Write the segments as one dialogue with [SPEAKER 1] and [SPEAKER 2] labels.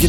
[SPEAKER 1] je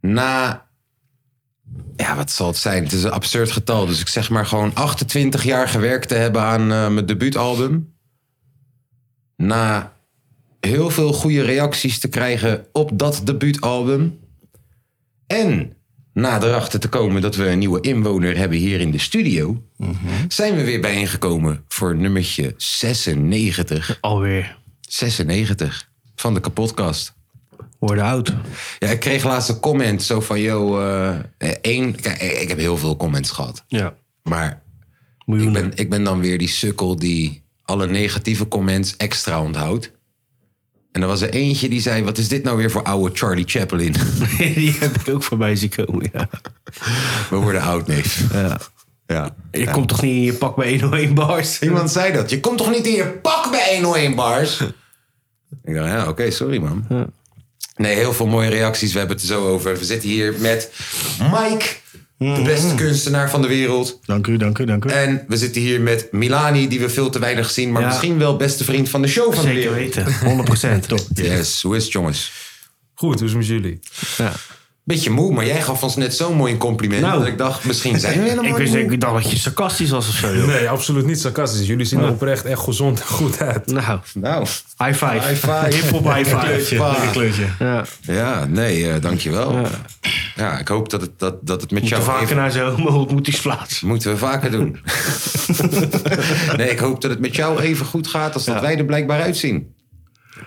[SPEAKER 2] Na. Ja, wat zal het zijn? Het is een absurd getal. Dus ik zeg maar gewoon 28 jaar gewerkt te hebben aan eh, mijn debuutalbum. Na heel veel goede reacties te krijgen op dat debuutalbum. En na erachter te komen dat we een nieuwe inwoner hebben hier in de studio. Zijn we weer bijeengekomen voor nummertje 96.
[SPEAKER 3] Alweer.
[SPEAKER 2] 96 van de kapotkast.
[SPEAKER 3] Worden oud.
[SPEAKER 2] Ja, ik kreeg laatst een comment zo van, yo, eh, één... Kijk, ik heb heel veel comments gehad.
[SPEAKER 3] Ja.
[SPEAKER 2] Maar ik
[SPEAKER 3] Miljoenen.
[SPEAKER 2] ben, ik ben dan weer die sukkel die alle negatieve comments extra onthoudt. En er was er eentje die zei, wat is dit nou weer voor oude Charlie Chaplin?
[SPEAKER 3] Die heb ik ook voorbij zien komen, ja.
[SPEAKER 2] We worden oud, neef.
[SPEAKER 3] Ja.
[SPEAKER 2] Ja.
[SPEAKER 3] Je komt toch niet in je pak bij 101 bars?
[SPEAKER 2] Iemand zei dat. Je komt toch niet in je pak bij 101 bars? Ik dacht, ja, oké, sorry man. Nee, heel veel mooie reacties. We hebben het er zo over. We zitten hier met Mike,
[SPEAKER 3] Mhm.
[SPEAKER 2] de beste kunstenaar van de wereld.
[SPEAKER 4] Dank u, dank u, dank u.
[SPEAKER 2] En we zitten hier met Milani, die we veel te weinig zien, maar
[SPEAKER 3] Ja.
[SPEAKER 2] misschien wel beste vriend van de show van de
[SPEAKER 3] Zeker
[SPEAKER 2] wereld.
[SPEAKER 3] weten. 100 procent. Toch?
[SPEAKER 2] Yes, hoe is het jongens?
[SPEAKER 5] Goed, hoe is het met jullie?
[SPEAKER 3] Ja.
[SPEAKER 2] Beetje moe, maar jij gaf ons net zo'n mooi compliment
[SPEAKER 3] Nou.
[SPEAKER 2] dat ik dacht, misschien zijn we helemaal
[SPEAKER 3] Ik wist
[SPEAKER 2] niet moe.
[SPEAKER 3] ik dacht dat je sarcastisch was of zo. joh.
[SPEAKER 5] Nee, absoluut niet sarcastisch. Jullie zien er oprecht echt gezond en goed uit.
[SPEAKER 3] Nou,
[SPEAKER 2] Nou,
[SPEAKER 3] high five.
[SPEAKER 2] high five.
[SPEAKER 3] Hip-hop high five.
[SPEAKER 4] Lekker kleurtje.
[SPEAKER 3] Ja.
[SPEAKER 2] Ja, nee, eh, dankjewel. Ja. ik hoop dat het, dat, dat het met
[SPEAKER 3] Te
[SPEAKER 2] jou...
[SPEAKER 3] vaker
[SPEAKER 2] even-
[SPEAKER 3] naar zo'n homo-ontmoetingsplaats.
[SPEAKER 2] Moeten we vaker doen. nee, ik hoop dat het met jou even goed gaat als dat wij er blijkbaar uitzien.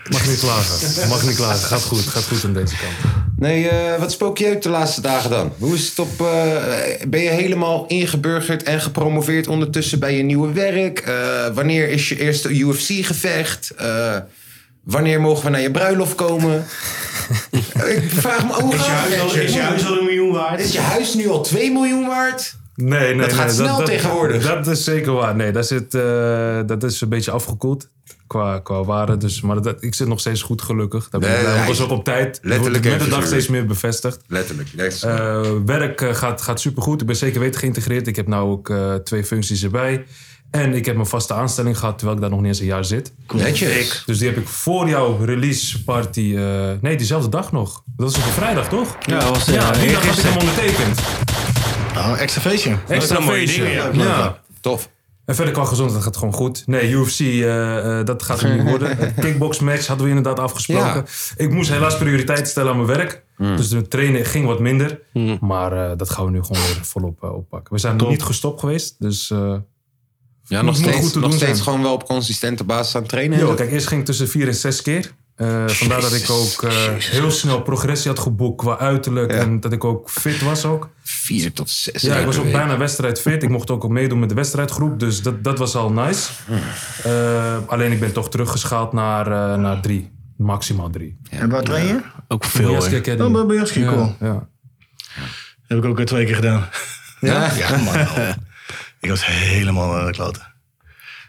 [SPEAKER 5] Mag niet klagen. Mag niet klagen. Gaat goed. Gaat goed aan deze kant.
[SPEAKER 2] Nee, eh, wat spook je uit de laatste dagen dan? Hoe is het op. eh, ben je helemaal ingeburgerd en gepromoveerd ondertussen bij je nieuwe werk? Eh, wanneer is je eerste UFC-gevecht? Eh, wanneer mogen we naar je bruiloft komen? Ik vraag me ook af.
[SPEAKER 3] al een miljoen waard?
[SPEAKER 2] Is je huis nu al 2 miljoen waard?
[SPEAKER 5] Nee, nee, nee.
[SPEAKER 2] gaat snel tegenwoordig.
[SPEAKER 5] Dat is zeker waar. Nee, dat, zit, eh, dat is een beetje afgekoeld. Qua, qua waarde. Dus, maar dat, ik zit nog steeds goed, gelukkig. Daar ben ik
[SPEAKER 2] Nee,
[SPEAKER 5] blij om.
[SPEAKER 2] hij-
[SPEAKER 5] was ook op tijd.
[SPEAKER 2] letterlijk
[SPEAKER 5] Wordt met de
[SPEAKER 2] even
[SPEAKER 5] dag
[SPEAKER 2] zuur.
[SPEAKER 5] steeds meer bevestigd.
[SPEAKER 2] Letterlijk.
[SPEAKER 5] Eh, werk eh, gaat, gaat supergoed. Ik ben zeker weten geïntegreerd. Ik heb nu ook eh, twee functies erbij. En ik heb mijn vaste aanstelling gehad, terwijl ik daar nog niet eens een jaar zit.
[SPEAKER 2] Netjes.
[SPEAKER 5] Dus die heb ik voor jouw release party. eh, nee, diezelfde dag nog. Dat was op de vrijdag, toch?
[SPEAKER 3] Ja, dat was, eh,
[SPEAKER 5] ja die dag had ik
[SPEAKER 3] gisteren.
[SPEAKER 5] hem ondertekend.
[SPEAKER 4] Oh, extra feestje.
[SPEAKER 5] Extra
[SPEAKER 3] mooie
[SPEAKER 5] feestje.
[SPEAKER 3] dingen, ja.
[SPEAKER 5] Ja.
[SPEAKER 2] Tof.
[SPEAKER 5] En verder qua gezondheid gaat gewoon goed. Nee, UFC, eh, eh, dat gaat hem niet worden. Het kickbox match hadden we inderdaad afgesproken.
[SPEAKER 2] Ja.
[SPEAKER 5] Ik moest helaas prioriteit stellen aan mijn werk. Dus de trainen ging wat minder. Maar eh, dat gaan we nu gewoon weer volop eh, oppakken. We zijn nog niet gestopt geweest. Dus eh,
[SPEAKER 2] Ja, nog
[SPEAKER 5] Moet- moet goed
[SPEAKER 2] steeds,
[SPEAKER 5] te
[SPEAKER 2] nog
[SPEAKER 5] doen
[SPEAKER 2] steeds
[SPEAKER 5] zijn.
[SPEAKER 2] gewoon wel op consistente basis aan het trainen.
[SPEAKER 5] Yo, kijk, eerst ging ik tussen vier en zes keer. Eh, vandaar dat ik ook eh, heel snel progressie had geboekt qua uiterlijk. En dat ik ook fit was ook.
[SPEAKER 2] Vier tot zes.
[SPEAKER 5] Ja, ik
[SPEAKER 2] keer
[SPEAKER 5] was
[SPEAKER 2] per
[SPEAKER 5] ook
[SPEAKER 2] week.
[SPEAKER 5] bijna wedstrijd fit. Ik mocht ook al meedoen met de wedstrijdgroep. Dus dat, dat was al nice. Eh, alleen ik ben toch teruggeschaald naar, eh, naar drie. Maximaal drie.
[SPEAKER 4] En waar train je?
[SPEAKER 3] Ook veel,
[SPEAKER 5] Yes,
[SPEAKER 3] hoor.
[SPEAKER 5] Academy.
[SPEAKER 4] Oh, bij Bajaski, cool.
[SPEAKER 5] Ja.
[SPEAKER 4] Heb ik ook eh, twee keer gedaan.
[SPEAKER 2] Ja?
[SPEAKER 4] Ja, man. ik was helemaal aan de kloten.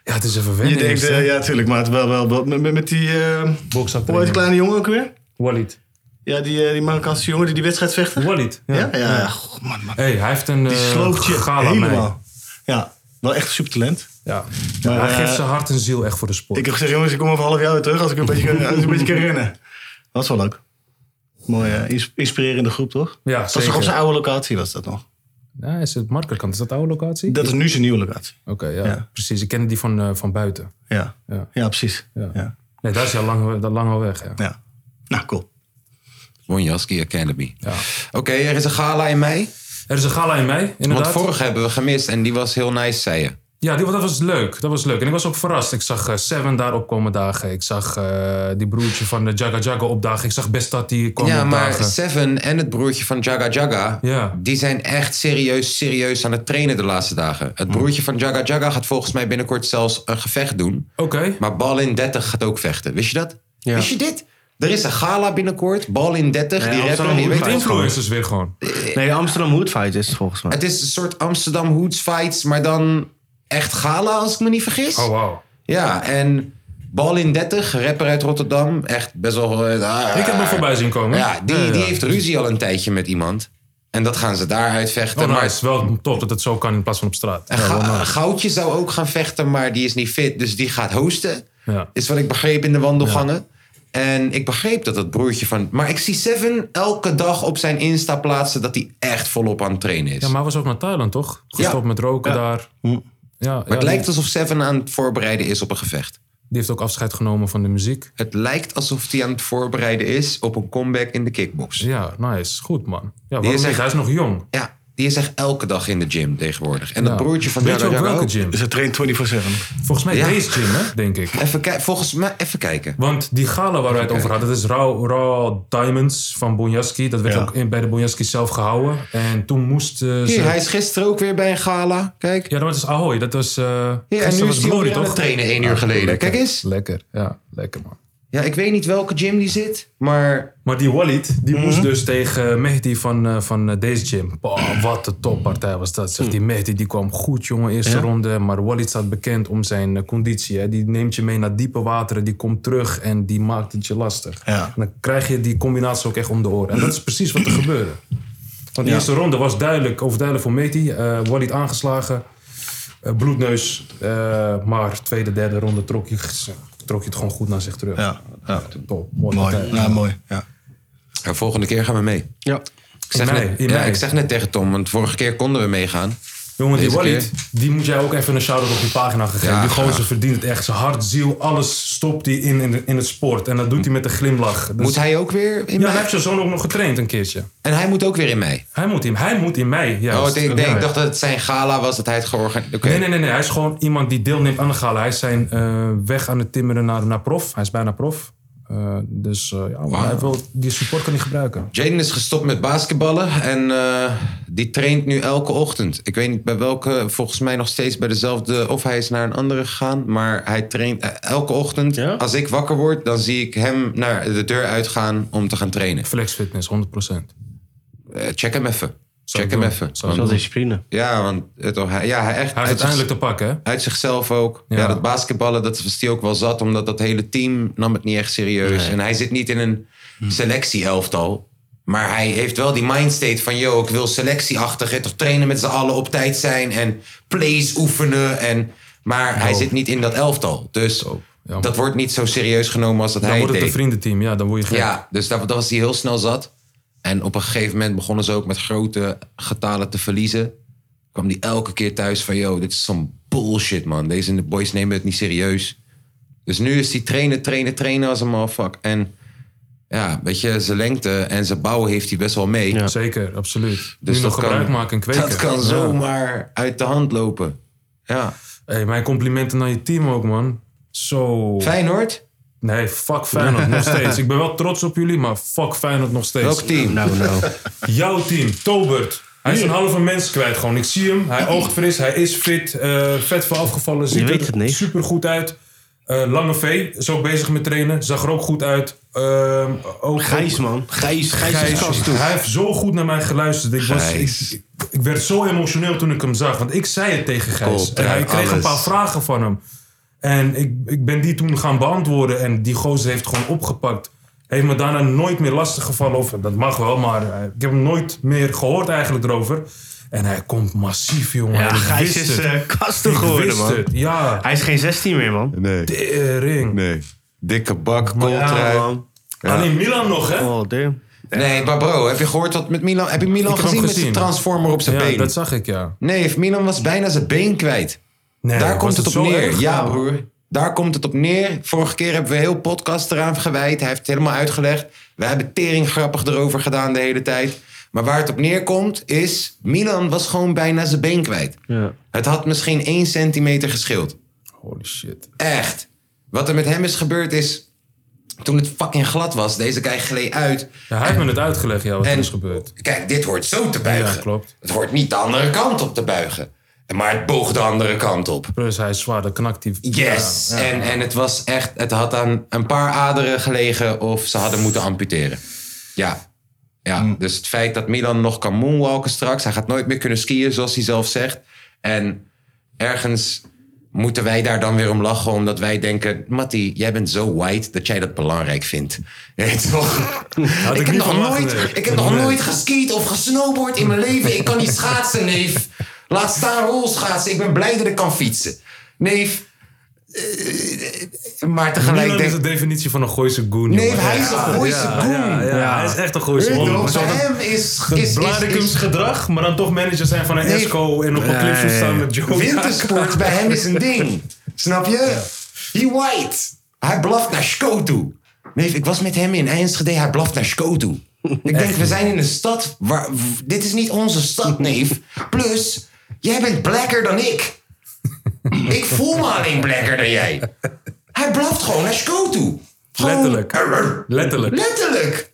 [SPEAKER 5] ja, het is even
[SPEAKER 4] Je
[SPEAKER 5] wennen.
[SPEAKER 4] denkt,
[SPEAKER 5] eerst,
[SPEAKER 4] eh,
[SPEAKER 5] hè?
[SPEAKER 4] ja, tuurlijk, maar het wel, wel, wel- met- met, met die, eh,
[SPEAKER 5] Boksaftraining.
[SPEAKER 4] hoe heet die kleine jongen ook weer?
[SPEAKER 5] Walid.
[SPEAKER 4] Ja, die, eh, die Marokkaanse jongen die die wedstrijd vecht. Ja,
[SPEAKER 5] Walid. Ja.
[SPEAKER 4] ja, ja. Goh, man, man.
[SPEAKER 5] Hey, hij heeft een
[SPEAKER 4] Die
[SPEAKER 5] eh
[SPEAKER 4] sloopt je
[SPEAKER 5] gala aan mij.
[SPEAKER 4] helemaal. Ja, wel echt super talent.
[SPEAKER 5] Ja.
[SPEAKER 4] Maar,
[SPEAKER 5] hij geeft
[SPEAKER 4] eh,
[SPEAKER 5] zijn hart en ziel echt voor de sport.
[SPEAKER 4] Ik heb gezegd, jongens, ik kom over een half jaar weer terug als ik een beetje, kan- als ik een beetje kan rennen. Dat is wel leuk. Mooie, eh, ins- inspirerende groep, toch?
[SPEAKER 5] ja,
[SPEAKER 4] Dat was toch op
[SPEAKER 5] zeker.
[SPEAKER 4] zijn oude locatie, was dat nog?
[SPEAKER 5] Ja, is het Markerkant? Is dat de oude locatie?
[SPEAKER 4] Dat is nu zijn nieuwe locatie.
[SPEAKER 5] Oké, ja,
[SPEAKER 4] Ja.
[SPEAKER 5] precies. Ik kende die van, eh, van buiten.
[SPEAKER 4] Ja,
[SPEAKER 5] Ja.
[SPEAKER 4] ja. precies.
[SPEAKER 5] Ja.
[SPEAKER 4] Ja. Ja.
[SPEAKER 5] Nee, daar is hij al lang, dat lang al weg. Ja.
[SPEAKER 4] Nou, cool.
[SPEAKER 2] Wonjaski Academy.
[SPEAKER 5] Ja.
[SPEAKER 2] Oké, er is een gala in mei.
[SPEAKER 5] Er is een gala in mei, inderdaad.
[SPEAKER 2] Want vorige hebben we gemist en die was heel nice, zei je.
[SPEAKER 5] Ja, die, dat was leuk. Dat was leuk. En ik was ook verrast. Ik zag eh, Seven daar opkomen dagen. Ik zag eh, die broertje van de Jaga Jaga opdagen. Ik zag Bestat die kwam
[SPEAKER 2] ja, maar
[SPEAKER 5] opdagen.
[SPEAKER 2] Seven en het broertje van Jaga Jaga...
[SPEAKER 5] Ja.
[SPEAKER 2] die zijn echt serieus, serieus aan het trainen de laatste dagen.
[SPEAKER 5] Hm.
[SPEAKER 2] Het broertje van Jaga Jaga gaat volgens mij binnenkort zelfs een gevecht doen.
[SPEAKER 5] Oké.
[SPEAKER 2] Maar Balin 30 gaat ook vechten. Wist je dat? Wist je dit? Er is een gala binnenkort. Bal in 30.
[SPEAKER 4] Nee,
[SPEAKER 2] die
[SPEAKER 4] Amsterdam
[SPEAKER 2] rapper. Je
[SPEAKER 4] Hood
[SPEAKER 2] weet
[SPEAKER 4] Fight.
[SPEAKER 2] het gewoon.
[SPEAKER 5] Influencers dus weer gewoon.
[SPEAKER 4] Nee, Amsterdam Hoodfight is het volgens mij.
[SPEAKER 2] Het is een soort Amsterdam Hoods fights. Maar dan echt gala als ik me niet vergis.
[SPEAKER 5] Oh, wauw.
[SPEAKER 2] Ja, en Bal in 30. Rapper uit Rotterdam. Echt best wel... eh,
[SPEAKER 5] Ik heb hem voorbij zien komen.
[SPEAKER 2] Ja, die, die heeft ruzie al een tijdje met iemand. En dat gaan ze daar uitvechten.
[SPEAKER 5] Oh,
[SPEAKER 2] maar
[SPEAKER 5] nice. Wel tof dat het zo kan in plaats van op straat.
[SPEAKER 2] En Ga- Goudje zou ook gaan vechten, maar die is niet fit. Dus die gaat hosten.
[SPEAKER 5] Ja.
[SPEAKER 2] Is wat ik begreep in de wandelgangen. En ik begreep dat het broertje van... Maar ik zie Seven elke dag op zijn Insta plaatsen... dat hij echt volop aan het trainen is.
[SPEAKER 5] Ja,
[SPEAKER 2] maar
[SPEAKER 5] maar hij was ook naar Thailand, toch? Gestopt
[SPEAKER 2] Ja.
[SPEAKER 5] met roken daar. Ja, ja,
[SPEAKER 2] het
[SPEAKER 5] die-
[SPEAKER 2] lijkt alsof Seven aan het voorbereiden is op een gevecht.
[SPEAKER 5] die heeft ook afscheid genomen van de muziek.
[SPEAKER 2] Het lijkt alsof hij aan het voorbereiden is... op een comeback in de kickbox.
[SPEAKER 5] Ja, nice. Goed, man. Ja, waarom
[SPEAKER 2] is
[SPEAKER 5] niet?
[SPEAKER 2] echt-
[SPEAKER 5] Hij is nog jong.
[SPEAKER 2] Ja, die is echt elke dag in de gym tegenwoordig. En
[SPEAKER 5] Ja.
[SPEAKER 2] dat broertje van
[SPEAKER 5] Weet je
[SPEAKER 2] Jaro
[SPEAKER 5] ook
[SPEAKER 2] Jaro
[SPEAKER 5] welke
[SPEAKER 2] ook.
[SPEAKER 5] gym?
[SPEAKER 4] Dus hij traint 24-7.
[SPEAKER 5] Volgens mij
[SPEAKER 2] Ja.
[SPEAKER 5] deze gym, hè, denk ik.
[SPEAKER 2] Even kijken, volgens mij... Even kijken.
[SPEAKER 5] Want die gala waar we het over hadden, dat is Raw, Raw Diamonds van Bonjaski. Dat werd
[SPEAKER 4] Ja.
[SPEAKER 5] ook in, bij de Bonjaski zelf gehouden. En toen moest eh, ze...
[SPEAKER 2] Hier, hij is gisteren ook weer bij een gala. Kijk.
[SPEAKER 5] Ja, dat was Ahoy. Dat was... eh
[SPEAKER 2] Ja, en
[SPEAKER 5] gisteren
[SPEAKER 2] nu
[SPEAKER 5] was
[SPEAKER 2] is hij
[SPEAKER 5] Glory,
[SPEAKER 2] alweer aan het trainen één
[SPEAKER 5] Ah,
[SPEAKER 2] uur geleden. Kijk eens.
[SPEAKER 5] Lekker. Ja, lekker, man.
[SPEAKER 2] Ja, ik weet niet welke gym die zit, maar...
[SPEAKER 5] Maar die Walid, die
[SPEAKER 4] Mhm.
[SPEAKER 5] moest dus tegen Mehdi van, eh, van eh, deze gym. Boah, wat een toppartij was dat. Zeg. Die Mehdi die kwam goed, jongen, eerste ronde. Maar Walid staat bekend om zijn eh, conditie. Hè. Die neemt je mee naar diepe wateren, die komt terug en die maakt het je lastig.
[SPEAKER 4] Ja.
[SPEAKER 5] En dan krijg je die combinatie ook echt om de oren. En dat is precies wat er gebeurde. Want de eerste ronde was duidelijk, overduidelijk voor Mehdi. Eh, Walid aangeslagen, eh, bloedneus. Eh, maar tweede, derde ronde trok je, trok je het gewoon goed naar zich terug.
[SPEAKER 4] Ja, ja.
[SPEAKER 5] Top, mooi. partij.
[SPEAKER 4] mooi. Ja, mooi. Ja.
[SPEAKER 2] Ja, volgende keer gaan we mee.
[SPEAKER 4] Ja.
[SPEAKER 2] Ik zeg,
[SPEAKER 5] In mei,
[SPEAKER 2] net,
[SPEAKER 5] in
[SPEAKER 2] ja,
[SPEAKER 5] mei.
[SPEAKER 2] ik zeg net tegen Tom, want vorige keer konden we meegaan.
[SPEAKER 5] Jongen, die
[SPEAKER 2] Deze
[SPEAKER 5] Walid, die moet jij ook even een shout-out op je pagina gegeven.
[SPEAKER 2] Ja,
[SPEAKER 5] die gozer
[SPEAKER 2] graag.
[SPEAKER 5] verdient het echt. Zijn hart, ziel, alles stopt hij in, in, in het sport. En dat doet hij met een glimlach. Dus-
[SPEAKER 2] Moet hij ook weer in
[SPEAKER 5] ja, hij
[SPEAKER 2] mei?
[SPEAKER 5] heeft zijn zoon ook nog getraind een keertje.
[SPEAKER 2] En hij moet ook weer in mei.
[SPEAKER 5] Hij moet in, hij moet in mei,
[SPEAKER 2] Oh,
[SPEAKER 5] juist.
[SPEAKER 2] ik, denk,
[SPEAKER 5] Ja.
[SPEAKER 2] ik dacht dat het zijn gala was, dat hij het georganiseerd... Oké.
[SPEAKER 5] Nee, nee, nee, nee. Hij is gewoon iemand die deelneemt aan de gala. Hij is zijn eh, weg aan het timmeren naar, naar prof. Hij is bijna prof. Eh, dus eh, ja, maar hij wil, die support kan hij gebruiken.
[SPEAKER 2] Jaden is gestopt met basketballen en eh, die traint nu elke ochtend. Ik weet niet bij welke, volgens mij nog steeds bij dezelfde, of hij is naar een andere gegaan, maar hij traint eh, elke ochtend.
[SPEAKER 4] Ja?
[SPEAKER 2] Als ik wakker word, dan zie ik hem naar de deur uitgaan om te gaan trainen.
[SPEAKER 5] Flex fitness, 100%.
[SPEAKER 2] Eh, check hem even.
[SPEAKER 5] Zou
[SPEAKER 2] Check
[SPEAKER 5] ik
[SPEAKER 2] hem
[SPEAKER 5] doen.
[SPEAKER 2] even.
[SPEAKER 5] Zou ik
[SPEAKER 4] Wel
[SPEAKER 5] doen.
[SPEAKER 4] discipline.
[SPEAKER 2] Ja, want het, oh, hij- ja, hij echt
[SPEAKER 5] Hij heeft
[SPEAKER 2] uit,
[SPEAKER 5] het eindelijk
[SPEAKER 2] zich,
[SPEAKER 5] te pakken, hè?
[SPEAKER 2] uit zichzelf ook. Ja.
[SPEAKER 5] Ja.
[SPEAKER 2] dat basketballen, dat was hij ook wel zat, omdat dat hele team nam het niet echt serieus. En hij zit niet in een
[SPEAKER 5] Hm.
[SPEAKER 2] selectie-elftal. Maar hij heeft wel die mindstate van, yo, ik wil selectieachtig hè, toch trainen met z'n allen op tijd zijn en plays oefenen. En, maar hij zit niet in dat elftal. Dus
[SPEAKER 5] jammer.
[SPEAKER 2] dat wordt niet zo serieus genomen als dat
[SPEAKER 5] Dan
[SPEAKER 2] hij
[SPEAKER 5] wordt het
[SPEAKER 2] deed.
[SPEAKER 5] een vriendenteam. Ja, dan word je gek.
[SPEAKER 2] Ja, dus dat, dat was hij heel snel zat. En op een gegeven moment begonnen ze ook met grote getalen te verliezen. Kwam die elke keer thuis van, yo, dit is zo'n bullshit, man. Deze boys nemen het niet serieus. Dus nu is hij trainen, trainen, trainen als een motherfucker. En ja, weet je, zijn lengte en zijn bouw heeft hij best wel mee.
[SPEAKER 5] Zeker, absoluut.
[SPEAKER 2] Dus
[SPEAKER 5] nu nog
[SPEAKER 2] dat
[SPEAKER 5] gebruik
[SPEAKER 2] kan-
[SPEAKER 5] maken en kweken.
[SPEAKER 2] Dat kan
[SPEAKER 5] Ja.
[SPEAKER 2] zomaar uit de hand lopen. Ja.
[SPEAKER 5] Hey, mijn complimenten naar je team ook, man. Zo.
[SPEAKER 2] Feyenoord?
[SPEAKER 5] Nee, fuck Feyenoord nog steeds. Ik ben wel trots op jullie, maar fuck Feyenoord nog steeds.
[SPEAKER 2] Welk team?
[SPEAKER 4] Nou, nou.
[SPEAKER 5] Jouw team, Tobert. Hij is een halve mens kwijt gewoon. Ik zie hem. Hij oogt fris. Hij is fit. eh, vet voor afgevallen. Ziet
[SPEAKER 4] weet
[SPEAKER 5] er
[SPEAKER 4] het niet.
[SPEAKER 5] super goed uit. Eh, Lange V is ook bezig met trainen. Zag er ook goed uit. Ehm, ook,
[SPEAKER 4] Gijs, man. Gijs, Gijs,
[SPEAKER 5] Gijs,
[SPEAKER 4] is gast toe.
[SPEAKER 5] hij heeft zo goed naar mij geluisterd. Ik, was, ik,
[SPEAKER 2] Gijs.
[SPEAKER 5] ik- ik werd zo emotioneel toen ik hem zag. Want ik zei het tegen Gijs.
[SPEAKER 2] Kop,
[SPEAKER 5] en hij
[SPEAKER 2] ja,
[SPEAKER 5] kreeg een
[SPEAKER 2] alles.
[SPEAKER 5] paar vragen van hem. En ik, ik ben die toen gaan beantwoorden. En die gozer heeft gewoon opgepakt. Heeft me daarna nooit meer lastiggevallen. Of, dat mag wel, maar eh, ik heb hem nooit meer gehoord eigenlijk erover. En hij komt massief, jongen.
[SPEAKER 4] Ja,
[SPEAKER 5] En ik
[SPEAKER 4] Gijs
[SPEAKER 5] wist
[SPEAKER 4] is
[SPEAKER 5] het.
[SPEAKER 4] eh kast toe
[SPEAKER 5] Ik
[SPEAKER 4] geworden,
[SPEAKER 5] wist
[SPEAKER 4] man.
[SPEAKER 5] het. Ja,
[SPEAKER 4] Hij is geen 16 meer, man.
[SPEAKER 2] Nee,
[SPEAKER 5] de ring.
[SPEAKER 2] nee. Dikke bak,
[SPEAKER 4] Ja,
[SPEAKER 2] kooltrui.
[SPEAKER 4] man.
[SPEAKER 5] Alleen Milan nog, hè?
[SPEAKER 4] Oh, damn.
[SPEAKER 2] Nee, maar bro, heb je gehoord wat met Milan... Heb je Milan
[SPEAKER 5] Ik heb hem
[SPEAKER 2] gezien, met
[SPEAKER 5] gezien.
[SPEAKER 2] die transformer op zijn
[SPEAKER 5] ja,
[SPEAKER 2] been?
[SPEAKER 5] dat zag ik, ja.
[SPEAKER 2] Nee, Milan was bijna zijn been kwijt.
[SPEAKER 5] Nee,
[SPEAKER 2] Daar
[SPEAKER 5] was
[SPEAKER 2] komt het, op
[SPEAKER 5] zo
[SPEAKER 2] neer.
[SPEAKER 5] erg?
[SPEAKER 2] Ja, broer. Daar komt het op neer. Vorige keer hebben we heel podcast eraan gewijd. Hij heeft het helemaal uitgelegd. We hebben tering grappig erover gedaan de hele tijd. Maar waar het op neerkomt is... Milan was gewoon bijna zijn been kwijt.
[SPEAKER 4] Ja.
[SPEAKER 2] Het had misschien één centimeter geschild.
[SPEAKER 5] Holy shit.
[SPEAKER 2] Echt. Wat er met hem is gebeurd is... Toen het fucking glad was, deze guy gleed uit.
[SPEAKER 5] Ja, hij heeft me het uitgelegd, ja, wat er
[SPEAKER 2] En-
[SPEAKER 5] is gebeurd.
[SPEAKER 2] Kijk, dit hoort zo te buigen.
[SPEAKER 5] Ja, klopt.
[SPEAKER 2] Het hoort niet de andere kant op te buigen. Maar het boog de andere kant op.
[SPEAKER 5] Plus hij is zwaar, dat knakt die...
[SPEAKER 2] Yes!
[SPEAKER 5] Ja, ja.
[SPEAKER 2] En, en het was echt, het had aan een paar aderen gelegen of ze hadden moeten amputeren. Ja. ja.
[SPEAKER 5] Mm.
[SPEAKER 2] Dus het feit dat Milan nog kan moonwalken straks, hij gaat nooit meer kunnen skiën zoals hij zelf zegt. En ergens moeten wij daar dan weer om lachen, omdat wij denken: Matty, jij bent zo white dat jij dat belangrijk vindt. Weet je toch?
[SPEAKER 5] Had
[SPEAKER 2] Ik heb,
[SPEAKER 5] ik niet
[SPEAKER 2] nog
[SPEAKER 5] verwacht,
[SPEAKER 2] nooit,
[SPEAKER 5] nee.
[SPEAKER 2] ik heb nog nooit geskiet of gesnowboard in mijn leven. Ik kan niet schaatsen, neef. Laat staan rolschaatsen. Ik ben blij dat ik kan fietsen. Neef. eh, Maar tegelijk
[SPEAKER 5] Milan is
[SPEAKER 2] denk
[SPEAKER 5] de
[SPEAKER 2] ik...
[SPEAKER 5] definitie van een Gooise goon.
[SPEAKER 2] Nee,
[SPEAKER 5] jongen.
[SPEAKER 2] hij is een Gooise goon.
[SPEAKER 5] Ja, ja, hij is echt een Gooise goon.
[SPEAKER 2] Hem is,
[SPEAKER 5] Zo'n-
[SPEAKER 2] is,
[SPEAKER 5] dat
[SPEAKER 2] is, is,
[SPEAKER 5] Bladicums gedrag, maar dan toch manager zijn van een
[SPEAKER 2] Nee.
[SPEAKER 5] Esco en op een clipshoot staan met Joe.
[SPEAKER 2] wintersport bij hem is een ding. Snap je? He white. Hij blaft naar Sco toe. Neef, ik was met hem in Eindschede. Hij blaft naar Sco toe. Ik denk, we zijn in een stad. Waar, w- dit is niet onze stad, neef. Plus, jij bent blacker dan ik. Ik voel me alleen blacker dan jij. Hij blaft gewoon naar Sco toe. Gewoon-
[SPEAKER 5] Letterlijk. Letterlijk.
[SPEAKER 2] Letterlijk.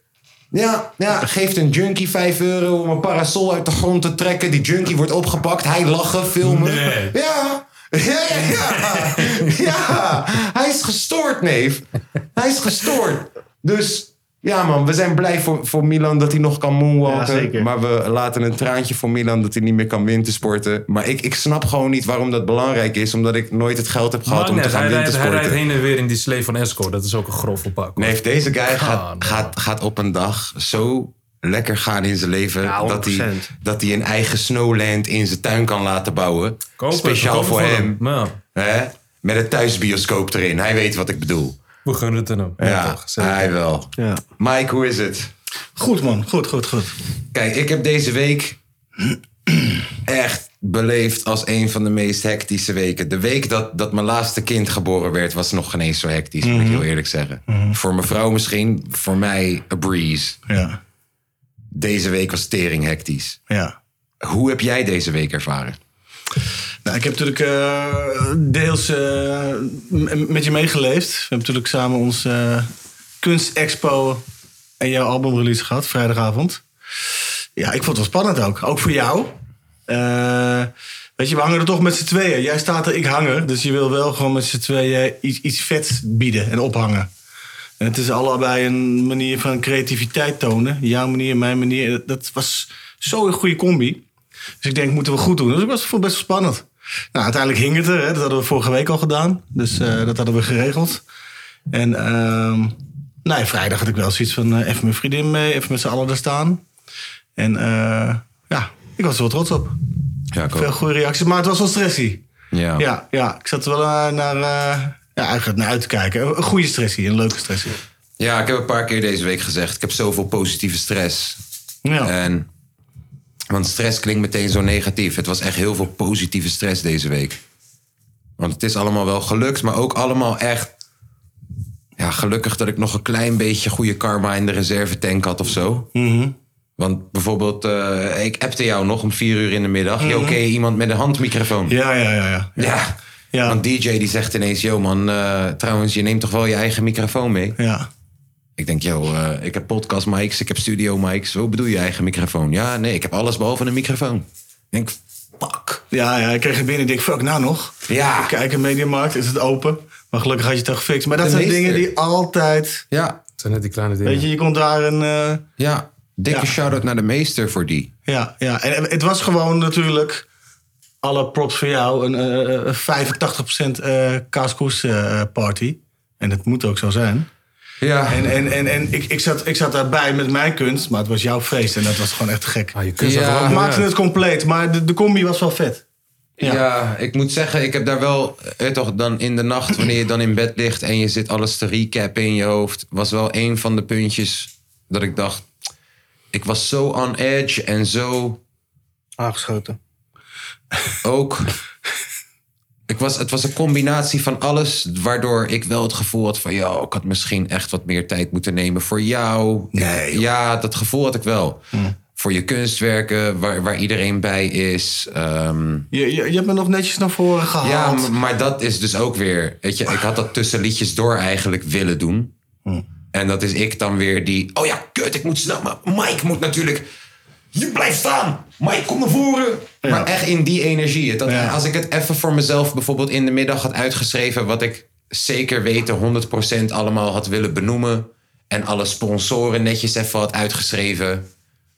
[SPEAKER 2] Ja, ja, geeft een junkie 5 euro om een parasol uit de grond te trekken. Die junkie wordt opgepakt. Hij lachen, filmen.
[SPEAKER 5] Nee.
[SPEAKER 2] Ja. Ja, ja, ja. Ja. Hij is gestoord, neef. Hij is gestoord. Dus ja, man, we zijn blij voor, voor Milan dat hij nog kan
[SPEAKER 4] Ja,
[SPEAKER 2] moonwalken.
[SPEAKER 4] zeker.
[SPEAKER 2] maar we laten een traantje voor Milan dat hij niet meer kan wintersporten. Maar ik, ik snap gewoon niet waarom dat belangrijk is. Omdat ik nooit het geld heb gehad
[SPEAKER 5] Maar
[SPEAKER 2] om
[SPEAKER 5] nee,
[SPEAKER 2] te gaan
[SPEAKER 5] hij, rijdt, hij
[SPEAKER 2] wintersporten.
[SPEAKER 5] rijdt heen en weer in die slee van Esco. Dat is ook een grove pak. hoor.
[SPEAKER 2] Nee, deze guy gaat,
[SPEAKER 5] man.
[SPEAKER 2] gaat, gaat op een dag zo lekker gaan in zijn leven.
[SPEAKER 3] Ja,
[SPEAKER 2] dat, hij,
[SPEAKER 3] 100%.
[SPEAKER 2] dat hij een eigen snowland in zijn tuin kan laten bouwen.
[SPEAKER 5] Kopen,
[SPEAKER 2] Speciaal
[SPEAKER 5] kopen
[SPEAKER 2] voor hem.
[SPEAKER 5] Ja,
[SPEAKER 2] Hè? Met een thuisbioscoop erin. Hij weet wat ik bedoel.
[SPEAKER 5] we gunnen het aan hem.
[SPEAKER 2] Ja,
[SPEAKER 5] toch, zeker.
[SPEAKER 2] hij wel.
[SPEAKER 4] Ja.
[SPEAKER 2] Mike, hoe is het?
[SPEAKER 4] Goed man, goed, goed, goed.
[SPEAKER 2] Kijk, ik heb deze week echt beleefd als een van de meest hectische weken. De week dat, dat mijn laatste kind geboren werd, was nog geen eens zo hectisch, moet
[SPEAKER 5] Mhm.
[SPEAKER 2] ik heel eerlijk zeggen. Voor mijn vrouw misschien, voor mij a breeze.
[SPEAKER 4] Ja,
[SPEAKER 2] Deze week was tering hectisch.
[SPEAKER 4] ja.
[SPEAKER 2] Hoe heb jij deze week ervaren?
[SPEAKER 4] Nou, ik heb natuurlijk eh, deels eh, m- met je meegeleefd. We hebben natuurlijk samen ons eh, kunstexpo en jouw albumrelease gehad, vrijdagavond. Ja, ik vond het wel spannend ook. Ook voor jou. Eh, weet je, we hangen er toch met z'n tweeën. Jij staat er, ik hang er. Dus je wil wel gewoon met z'n tweeën iets, iets vets bieden en ophangen. En het is allebei een manier van creativiteit tonen. Jouw manier, mijn manier. Dat was zo'n goede combi. Dus ik denk, moeten we goed doen. Dus ik was vond het best wel spannend. Nou, uiteindelijk hing het er. Hè. Dat hadden we vorige week al gedaan. Dus eh, dat hadden we geregeld. En ehm nou, ja, vrijdag had ik wel zoiets van... eh, even mijn vriendin mee, even met z'n allen daar staan. En eh, ja, ik was er wel trots op.
[SPEAKER 2] Ja, ik
[SPEAKER 4] Veel goede reacties, maar het was wel stressy.
[SPEAKER 2] Ja.
[SPEAKER 4] Ja, ja ik zat er wel eh, naar, eh, ja, eigenlijk naar uit te kijken. Een goede stressy, een leuke stressy.
[SPEAKER 2] ja, ik heb een paar keer deze week gezegd. Ik heb zoveel positieve stress.
[SPEAKER 4] Ja.
[SPEAKER 2] En, want stress klinkt meteen zo negatief. Het was echt heel veel positieve stress deze week. Want het is allemaal wel gelukt, maar ook allemaal echt... Ja, gelukkig dat ik nog een klein beetje goede karma in de reservetank had of zo. Want bijvoorbeeld, eh, ik appte jou nog om vier uur in de middag. Yo, ken je iemand met een handmicrofoon?
[SPEAKER 4] ja, ja, ja, ja.
[SPEAKER 2] Ja.
[SPEAKER 4] Ja.
[SPEAKER 2] Want DJ die zegt ineens, yo man, eh, trouwens, je neemt toch wel je eigen microfoon mee?
[SPEAKER 4] Ja,
[SPEAKER 2] Ik denk, yo, eh, ik heb podcast mics, ik heb studio mics. Hoe bedoel je eigen microfoon? Ja, nee, ik heb alles behalve een microfoon. Ik denk, fuck.
[SPEAKER 4] ja, ja ik kreeg het binnen en ik denk, fuck, nou nog.
[SPEAKER 2] Ja.
[SPEAKER 4] Kijk, een mediamarkt, is het open? Maar gelukkig had je het al gefixt. Maar dat
[SPEAKER 2] De
[SPEAKER 4] zijn
[SPEAKER 2] meester.
[SPEAKER 4] dingen die altijd...
[SPEAKER 2] Ja,
[SPEAKER 5] Het zijn net die kleine dingen.
[SPEAKER 4] Weet je, je komt daar een... eh,
[SPEAKER 2] ja. Dikke
[SPEAKER 4] Ja.
[SPEAKER 2] shout-out naar de meester voor die.
[SPEAKER 4] ja, ja, en eh, het was gewoon natuurlijk... Alle props voor jou, een eh, eh 85% eh kaaskoes eh, party. En dat moet ook zo zijn.
[SPEAKER 2] Ja.
[SPEAKER 4] En, en, en, en ik, ik, zat, ik zat daarbij met mijn kunst, maar het was jouw feest. En dat was gewoon echt te gek.
[SPEAKER 5] Ah, je kunst
[SPEAKER 2] Ja.
[SPEAKER 5] had er ook
[SPEAKER 4] Het
[SPEAKER 5] niet
[SPEAKER 4] maakte
[SPEAKER 5] uit.
[SPEAKER 4] het compleet, maar de, de combi was wel vet.
[SPEAKER 2] Ja. ik moet zeggen, ik heb daar wel, eh, toch, dan in de nacht, wanneer je dan in bed ligt en je zit alles te recappen in je hoofd, was wel een van de puntjes dat ik dacht, ik was zo on edge en zo
[SPEAKER 4] Aangeschoten.
[SPEAKER 2] ook. Ik was, het was een combinatie van alles, waardoor ik wel het gevoel had van, joh, ik had misschien echt wat meer tijd moeten nemen voor jou.
[SPEAKER 4] Nee, joh. Hm.
[SPEAKER 2] Ja, dat gevoel had ik wel. Voor je kunstwerken, waar, waar iedereen bij is. ehm,
[SPEAKER 4] Je, je, je hebt me nog netjes naar voren gehaald.
[SPEAKER 2] ja, m- maar dat is dus ook weer. Weet je, ik had dat tussen liedjes door eigenlijk willen doen. En dat is ik dan weer die. Oh ja, kut, ik moet snel. Maar Mike moet natuurlijk. Je blijft staan! Mike, kom naar voren! Maar echt in die energie. Dat, Als ik het even voor mezelf bijvoorbeeld in de middag had uitgeschreven... wat ik zeker weten 100% allemaal had willen benoemen... en alle sponsoren netjes even had uitgeschreven...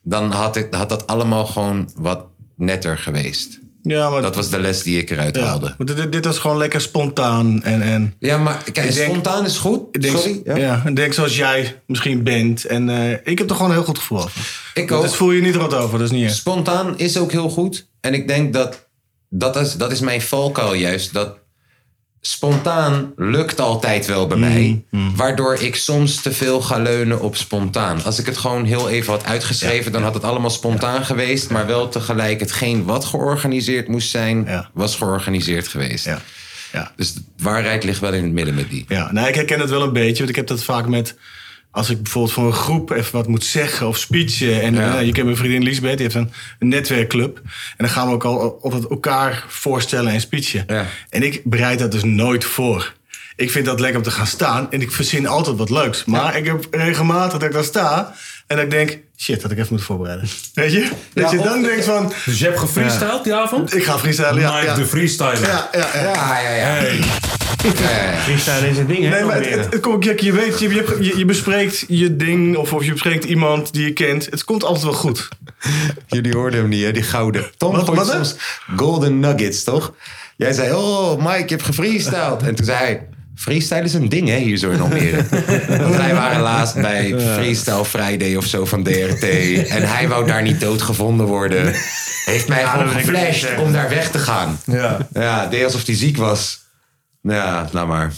[SPEAKER 2] dan had, ik, had dat allemaal gewoon wat netter geweest.
[SPEAKER 4] Ja, maar
[SPEAKER 2] Dat was de les die ik eruit haalde.
[SPEAKER 4] Maar dit, dit was gewoon lekker spontaan. En, en
[SPEAKER 2] Ja, maar kijk,
[SPEAKER 4] Ik denk-
[SPEAKER 2] spontaan is goed.
[SPEAKER 4] ik denk,
[SPEAKER 2] Sorry.
[SPEAKER 4] Ja. ik denk zoals jij misschien bent. En eh, ik heb er gewoon een heel goed gevoel over.
[SPEAKER 2] Ik ook.
[SPEAKER 4] Dus voel je niet rot over, dat is niet echt.
[SPEAKER 2] Spontaan is ook heel goed. En ik denk dat dat is, dat is mijn valkuil juist. Dat spontaan lukt altijd wel
[SPEAKER 4] Mm,
[SPEAKER 2] bij mij. Waardoor ik soms te veel ga leunen op spontaan. Als ik het gewoon heel even had uitgeschreven, dan had het allemaal spontaan geweest. Maar wel tegelijk hetgeen wat georganiseerd moest zijn,
[SPEAKER 4] Ja.
[SPEAKER 2] was georganiseerd geweest.
[SPEAKER 4] Ja. Ja.
[SPEAKER 2] Dus de waarheid ligt wel in het midden met die.
[SPEAKER 4] Ja, nou, ik herken het wel een beetje. Want ik heb dat vaak met... Als ik bijvoorbeeld voor een groep even wat moet zeggen of speechen. En eh, je kent mijn vriendin Lisbeth, die heeft een, een netwerkclub. En dan gaan we ook al altijd elkaar voorstellen en speechen.
[SPEAKER 2] Ja.
[SPEAKER 4] En ik bereid dat dus nooit voor. Ik vind dat lekker om te gaan staan. En ik verzin altijd wat leuks. Maar ik heb regelmatig dat ik daar sta. En dat ik denk, shit, had ik even moeten voorbereiden. Weet je? Dat je
[SPEAKER 2] of-
[SPEAKER 4] dan denkt van,
[SPEAKER 5] Dus je hebt gefreestyled die avond?
[SPEAKER 4] ik ga freestylen. Ja,
[SPEAKER 5] Mike
[SPEAKER 4] ja.
[SPEAKER 5] de freestyler.
[SPEAKER 4] Ja, ja, ja.
[SPEAKER 2] Ja, ja, ja. Ja, ja.
[SPEAKER 3] Freestyle is het ding, hè?
[SPEAKER 4] Nee, maar het, het, het komt- kijk, je weet, je, je, je- je bespreekt je ding of, of je bespreekt iemand die je kent. Het komt altijd wel goed.
[SPEAKER 2] Jullie hoorden hem niet, hè? Die gouden. Tom
[SPEAKER 4] Wat-
[SPEAKER 2] gooit
[SPEAKER 4] wat, hè?
[SPEAKER 2] soms golden nuggets, toch? Jij zei, oh Mike, je hebt gefreestyled. En toen zei hij, freestyle is een ding, hè, hier zo in Almere. Want wij waren laatst bij Freestyle Friday of zo van DRT. En hij wou daar niet doodgevonden worden. Heeft mij gewoon
[SPEAKER 3] dat wil ik ook niet
[SPEAKER 2] geflasht
[SPEAKER 3] zeggen.
[SPEAKER 2] om daar weg te gaan.
[SPEAKER 4] Ja.
[SPEAKER 2] Ja, deed alsof hij ziek was. Ja, nou maar.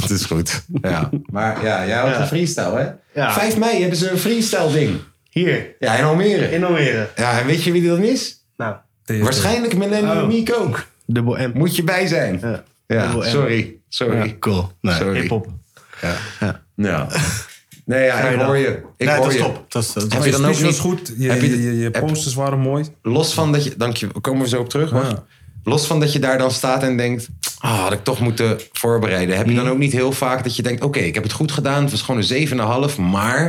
[SPEAKER 2] Het is goed. Ja. Maar ja, jij had een freestyle, hè?
[SPEAKER 3] Ja.
[SPEAKER 2] 5 mei hebben ze een freestyle ding.
[SPEAKER 3] Hier,
[SPEAKER 2] Ja, in Almere.
[SPEAKER 3] in Almere.
[SPEAKER 2] Ja, en weet je wie dat is?
[SPEAKER 3] Nou,
[SPEAKER 5] TFT.
[SPEAKER 2] Waarschijnlijk Millennium
[SPEAKER 3] Oh.
[SPEAKER 2] Meek ook.
[SPEAKER 3] dubbel M.
[SPEAKER 2] Moet je bij zijn. Ja,
[SPEAKER 3] Ja. Dubbel M.
[SPEAKER 2] sorry. Sorry.
[SPEAKER 4] Cool. Nee.
[SPEAKER 2] sorry.
[SPEAKER 3] Hip-hop.
[SPEAKER 2] Ja. Nee, ja, ik hoor je. Ik
[SPEAKER 4] Nee,
[SPEAKER 2] hoor
[SPEAKER 4] dat is
[SPEAKER 2] je.
[SPEAKER 4] top. Dat is, dat is-
[SPEAKER 2] Heb je
[SPEAKER 5] Je
[SPEAKER 2] dan ook
[SPEAKER 5] speech was
[SPEAKER 2] niet,
[SPEAKER 5] goed. Je,
[SPEAKER 2] heb je de-
[SPEAKER 5] je, je, je
[SPEAKER 2] heb-
[SPEAKER 5] posters waren mooi.
[SPEAKER 2] los van dat je, dank je, komen we zo op terug, wacht.
[SPEAKER 5] Ja.
[SPEAKER 2] Los van dat je daar dan staat en denkt, ah, had ik toch moeten voorbereiden. Heb je dan ook niet heel vaak dat je denkt, oké, ik heb het goed gedaan. Het was gewoon een 7,5, maar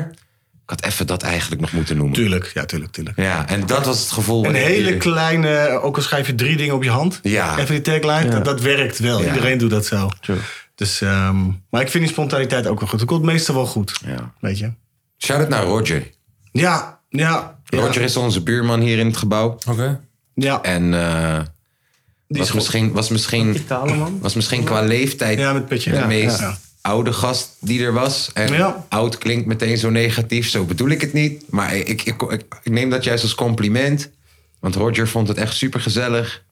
[SPEAKER 2] ik had even dat eigenlijk nog moeten noemen.
[SPEAKER 4] Tuurlijk, ja, tuurlijk, tuurlijk.
[SPEAKER 2] Ja, en dat was het gevoel.
[SPEAKER 4] Een
[SPEAKER 2] wat ik
[SPEAKER 4] hele
[SPEAKER 2] hier-
[SPEAKER 4] kleine, ook al schrijf je drie dingen op je hand.
[SPEAKER 2] Ja.
[SPEAKER 4] Even die tagline, dat, dat werkt wel.
[SPEAKER 2] Ja.
[SPEAKER 4] Iedereen doet dat zo. Dus, ehm, maar ik vind die spontaniteit ook wel goed. Het komt meestal wel goed.
[SPEAKER 2] Ja.
[SPEAKER 4] Weet je?
[SPEAKER 2] Shout-out naar Roger.
[SPEAKER 4] Ja, ja. ja,
[SPEAKER 2] Roger is onze buurman hier in het gebouw.
[SPEAKER 5] Oké.
[SPEAKER 4] Ja,
[SPEAKER 2] En eh,
[SPEAKER 4] die is
[SPEAKER 2] was,
[SPEAKER 4] goed.
[SPEAKER 2] misschien, was, misschien,
[SPEAKER 3] Talen, man.
[SPEAKER 2] was misschien qua leeftijd
[SPEAKER 4] Ja, met petje.
[SPEAKER 2] de
[SPEAKER 4] Ja,
[SPEAKER 2] meest
[SPEAKER 4] ja.
[SPEAKER 2] oude gast die er was. En
[SPEAKER 4] Ja.
[SPEAKER 2] oud klinkt meteen zo negatief, zo bedoel ik het niet. Maar ik, ik, ik, ik, ik neem dat juist als compliment. Want Roger vond het echt super gezellig.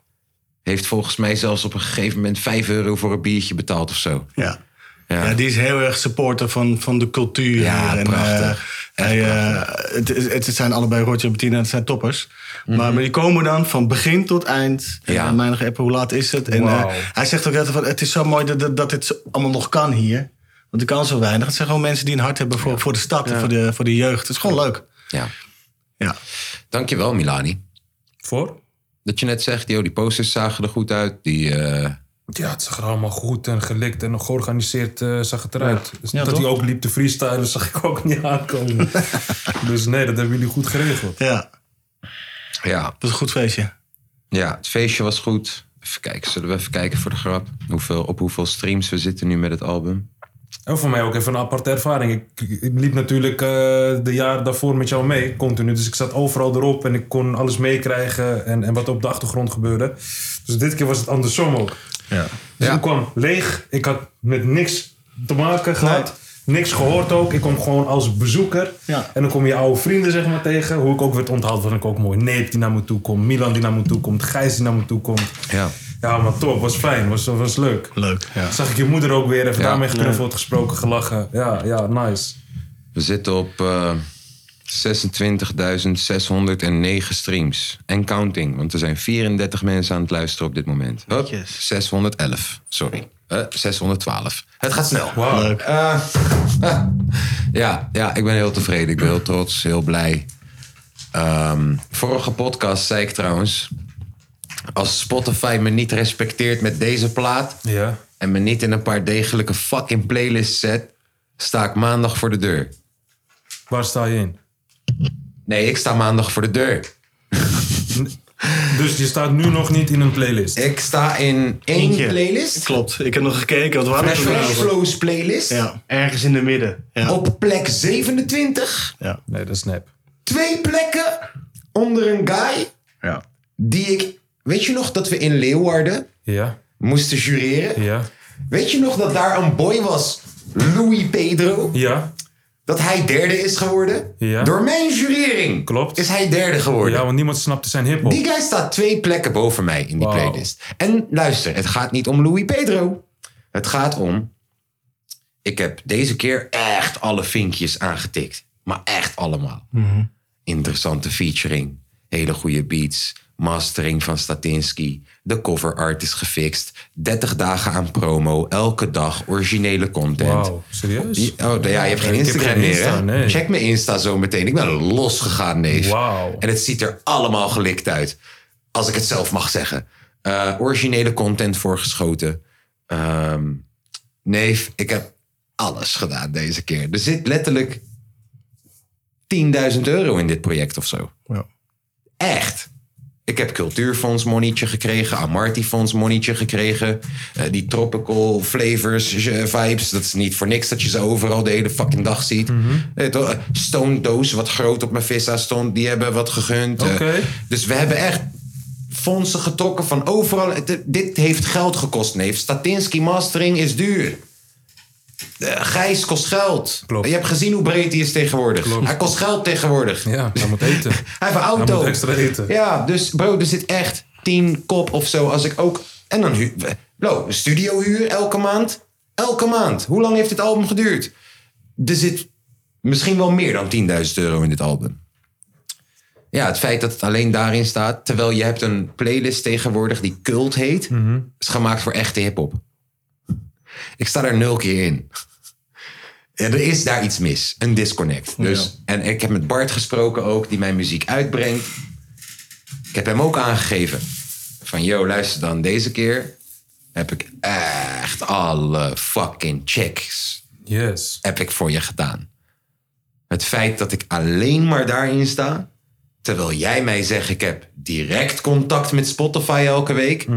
[SPEAKER 2] Heeft volgens mij zelfs op een gegeven moment 5 euro voor een biertje betaald of zo.
[SPEAKER 4] Ja.
[SPEAKER 2] Ja.
[SPEAKER 4] Ja. die is heel erg supporter van, van de cultuur.
[SPEAKER 2] Ja,
[SPEAKER 4] hier.
[SPEAKER 2] prachtig.
[SPEAKER 4] eh, hij, eh, het, is- het zijn allebei Roger en Bettina, het zijn toppers. maar, maar die komen dan van begin tot eind. En
[SPEAKER 2] Mhm. Ja.
[SPEAKER 4] dan mij nog appen, hoe laat is het? En eh,
[SPEAKER 5] Wauw.
[SPEAKER 4] hij zegt ook altijd van, het is zo mooi dat, dat, dat dit zo- allemaal nog kan hier. Want er kan zo weinig. Het zijn gewoon mensen die een hart hebben voor, voor de stad en voor de, voor de jeugd. Het is gewoon leuk.
[SPEAKER 2] Ja.
[SPEAKER 4] Ja.
[SPEAKER 2] Dankjewel Milani.
[SPEAKER 5] Voor?
[SPEAKER 2] Dat je net zegt, joh, die posters zagen er goed uit. Die, eh,
[SPEAKER 5] Ja, het zag er allemaal goed en gelikt en georganiseerd eh, zag het eruit. Dus
[SPEAKER 4] Ja,
[SPEAKER 5] dat
[SPEAKER 4] toch?
[SPEAKER 5] hij ook liep te freestylen zag ik ook niet aankomen. dus nee, dat hebben jullie goed geregeld.
[SPEAKER 4] Ja, het
[SPEAKER 2] ja,
[SPEAKER 4] was een goed feestje.
[SPEAKER 2] Ja, het feestje was goed. Even kijken, zullen we even kijken voor de grap. Hoeveel, op hoeveel streams we zitten nu met het album.
[SPEAKER 5] En Oh, voor mij ook even een aparte ervaring. Ik, ik liep natuurlijk eh, de jaar daarvoor met jou mee, continu. Dus ik zat overal erop en ik kon alles meekrijgen en, en wat op de achtergrond gebeurde. Dus dit keer was het andersom ook.
[SPEAKER 4] Ja.
[SPEAKER 5] Dus
[SPEAKER 2] Ja.
[SPEAKER 5] ik kwam leeg. Ik had met niks te maken gehad. Niks gehoord ook. Ik kwam gewoon als bezoeker.
[SPEAKER 4] Ja.
[SPEAKER 5] En dan kom je oude vrienden zeg maar tegen. Hoe ik ook werd onthaald, vond ik ook mooi. Neep die naar me toe komt. Milan die naar me toe komt. Gijs die naar me toe komt.
[SPEAKER 2] Ja.
[SPEAKER 5] Ja, maar top. Was fijn. Was, was leuk.
[SPEAKER 4] Leuk. Ja.
[SPEAKER 5] Zag ik je moeder ook weer. Even
[SPEAKER 2] Ja.
[SPEAKER 5] daarmee geknuffeld, gesproken, gelachen. Ja, ja, nice.
[SPEAKER 2] We zitten op eh 26.609 streams. En counting, want er zijn 34 mensen aan het luisteren op dit moment. Hup, 611, sorry. Eh, 612. Het gaat snel.
[SPEAKER 5] Wauw.
[SPEAKER 4] Leuk.
[SPEAKER 2] Eh, ja, ja, ik ben heel tevreden. Ik ben heel trots, heel blij. Ehm, vorige podcast zei ik trouwens... als Spotify me niet respecteert met deze plaat...
[SPEAKER 5] Ja.
[SPEAKER 2] en me niet in een paar degelijke fucking playlists zet... sta ik maandag voor de deur.
[SPEAKER 5] Waar sta je in?
[SPEAKER 2] Nee, ik sta maandag voor de deur.
[SPEAKER 5] Dus je staat nu nog niet in een playlist.
[SPEAKER 2] Ik sta in één
[SPEAKER 4] Eentje.
[SPEAKER 2] playlist.
[SPEAKER 4] Klopt, ik heb nog gekeken. Wat waren
[SPEAKER 2] Fresh
[SPEAKER 4] we
[SPEAKER 2] Fresh Flows playlist.
[SPEAKER 4] Ja.
[SPEAKER 3] Ergens in de midden.
[SPEAKER 4] Ja.
[SPEAKER 2] Op plek 27.
[SPEAKER 5] Nee, dat is nep.
[SPEAKER 2] Twee plekken onder een guy
[SPEAKER 4] Ja.
[SPEAKER 2] die ik... Weet je nog dat we in Leeuwarden
[SPEAKER 5] Ja,
[SPEAKER 2] moesten jureren?
[SPEAKER 5] ja,
[SPEAKER 2] Weet je nog dat daar een boy was, Louis Pedro?
[SPEAKER 5] ja.
[SPEAKER 2] Dat hij derde is geworden?
[SPEAKER 5] Ja.
[SPEAKER 2] Door mijn jurering
[SPEAKER 5] Klopt.
[SPEAKER 2] is hij derde geworden.
[SPEAKER 5] Ja, want niemand snapte zijn hip-hop.
[SPEAKER 2] Die guy staat twee plekken boven mij in die
[SPEAKER 5] Wauw.
[SPEAKER 2] playlist. En luister, het gaat niet om Louis Pedro. Het gaat om. Ik heb deze keer echt alle vinkjes aangetikt. Maar echt allemaal.
[SPEAKER 5] Mhm.
[SPEAKER 2] Interessante featuring. Hele goede beats. Mastering van Statinsky. De cover art is gefixt. 30 dagen aan promo. Elke dag originele content.
[SPEAKER 5] Wauw, serieus?
[SPEAKER 2] Die- Oh, ja, je hebt geen
[SPEAKER 5] Dus- Ik heb
[SPEAKER 2] Instagram
[SPEAKER 5] geen
[SPEAKER 2] meer,
[SPEAKER 5] Insta,
[SPEAKER 2] hè?
[SPEAKER 5] nee.
[SPEAKER 2] Check mijn Insta zo meteen. Ik ben losgegaan, neef.
[SPEAKER 5] Wauw.
[SPEAKER 2] En het ziet er allemaal gelikt uit. Als ik het zelf mag zeggen. Eh, originele content voorgeschoten. Ehm, neef, ik heb alles gedaan deze keer. Er zit letterlijk 10.000 euro in dit project of zo.
[SPEAKER 4] Ja.
[SPEAKER 2] Echt. Ik heb cultuurfonds monnetje gekregen, Amarty fonds monnetje gekregen. eh, die tropical flavors, eh, vibes. Dat is niet voor niks dat je ze overal de hele fucking dag ziet.
[SPEAKER 5] Mhm.
[SPEAKER 2] Eh, toch, eh, Stone Doos, wat groot op mijn visa stond, die hebben wat gegund. eh.
[SPEAKER 5] Oké.
[SPEAKER 2] dus we hebben echt fondsen getrokken van overal. Het- eh, dit heeft geld gekost, neef. Statinsky mastering is duur. Eh, Gijs kost geld.
[SPEAKER 5] Klopt.
[SPEAKER 2] Je hebt gezien hoe breed hij is tegenwoordig. Hij kost geld tegenwoordig.
[SPEAKER 5] Ja, hij moet eten.
[SPEAKER 2] Hij heeft een auto.
[SPEAKER 5] Hij moet extra eten.
[SPEAKER 2] Ja, dus bro, er zit echt tien kop of zo. Als ik ook... En dan huur... Bro, studiohuur elke maand. Elke maand. Hoe lang heeft dit album geduurd? Er zit misschien wel meer dan 10.000 euro in dit album. Ja, het feit dat het alleen daarin staat... terwijl je hebt een playlist tegenwoordig die cult heet...
[SPEAKER 5] Mhm.
[SPEAKER 2] is gemaakt voor echte hiphop. Ik sta daar nul keer in. Ja, er is daar iets mis. Een disconnect. Dus, En ik heb met Bart gesproken ook, die mijn muziek uitbrengt. Ik heb hem ook aangegeven. Van, yo, luister dan, deze keer heb ik echt alle fucking checks
[SPEAKER 5] Yes.
[SPEAKER 2] heb ik voor je gedaan. Het feit dat ik alleen maar daarin sta, terwijl jij mij zegt ik heb direct contact met Spotify elke week,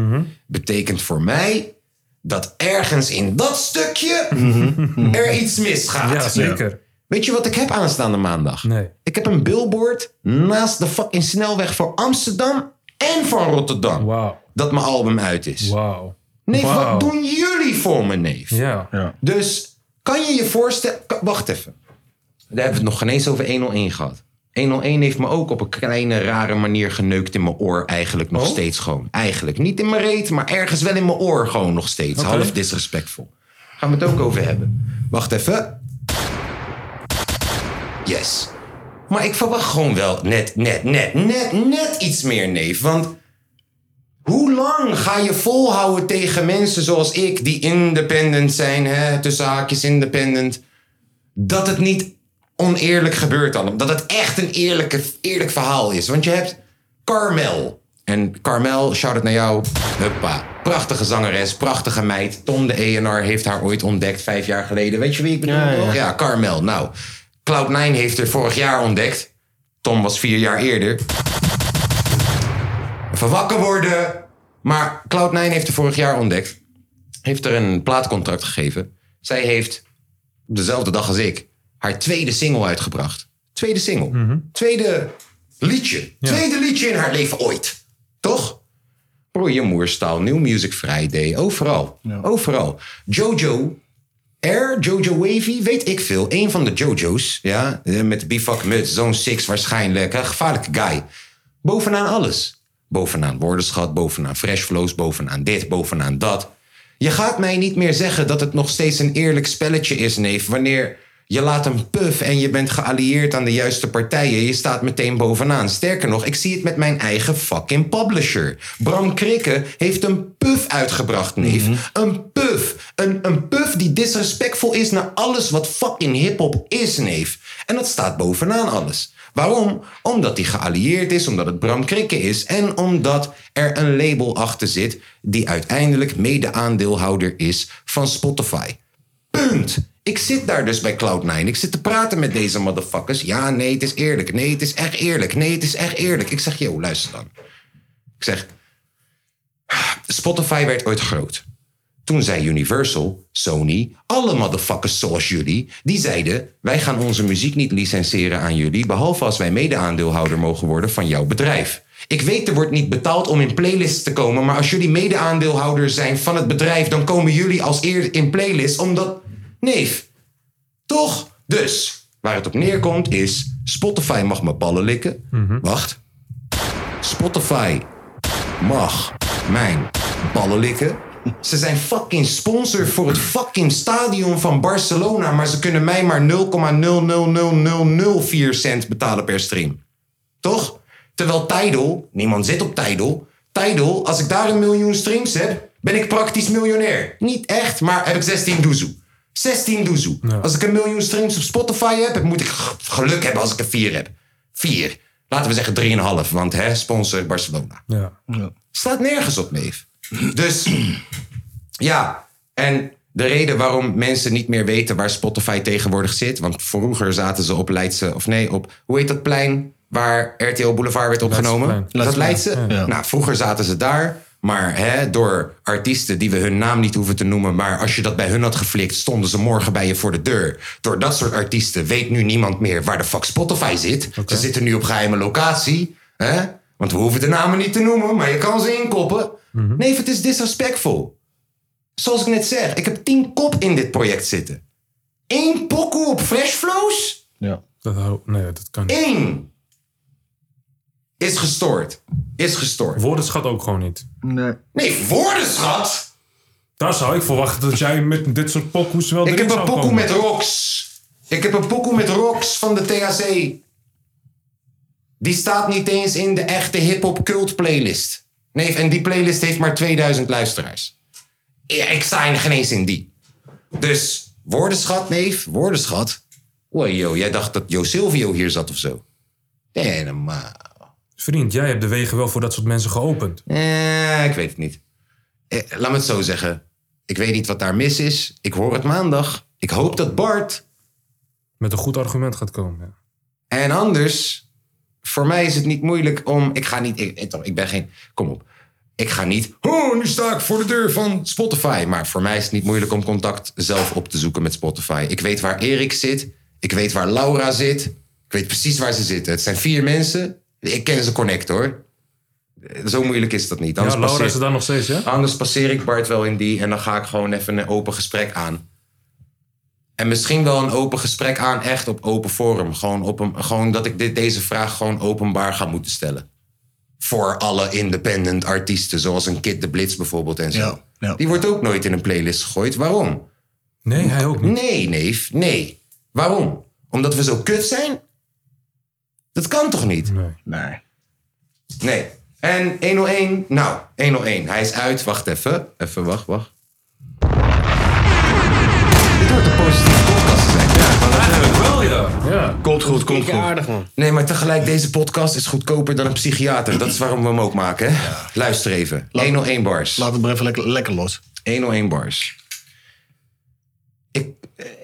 [SPEAKER 2] betekent voor mij dat ergens in dat stukje er iets misgaat.
[SPEAKER 5] Ja, zeker.
[SPEAKER 2] Weet je wat ik heb aanstaande maandag?
[SPEAKER 5] Nee.
[SPEAKER 2] Ik heb een billboard naast de fucking snelweg voor Amsterdam en van Rotterdam.
[SPEAKER 5] Wauw.
[SPEAKER 2] Dat mijn album uit is.
[SPEAKER 5] Wauw.
[SPEAKER 2] Neef,
[SPEAKER 5] Wauw.
[SPEAKER 2] wat doen jullie voor me, neef?
[SPEAKER 5] Ja.
[SPEAKER 2] Dus kan je je voorstellen... ka- Wacht even. Daar hebben we het nog geen eens over 101 gehad. 101 heeft me ook op een kleine, rare manier geneukt in mijn oor. Eigenlijk nog steeds gewoon. Eigenlijk. Niet in mijn reet, maar ergens wel in mijn oor gewoon nog steeds. Half disrespectvol. Gaan we het ook over hebben. Wacht even. Yes. Maar ik verwacht gewoon wel net, net, net, net, net iets meer, neef. Want hoe lang ga je volhouden tegen mensen zoals ik, die independent zijn, hè, tussen haakjes independent, dat het niet oneerlijk gebeurt dan? Dat het echt een eerlijke, eerlijk verhaal is. Want je hebt Carmel. En Carmel, shout-out naar jou. Huppa. Prachtige zangeres, prachtige meid. Tom de ENR heeft haar ooit ontdekt, vijf jaar geleden. Weet je wie ik bedoel? Ja, ja. Carmel. Nou, Cloud9 heeft haar vorig jaar ontdekt. Tom was vier jaar eerder even wakker worden. Maar Cloud9 heeft er vorig jaar ontdekt. Heeft er een plaatcontract gegeven. Zij heeft dezelfde dag als ik haar tweede single uitgebracht. Tweede single. Tweede liedje. Tweede liedje in haar leven ooit. Toch? Broeie Moerstaal, New Music Friday. Overal. Overal. Jojo R, Jojo Wavy, weet ik veel. Een van de Jojo's, ja, eh, met bivak muts, zo'n six waarschijnlijk. Een gevaarlijke guy. Bovenaan alles. Bovenaan woordenschat, bovenaan fresh flows, bovenaan dit, bovenaan dat. Je gaat mij niet meer zeggen dat het nog steeds een eerlijk spelletje is, neef. Wanneer je laat een puff en je bent geallieerd aan de juiste partijen. Je staat meteen bovenaan. Sterker nog, ik zie het met mijn eigen fucking publisher. Bram Krikke heeft een puff uitgebracht, neef. Een puff. Een, een puff die disrespectvol is naar alles wat fucking hiphop is, neef. En dat staat bovenaan alles. Waarom? Omdat hij geallieerd is, omdat het Bram Krikke is en omdat er een label achter zit die uiteindelijk mede-aandeelhouder is van Spotify. Punt. Ik zit daar dus bij Cloud9. Ik zit te praten met deze motherfuckers. Ja, nee, het is eerlijk. Nee, het is echt eerlijk. Nee, het is echt eerlijk. Ik zeg, yo, luister dan. Ik zeg, Spotify werd ooit groot. Toen zei Universal, Sony, alle motherfuckers zoals jullie, die zeiden: Wij gaan onze muziek niet licenseren aan jullie, behalve als wij mede-aandeelhouder mogen worden van jouw bedrijf. Ik weet, er wordt niet betaald om in playlists te komen, maar als jullie mede-aandeelhouder zijn van het bedrijf, dan komen jullie als eer in playlists, omdat. Neef, toch? Dus, waar het op neerkomt is: Spotify mag mijn ballen likken. Wacht. Spotify mag mijn ballen likken. Ze zijn fucking sponsor voor het fucking stadion van Barcelona, maar ze kunnen mij maar 0,00004 cent betalen per stream. Toch? Terwijl Tidal, niemand zit op Tidal. Tidal, als ik daar een miljoen streams heb, ben ik praktisch miljonair. Niet echt, maar heb ik 16 doezoe. 16 doezoe. Als ik een miljoen streams op Spotify heb, moet ik g- geluk hebben als ik er 4 heb. 4. Laten we zeggen 3,5, want hè, sponsor Barcelona.
[SPEAKER 5] Ja.
[SPEAKER 2] Slaat nergens op, neef. Dus ja, en de reden waarom mensen niet meer weten waar Spotify tegenwoordig zit. Want vroeger zaten ze op Leidse, of nee, op hoe heet dat plein waar RTL Boulevard werd opgenomen?
[SPEAKER 5] Leidseplein.
[SPEAKER 2] Is dat Leidse?
[SPEAKER 4] Ja.
[SPEAKER 2] Nou, vroeger zaten ze daar. Maar hè, door artiesten die we hun naam niet hoeven te noemen. Maar als je dat bij hun had geflikt, stonden ze morgen bij je voor de deur. Door dat soort artiesten weet nu niemand meer waar de fuck Spotify zit. Ze zitten nu op geheime locatie. Hè? Want we hoeven de namen niet te noemen, maar je kan ze inkoppen. Nee, het is disrespectful. Zoals ik net zeg, ik heb tien kop in dit project zitten. Eén pokoe op Fresh Flows?
[SPEAKER 5] Dat, hou- nee, dat kan niet.
[SPEAKER 2] Eén! Is gestoord. Is gestoord.
[SPEAKER 5] Woordenschat ook gewoon niet.
[SPEAKER 2] Nee, woordenschat!
[SPEAKER 5] Daar zou ik verwachten dat jij met dit soort pokoes wel
[SPEAKER 2] Ik
[SPEAKER 5] erin
[SPEAKER 2] heb een
[SPEAKER 5] zou
[SPEAKER 2] pokoe
[SPEAKER 5] komen.
[SPEAKER 2] met Rox. Ik heb een pokoe met Rox van de THC. Die staat niet eens in de echte hip-hop cult playlist. Nee, en die playlist heeft maar 2000 luisteraars. Ja, ik sta in geen eens in die. Dus, woordenschat, neef, woordenschat. Oei, joh, jij dacht dat Jo Silvio hier zat of zo. Damn, maar.
[SPEAKER 5] Vriend, jij hebt de wegen wel voor dat soort mensen geopend.
[SPEAKER 2] Eh, ik weet het niet. Eh, laat me het zo zeggen. Ik weet niet wat daar mis is. Ik hoor het maandag. Ik hoop dat Bart
[SPEAKER 5] Met een goed argument gaat komen. ja.
[SPEAKER 2] En anders, voor mij is het niet moeilijk om. Ik ga niet. Ik, ik- ik ben geen. Kom op. Ik ga niet. Oh, nu sta ik voor de deur van Spotify. Maar voor mij is het niet moeilijk om contact zelf op te zoeken met Spotify. Ik weet waar Erik zit. Ik weet waar Laura zit. Ik weet precies waar ze zitten. Het zijn vier mensen. Ik ken ze connect hoor. Eh, Zo moeilijk is dat niet. Anders,
[SPEAKER 5] Ja, Laura
[SPEAKER 2] passeer,
[SPEAKER 5] is er daar nog steeds,
[SPEAKER 3] Ah.
[SPEAKER 5] ja?
[SPEAKER 2] anders passeer ik Bart wel in die en dan ga ik gewoon even een open gesprek aan. En misschien wel een open gesprek aan, echt op open forum. Gewoon, op een, gewoon dat ik dit, deze vraag gewoon openbaar ga moeten stellen. Voor alle independent artiesten, zoals een Kid de Blitz bijvoorbeeld en zo.
[SPEAKER 4] Ja, ja.
[SPEAKER 2] Die wordt ook nooit in een playlist gegooid. Waarom?
[SPEAKER 5] Nee, hij ook niet.
[SPEAKER 2] Nee, neef, nee. Waarom? Omdat we zo kut zijn? Dat kan toch niet?
[SPEAKER 5] Nee.
[SPEAKER 4] Nee.
[SPEAKER 2] Nee. En 101, nou, 101. Hij is uit. Wacht even. Even, wacht, wacht. Dit wordt een positieve podcast zijn.
[SPEAKER 5] Eigenlijk wel, ja. ja.
[SPEAKER 4] Komt goed, komt
[SPEAKER 3] Ja,
[SPEAKER 4] goed.
[SPEAKER 3] aardig man.
[SPEAKER 2] Nee, maar tegelijk, deze podcast is goedkoper dan een psychiater. Dat is waarom we hem ook maken, hè? Luister even. 101 bars.
[SPEAKER 4] Laat het maar even lekker, lekker los.
[SPEAKER 2] 101 bars. Ik,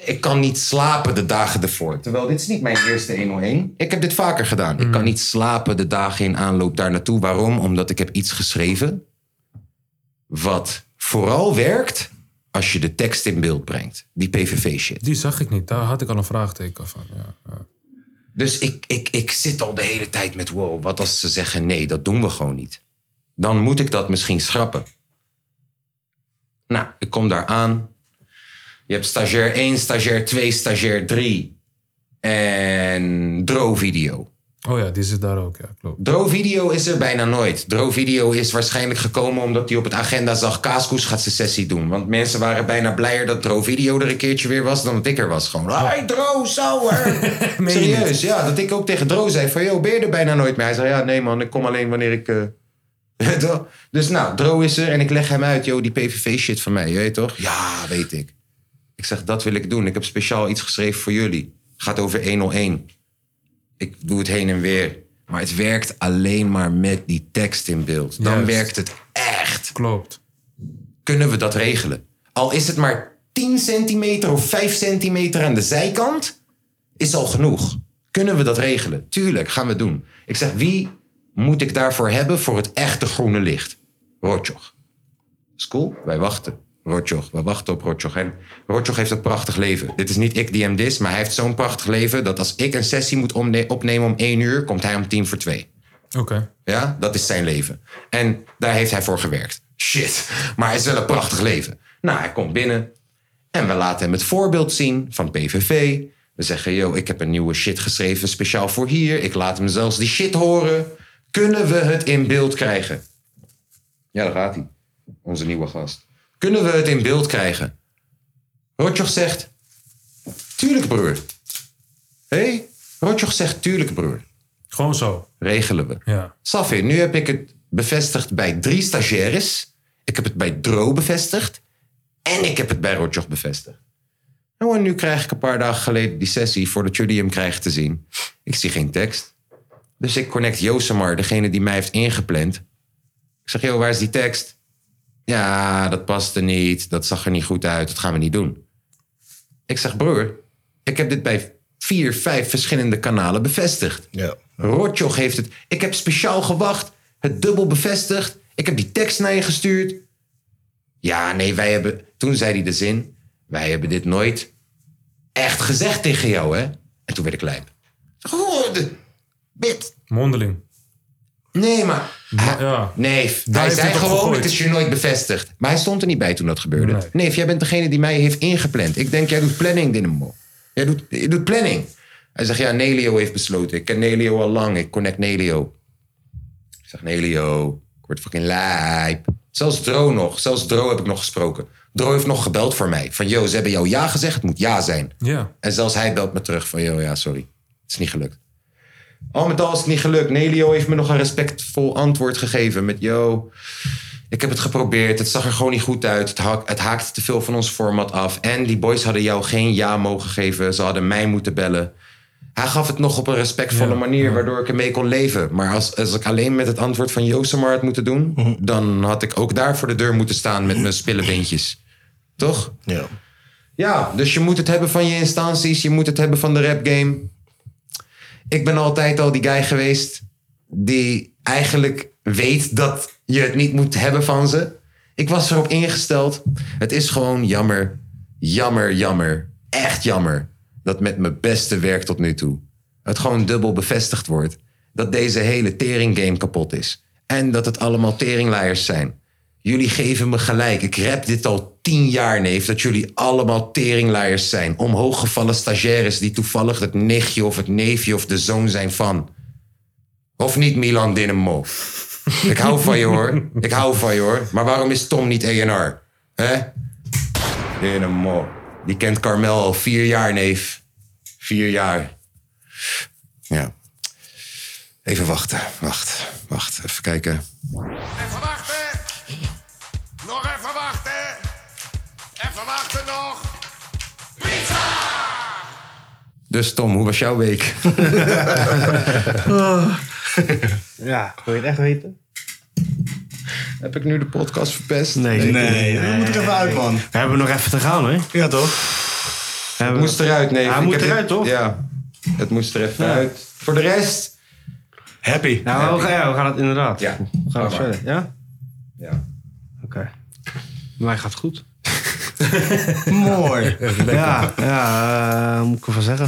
[SPEAKER 2] ik kan niet slapen de dagen ervoor. Terwijl dit is niet mijn eerste 101. Ik heb dit vaker gedaan. Ik kan niet slapen de dagen in aanloop daar naartoe. Waarom? Omdat ik heb iets geschreven. Wat vooral werkt als je de tekst in beeld brengt. Die PVV-shit.
[SPEAKER 5] Die zag ik niet. Daar had ik al een vraagteken van. Ja.
[SPEAKER 2] Dus ik, ik, ik zit al de hele tijd met wow, wat als ze zeggen nee, dat doen we gewoon niet. Dan moet ik dat misschien schrappen. Nou, ik kom daar aan. Je hebt stagiair 1, stagiair 2, stagiair 3 en Drovideo.
[SPEAKER 5] Oh ja, die zit daar ook, ja, klopt.
[SPEAKER 2] Drovideo is er bijna nooit. Drovideo is waarschijnlijk gekomen omdat hij op het agenda zag... Kaaskoes gaat zijn sessie doen. Want mensen waren bijna blijer dat Drovideo er een keertje weer was... dan dat ik er was. Gewoon, hey Dro, sauer!
[SPEAKER 5] Meen je
[SPEAKER 2] Serieus, ja. Dat ik ook tegen Dro zei van... Yo, ben je er bijna nooit meer? Hij zei, ja, nee man, ik kom alleen wanneer ik... eh, toch? dus nou, Dro is er en ik leg hem uit. Yo, die PVV-shit van mij, je weet toch? Ja, weet ik. Ik zeg, dat wil ik doen. Ik heb speciaal iets geschreven voor jullie. Gaat over 101 ik doe het heen en weer. Maar het werkt alleen maar met die tekst in beeld. Dan
[SPEAKER 5] Juist.
[SPEAKER 2] werkt het echt.
[SPEAKER 5] Klopt.
[SPEAKER 2] Kunnen we dat regelen? Al is het maar 10 centimeter of 5 centimeter aan de zijkant is al genoeg. Kunnen we dat regelen? Tuurlijk, gaan we doen. Ik zeg, wie moet ik daarvoor hebben voor het echte groene licht? Rotjoch. Is cool, wij wachten. Rotjoch, we wachten op Rotjoch. En Rotjoch heeft een prachtig leven. Dit is niet ik die hem dis, maar hij heeft zo'n prachtig leven... dat als ik een sessie moet omne- opnemen om 1 uur... komt hij om tien voor twee.
[SPEAKER 5] Oké.
[SPEAKER 2] Ja, dat is zijn leven. En daar heeft hij voor gewerkt. Shit. Maar het is wel een prachtig leven. Nou, hij komt binnen. En we laten hem het voorbeeld zien van PVV. We zeggen, yo, ik heb een nieuwe shit geschreven speciaal voor hier. Ik laat hem zelfs die shit horen. Kunnen we het in beeld krijgen? Ja, daar gaat hij. Onze nieuwe gast. Kunnen we het in beeld krijgen? Rotjoch zegt, tuurlijk broer. Hé? Hey? Rotjoch zegt, tuurlijk broer.
[SPEAKER 5] Gewoon zo.
[SPEAKER 2] Regelen we.
[SPEAKER 5] Ja.
[SPEAKER 2] Safin, nu heb ik het bevestigd bij drie stagiaires. Ik heb het bij Dro bevestigd. En ik heb het bij Rotjoch bevestigd. Nou, en nu krijg ik een paar dagen geleden die sessie voordat jullie hem krijgen te zien. Ik zie geen tekst. Dus ik connect Josemar, degene die mij heeft ingepland. Ik zeg, joh, waar is die tekst? Ja, dat paste niet. Dat zag er niet goed uit. Dat gaan we niet doen. Ik zeg, broer, ik heb dit bij vier, vijf verschillende kanalen bevestigd.
[SPEAKER 4] Ja.
[SPEAKER 2] Rotjoch heeft het. Ik heb speciaal gewacht. Het dubbel bevestigd. Ik heb die tekst naar je gestuurd. Ja, nee, wij hebben. Toen zei hij de zin. Wij hebben dit nooit echt gezegd tegen jou, hè? En toen werd ik lijp. Oh, Goed, bit.
[SPEAKER 5] Mondeling.
[SPEAKER 2] Nee, maar.
[SPEAKER 5] Ja.
[SPEAKER 2] Nee, hij
[SPEAKER 5] Daar heeft
[SPEAKER 2] zei
[SPEAKER 5] hij het op
[SPEAKER 2] gewoon,
[SPEAKER 5] gegooid.
[SPEAKER 2] het is je nooit bevestigd. Maar hij stond er niet bij toen dat gebeurde. Nee, jij bent degene die mij heeft ingepland. Ik denk, jij doet planning, Dynamo. Jij doet, je doet planning. Hij zegt, ja, Nelio heeft besloten. Ik ken Nelio al lang. Ik connect Nelio. Ik zeg, Nelio, ik word fucking lijp. Zelfs Dro nog. Zelfs Dro heb ik nog gesproken. Dro heeft nog gebeld voor mij. Van, yo, ze hebben jou ja gezegd. Het moet ja zijn.
[SPEAKER 5] Ja.
[SPEAKER 2] En zelfs hij belt me terug van, joh, ja, sorry. Het is niet gelukt. Al met al is het niet gelukt. Nelio heeft me nog een respectvol antwoord gegeven met, yo, ik heb het geprobeerd. Het zag er gewoon niet goed uit. Het, haak, het haakte te veel van ons format af. En die boys hadden jou geen ja mogen geven. Ze hadden mij moeten bellen. Hij gaf het nog op een respectvolle manier, waardoor ik ermee kon leven. Maar als, als ik alleen met het antwoord van Josemar had moeten doen, dan had ik ook daar voor de deur moeten staan met mijn spillebeentjes. Toch?
[SPEAKER 4] Ja.
[SPEAKER 2] Ja, dus je moet het hebben van je instanties. Je moet het hebben van de rap game. Ik ben altijd al die guy geweest die eigenlijk weet dat je het niet moet hebben van ze. Ik was erop ingesteld. Het is gewoon jammer, jammer, jammer. Echt jammer dat met mijn beste werk tot nu toe het gewoon dubbel bevestigd wordt dat deze hele tering game kapot is. En dat het allemaal teringleiers zijn. Jullie geven me gelijk. Ik rap dit al tien jaar, neef. Dat jullie allemaal teringleiers zijn. Omhooggevallen stagiaires die toevallig het nichtje of het neefje of de zoon zijn van. Of niet Milan Dinamo. Ik hou van je hoor. Ik hou van je hoor. Maar waarom is Tom niet ENR? Hè? Dinamo. Die kent Carmel al vier jaar, neef. Vier jaar. Ja. Even wachten. Wacht. Wacht. Even kijken.
[SPEAKER 6] Even wachten. Nog even wachten. Even wachten nog.
[SPEAKER 2] Dus Tom, hoe was jouw week?
[SPEAKER 3] Ja, wil je het echt weten?
[SPEAKER 2] Heb ik nu de podcast verpest?
[SPEAKER 3] Nee,
[SPEAKER 4] Nee,
[SPEAKER 3] zeker niet.
[SPEAKER 4] dat moet ik even uit, man.
[SPEAKER 3] We hebben nog even te gaan, hè?
[SPEAKER 4] Ja, toch?
[SPEAKER 3] We hebben-
[SPEAKER 2] Het moest eruit, nee.
[SPEAKER 3] Hij
[SPEAKER 2] Ik
[SPEAKER 3] moet
[SPEAKER 2] heb dit-
[SPEAKER 3] eruit, toch?
[SPEAKER 2] Ja, het moest er even uit. Voor de rest...
[SPEAKER 4] Happy.
[SPEAKER 3] Nou, we, ja, we gaan het inderdaad.
[SPEAKER 2] Ja.
[SPEAKER 3] We gaan het
[SPEAKER 2] Ga maar.
[SPEAKER 3] verder, ja?
[SPEAKER 2] Ja.
[SPEAKER 3] Oké. Bij mij gaat het goed.
[SPEAKER 4] Mooi.
[SPEAKER 3] Ja, ja eh, moet ik ervan zeggen.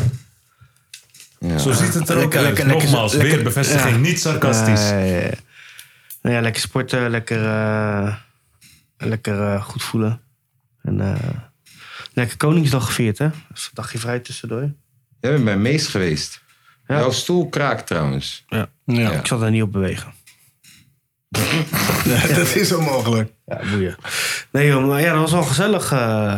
[SPEAKER 5] Zo ziet het er ook
[SPEAKER 3] Lekker,
[SPEAKER 5] uit.
[SPEAKER 3] lekker, lekker,
[SPEAKER 5] Nogmaals,
[SPEAKER 3] lekker.
[SPEAKER 5] weer bevestiging.
[SPEAKER 3] Ja.
[SPEAKER 5] Niet sarcastisch.
[SPEAKER 3] Eh, ja, ja. nou ja, lekker sporten, lekker, eh, lekker eh, goed voelen. En eh, lekker Koningsdag gevierd, hè? Dus een dagje vrij tussendoor.
[SPEAKER 2] Jij bent bij Mees geweest.
[SPEAKER 3] Ja.
[SPEAKER 2] Jouw stoel kraakt trouwens.
[SPEAKER 3] Ja.
[SPEAKER 4] Ja,
[SPEAKER 3] Ik zal daar niet op bewegen.
[SPEAKER 4] dat is onmogelijk.
[SPEAKER 3] Ja, boeien. Nee, joh, maar ja, dat was wel gezellig. eh,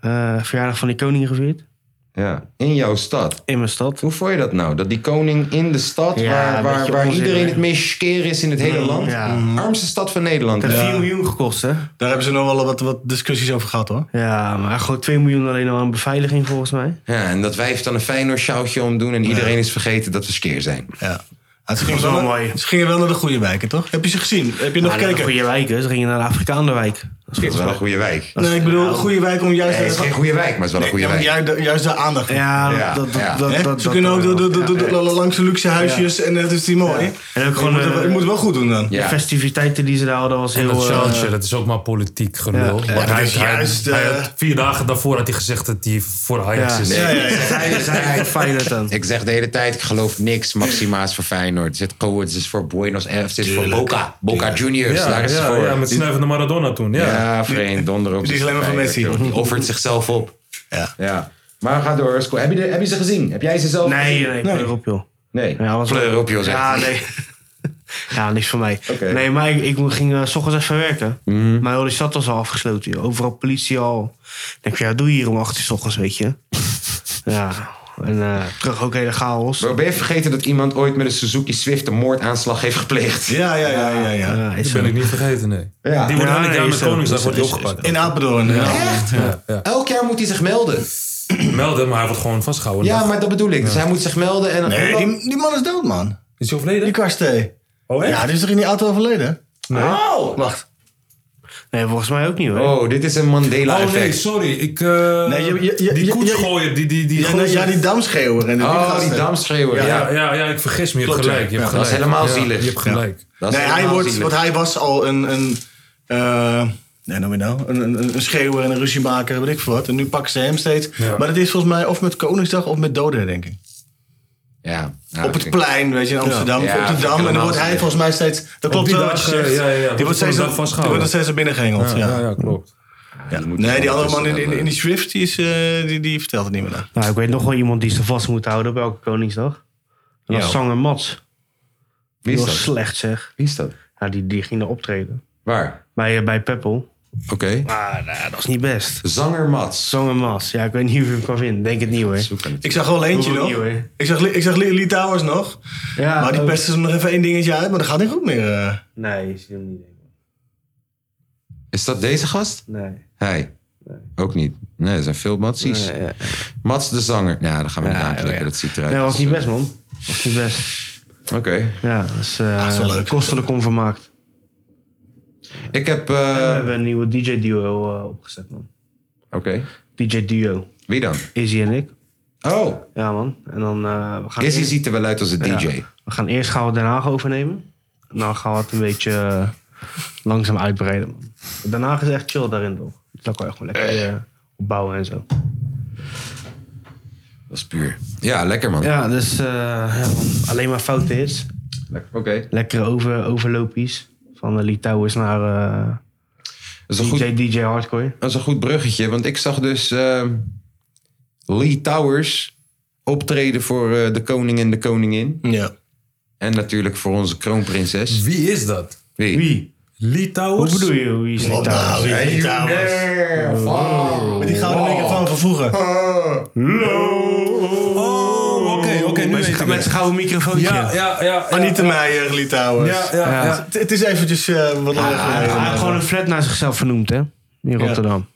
[SPEAKER 3] eh, verjaardag van die koning gevierd.
[SPEAKER 2] Ja. In jouw stad.
[SPEAKER 3] In mijn stad.
[SPEAKER 2] Hoe vond je dat nou? Dat die koning in de stad,
[SPEAKER 3] Ja,
[SPEAKER 2] waar,
[SPEAKER 3] een
[SPEAKER 2] waar,
[SPEAKER 3] beetje
[SPEAKER 2] waar
[SPEAKER 3] onzin,
[SPEAKER 2] iedereen
[SPEAKER 3] hè? Mm,
[SPEAKER 2] het meest skeer is in het hele land.
[SPEAKER 3] ja.
[SPEAKER 2] Armste stad van Nederland.
[SPEAKER 3] Het heeft
[SPEAKER 2] Ja.
[SPEAKER 3] 4 miljoen gekost, hè?
[SPEAKER 4] Daar hebben ze nog wel wat, wat discussies over gehad, hoor.
[SPEAKER 3] Ja, maar gewoon 2 miljoen alleen al aan beveiliging volgens mij.
[SPEAKER 2] en dat wij heeft dan een Feyenoord sjouwtje om doen en iedereen is vergeten dat we skeer zijn.
[SPEAKER 4] Ja. Ah, Ze gingen,
[SPEAKER 3] is wel
[SPEAKER 4] wel naar,
[SPEAKER 3] mooi. Ah,
[SPEAKER 4] ze gingen wel naar de goede wijken, toch? Heb je ze gezien? Heb je nog
[SPEAKER 3] Ja, dat
[SPEAKER 4] gekeken?
[SPEAKER 3] goede wijken. Ze gingen naar de Afrikaanderwijk.
[SPEAKER 2] Dat is wel een goede wijk.
[SPEAKER 4] Nee, ik bedoel, goede wijk om juist...
[SPEAKER 2] Nee, het is geen goede wijk, maar het is wel een goede
[SPEAKER 4] Ja, maar
[SPEAKER 2] wijk.
[SPEAKER 4] ju- Juist de aandacht.
[SPEAKER 3] Ja,
[SPEAKER 2] Ja,
[SPEAKER 3] dat, dat,
[SPEAKER 2] ja.
[SPEAKER 3] dat,
[SPEAKER 4] Hè?
[SPEAKER 3] dat-
[SPEAKER 4] Ze
[SPEAKER 3] dat-
[SPEAKER 4] kunnen ook
[SPEAKER 3] dat-
[SPEAKER 4] de, de, de, de- langs de luxe huisjes en dat is die mooi.
[SPEAKER 3] En ook
[SPEAKER 4] Je,
[SPEAKER 3] gewoon
[SPEAKER 4] moet, het-
[SPEAKER 3] eh,
[SPEAKER 4] je moet het wel goed doen dan.
[SPEAKER 3] de
[SPEAKER 2] Ja.
[SPEAKER 3] festiviteiten die ze daar hadden was
[SPEAKER 5] En
[SPEAKER 3] heel...
[SPEAKER 5] dat
[SPEAKER 3] eh,
[SPEAKER 5] challenge, dat is ook maar politiek gelul.
[SPEAKER 3] Ja.
[SPEAKER 5] Want
[SPEAKER 4] dat
[SPEAKER 5] hij,
[SPEAKER 4] is
[SPEAKER 5] hij-
[SPEAKER 4] juist,
[SPEAKER 5] hij
[SPEAKER 4] eh,
[SPEAKER 5] had vier dagen daarvoor had hij gezegd dat hij voor Ajax
[SPEAKER 3] Ja.
[SPEAKER 5] is.
[SPEAKER 2] Nee.
[SPEAKER 4] Ja, ja, ja.
[SPEAKER 3] zij, zij zijn Feyenoord dan.
[SPEAKER 2] Ik zeg de hele tijd, ik geloof niks. Maxima is voor Feyenoord. Zit Coates is voor Buenos Aires. Zit voor Boca. Boca Juniors,
[SPEAKER 5] Ja,
[SPEAKER 2] daar is ze
[SPEAKER 5] ja,
[SPEAKER 2] voor.
[SPEAKER 5] ja, met snuivende Maradona toen. Ja.
[SPEAKER 2] Ja, vreemd, donder op.
[SPEAKER 4] Die is alleen maar van Messi.
[SPEAKER 2] Die offert zichzelf op.
[SPEAKER 4] Ja.
[SPEAKER 2] ja. Maar ga door, Sco. Heb je, de- heb je ze gezien? Heb jij ze zelf
[SPEAKER 3] Nee,
[SPEAKER 2] gezien?
[SPEAKER 3] nee, kleur op joh.
[SPEAKER 2] Nee.
[SPEAKER 3] Ja, was
[SPEAKER 2] Kleur op, joh, zeg.
[SPEAKER 3] Ja, nee. Ja, niks voor mij.
[SPEAKER 2] Oké.
[SPEAKER 3] Nee, maar ik, ik ging eh, s ochtends even werken.
[SPEAKER 2] Mhm.
[SPEAKER 3] Maar heel die stad was al afgesloten. Joh. Overal politie al. Ik denk van, ja, doe je hier om acht uur s ochtends, weet je. ja, en eh, terug ook hele chaos.
[SPEAKER 2] Bro, ben je vergeten dat iemand ooit met een Suzuki Swift een moordaanslag heeft gepleegd?
[SPEAKER 4] Ja, ja, ja, ja, ja.
[SPEAKER 3] Ja, is
[SPEAKER 5] Die
[SPEAKER 3] zo.
[SPEAKER 5] ben ik niet vergeten, nee.
[SPEAKER 2] Ja.
[SPEAKER 5] Die wordt
[SPEAKER 3] Ja,
[SPEAKER 5] elk
[SPEAKER 3] nee,
[SPEAKER 5] jaar met
[SPEAKER 3] is zo.
[SPEAKER 5] Koningsdag
[SPEAKER 3] Is-
[SPEAKER 5] wordt die
[SPEAKER 3] is-
[SPEAKER 5] opgepakt.
[SPEAKER 4] In Apeldoorn. Ja.
[SPEAKER 2] Echt?
[SPEAKER 5] Ja, ja.
[SPEAKER 2] Elk jaar moet hij zich melden.
[SPEAKER 5] Melden, maar hij wordt gewoon vastgehouden.
[SPEAKER 2] Ja, maar dat bedoel ik. Dus hij moet zich melden en...
[SPEAKER 4] Nee, die, die man is dood, man.
[SPEAKER 5] Is hij overleden?
[SPEAKER 4] Die karstee.
[SPEAKER 5] Oh, echt?
[SPEAKER 4] Ja, die is er in die auto overleden?
[SPEAKER 2] Oh!
[SPEAKER 4] Wacht.
[SPEAKER 3] Nee, volgens mij ook niet hoor.
[SPEAKER 2] Oh, dit is een
[SPEAKER 5] Oh nee,
[SPEAKER 2] Mandela-effect.
[SPEAKER 5] sorry. Ik, eh,
[SPEAKER 4] Nee, je- je- je-
[SPEAKER 5] die
[SPEAKER 4] je-
[SPEAKER 5] koetsgooier, die... die, die
[SPEAKER 4] Ja, nou,
[SPEAKER 5] gozer-
[SPEAKER 4] ja, die damschreeuwer. En die
[SPEAKER 2] Oh,
[SPEAKER 4] gasten.
[SPEAKER 2] die damschreeuwer. Ja,
[SPEAKER 5] ja, ja, ja, ik vergis me. Je hebt
[SPEAKER 4] Klopt, ja.
[SPEAKER 5] gelijk. Je hebt
[SPEAKER 4] Ja,
[SPEAKER 2] dat
[SPEAKER 5] gelijk.
[SPEAKER 2] is helemaal
[SPEAKER 5] Ja,
[SPEAKER 2] zielig.
[SPEAKER 5] Je hebt gelijk.
[SPEAKER 2] Dat is
[SPEAKER 4] Nee, hij
[SPEAKER 2] helemaal
[SPEAKER 4] wordt,
[SPEAKER 2] zielig.
[SPEAKER 4] want hij was al een. een eh, nee, noem je nou? Een, een, een schreeuwer en een ruziemaker, weet ik veel wat. En nu pakken ze hem steeds.
[SPEAKER 5] Ja.
[SPEAKER 4] Maar dat is volgens mij of met Koningsdag of met doden, denk ik.
[SPEAKER 2] Ja. ja,
[SPEAKER 4] op het
[SPEAKER 2] ik-
[SPEAKER 4] plein, weet je, in Amsterdam.
[SPEAKER 2] Ja,
[SPEAKER 4] of op
[SPEAKER 2] vind
[SPEAKER 4] de
[SPEAKER 2] ik
[SPEAKER 4] Dam. En dan
[SPEAKER 2] helemaal
[SPEAKER 4] wordt hij
[SPEAKER 2] zielig.
[SPEAKER 4] volgens mij steeds... Dat klopt
[SPEAKER 5] die
[SPEAKER 4] wel wat
[SPEAKER 5] dag,
[SPEAKER 4] je zegt.
[SPEAKER 5] eh, ja, ja, ja.
[SPEAKER 4] Die
[SPEAKER 5] Op
[SPEAKER 4] wordt steeds,
[SPEAKER 5] zo'n
[SPEAKER 4] die
[SPEAKER 5] dag
[SPEAKER 4] wordt
[SPEAKER 5] vastgehouden.
[SPEAKER 4] er steeds naar binnen gehengeld. Ja,
[SPEAKER 5] Ja, ja, klopt.
[SPEAKER 4] Ja.
[SPEAKER 2] moet
[SPEAKER 4] Nee, die
[SPEAKER 2] gewoon
[SPEAKER 4] andere man in, in,
[SPEAKER 2] tussen-
[SPEAKER 4] in die Swift, die, is, eh, die, die vertelt het niet meer. na.
[SPEAKER 3] Nou, ik weet nog wel iemand die ze vast moet houden op elke Koningsdag. En dat
[SPEAKER 2] Ja.
[SPEAKER 3] was zanger Mats.
[SPEAKER 2] Wie
[SPEAKER 3] Die
[SPEAKER 2] is
[SPEAKER 3] was
[SPEAKER 2] dat?
[SPEAKER 3] slecht zeg.
[SPEAKER 2] Wie is dat?
[SPEAKER 3] Ja, die, die ging daar optreden.
[SPEAKER 2] Waar?
[SPEAKER 3] Bij, eh, bij Peppel.
[SPEAKER 2] Oké.
[SPEAKER 3] Maar nou, dat was niet best.
[SPEAKER 2] Zanger Mats.
[SPEAKER 3] Zanger Mats. Ja, ik weet niet of je hem kan vinden. Denk het niet hoor.
[SPEAKER 2] Zoek hem.
[SPEAKER 4] Ik zag wel eentje
[SPEAKER 3] Hoeft ook
[SPEAKER 4] nog.
[SPEAKER 3] niet, hoor.
[SPEAKER 4] Ik zag, Li- ik zag Li- Lee Towers nog.
[SPEAKER 3] Ja,
[SPEAKER 4] Maar die
[SPEAKER 3] ook-
[SPEAKER 4] pesten ze nog even één dingetje uit. Maar dat gaat niet goed meer. eh.
[SPEAKER 3] Nee, je ziet hem niet. denk ik.
[SPEAKER 2] Is dat deze gast?
[SPEAKER 3] Nee.
[SPEAKER 2] Hij. Ook niet. Nee, er zijn veel Matsies.
[SPEAKER 3] Nee, ja.
[SPEAKER 2] Mats de zanger. Ja, dan gaan we
[SPEAKER 3] Ja,
[SPEAKER 2] niet aan
[SPEAKER 3] ja,
[SPEAKER 2] klikken.
[SPEAKER 3] ja.
[SPEAKER 2] Dat ziet eruit.
[SPEAKER 3] Nee, dat was niet best man. Dat was niet best.
[SPEAKER 2] Oké.
[SPEAKER 3] Ja, dat is, eh
[SPEAKER 4] dat is wel leuk.
[SPEAKER 3] kostelijk onvermaakt.
[SPEAKER 2] Ik heb...
[SPEAKER 3] We
[SPEAKER 2] eh,
[SPEAKER 3] hebben een nieuwe DJ duo eh, opgezet man.
[SPEAKER 2] Oké.
[SPEAKER 3] DJ duo.
[SPEAKER 2] Wie dan?
[SPEAKER 3] Izzy en ik.
[SPEAKER 2] Oh,
[SPEAKER 3] Ja man. En dan eh, we gaan
[SPEAKER 2] Izzy
[SPEAKER 3] eerst-
[SPEAKER 2] ziet er wel uit als een
[SPEAKER 3] Ja.
[SPEAKER 2] DJ.
[SPEAKER 3] We gaan eerst gaan we Den Haag overnemen. En dan gaan we het een beetje eh, langzaam uitbreiden. man. Den Haag is echt chill daarin toch. Dat kan je gewoon lekker eh, opbouwen en zo.
[SPEAKER 2] Dat is puur. Ja, lekker man.
[SPEAKER 3] Ja, dus eh, ja, man, alleen maar foute hits.
[SPEAKER 2] Lekker. Oké.
[SPEAKER 3] Lekkere over, overloopies. Van de Lee Towers naar eh,
[SPEAKER 2] Dat is een
[SPEAKER 3] DJ,
[SPEAKER 2] goed
[SPEAKER 3] DJ Hardcore.
[SPEAKER 2] Dat is een goed bruggetje, want ik zag dus ehm, Lee Towers optreden voor eh, de koning en de koningin.
[SPEAKER 4] Ja.
[SPEAKER 2] En natuurlijk voor onze kroonprinses.
[SPEAKER 5] Wie is dat?
[SPEAKER 2] Wie?
[SPEAKER 3] Wie?
[SPEAKER 5] Lee
[SPEAKER 3] Hoe
[SPEAKER 5] Towers?
[SPEAKER 3] bedoel je wie is Lee Towers?
[SPEAKER 4] Lee Towers. Met die gouden dingen van van vroeger.
[SPEAKER 5] Oh, oké, oké. nu weet ik
[SPEAKER 3] Met
[SPEAKER 5] het.
[SPEAKER 3] zijn gouden microfoontje.
[SPEAKER 5] Ja, ja, ja. ja.
[SPEAKER 4] Anita Meijer, Lee Towers.
[SPEAKER 5] Ja, ja, ja.
[SPEAKER 4] Het, het is eventjes eh, wat langer geleden.
[SPEAKER 3] Hij heeft gewoon een flat naar zichzelf vernoemd, hè? In Rotterdam.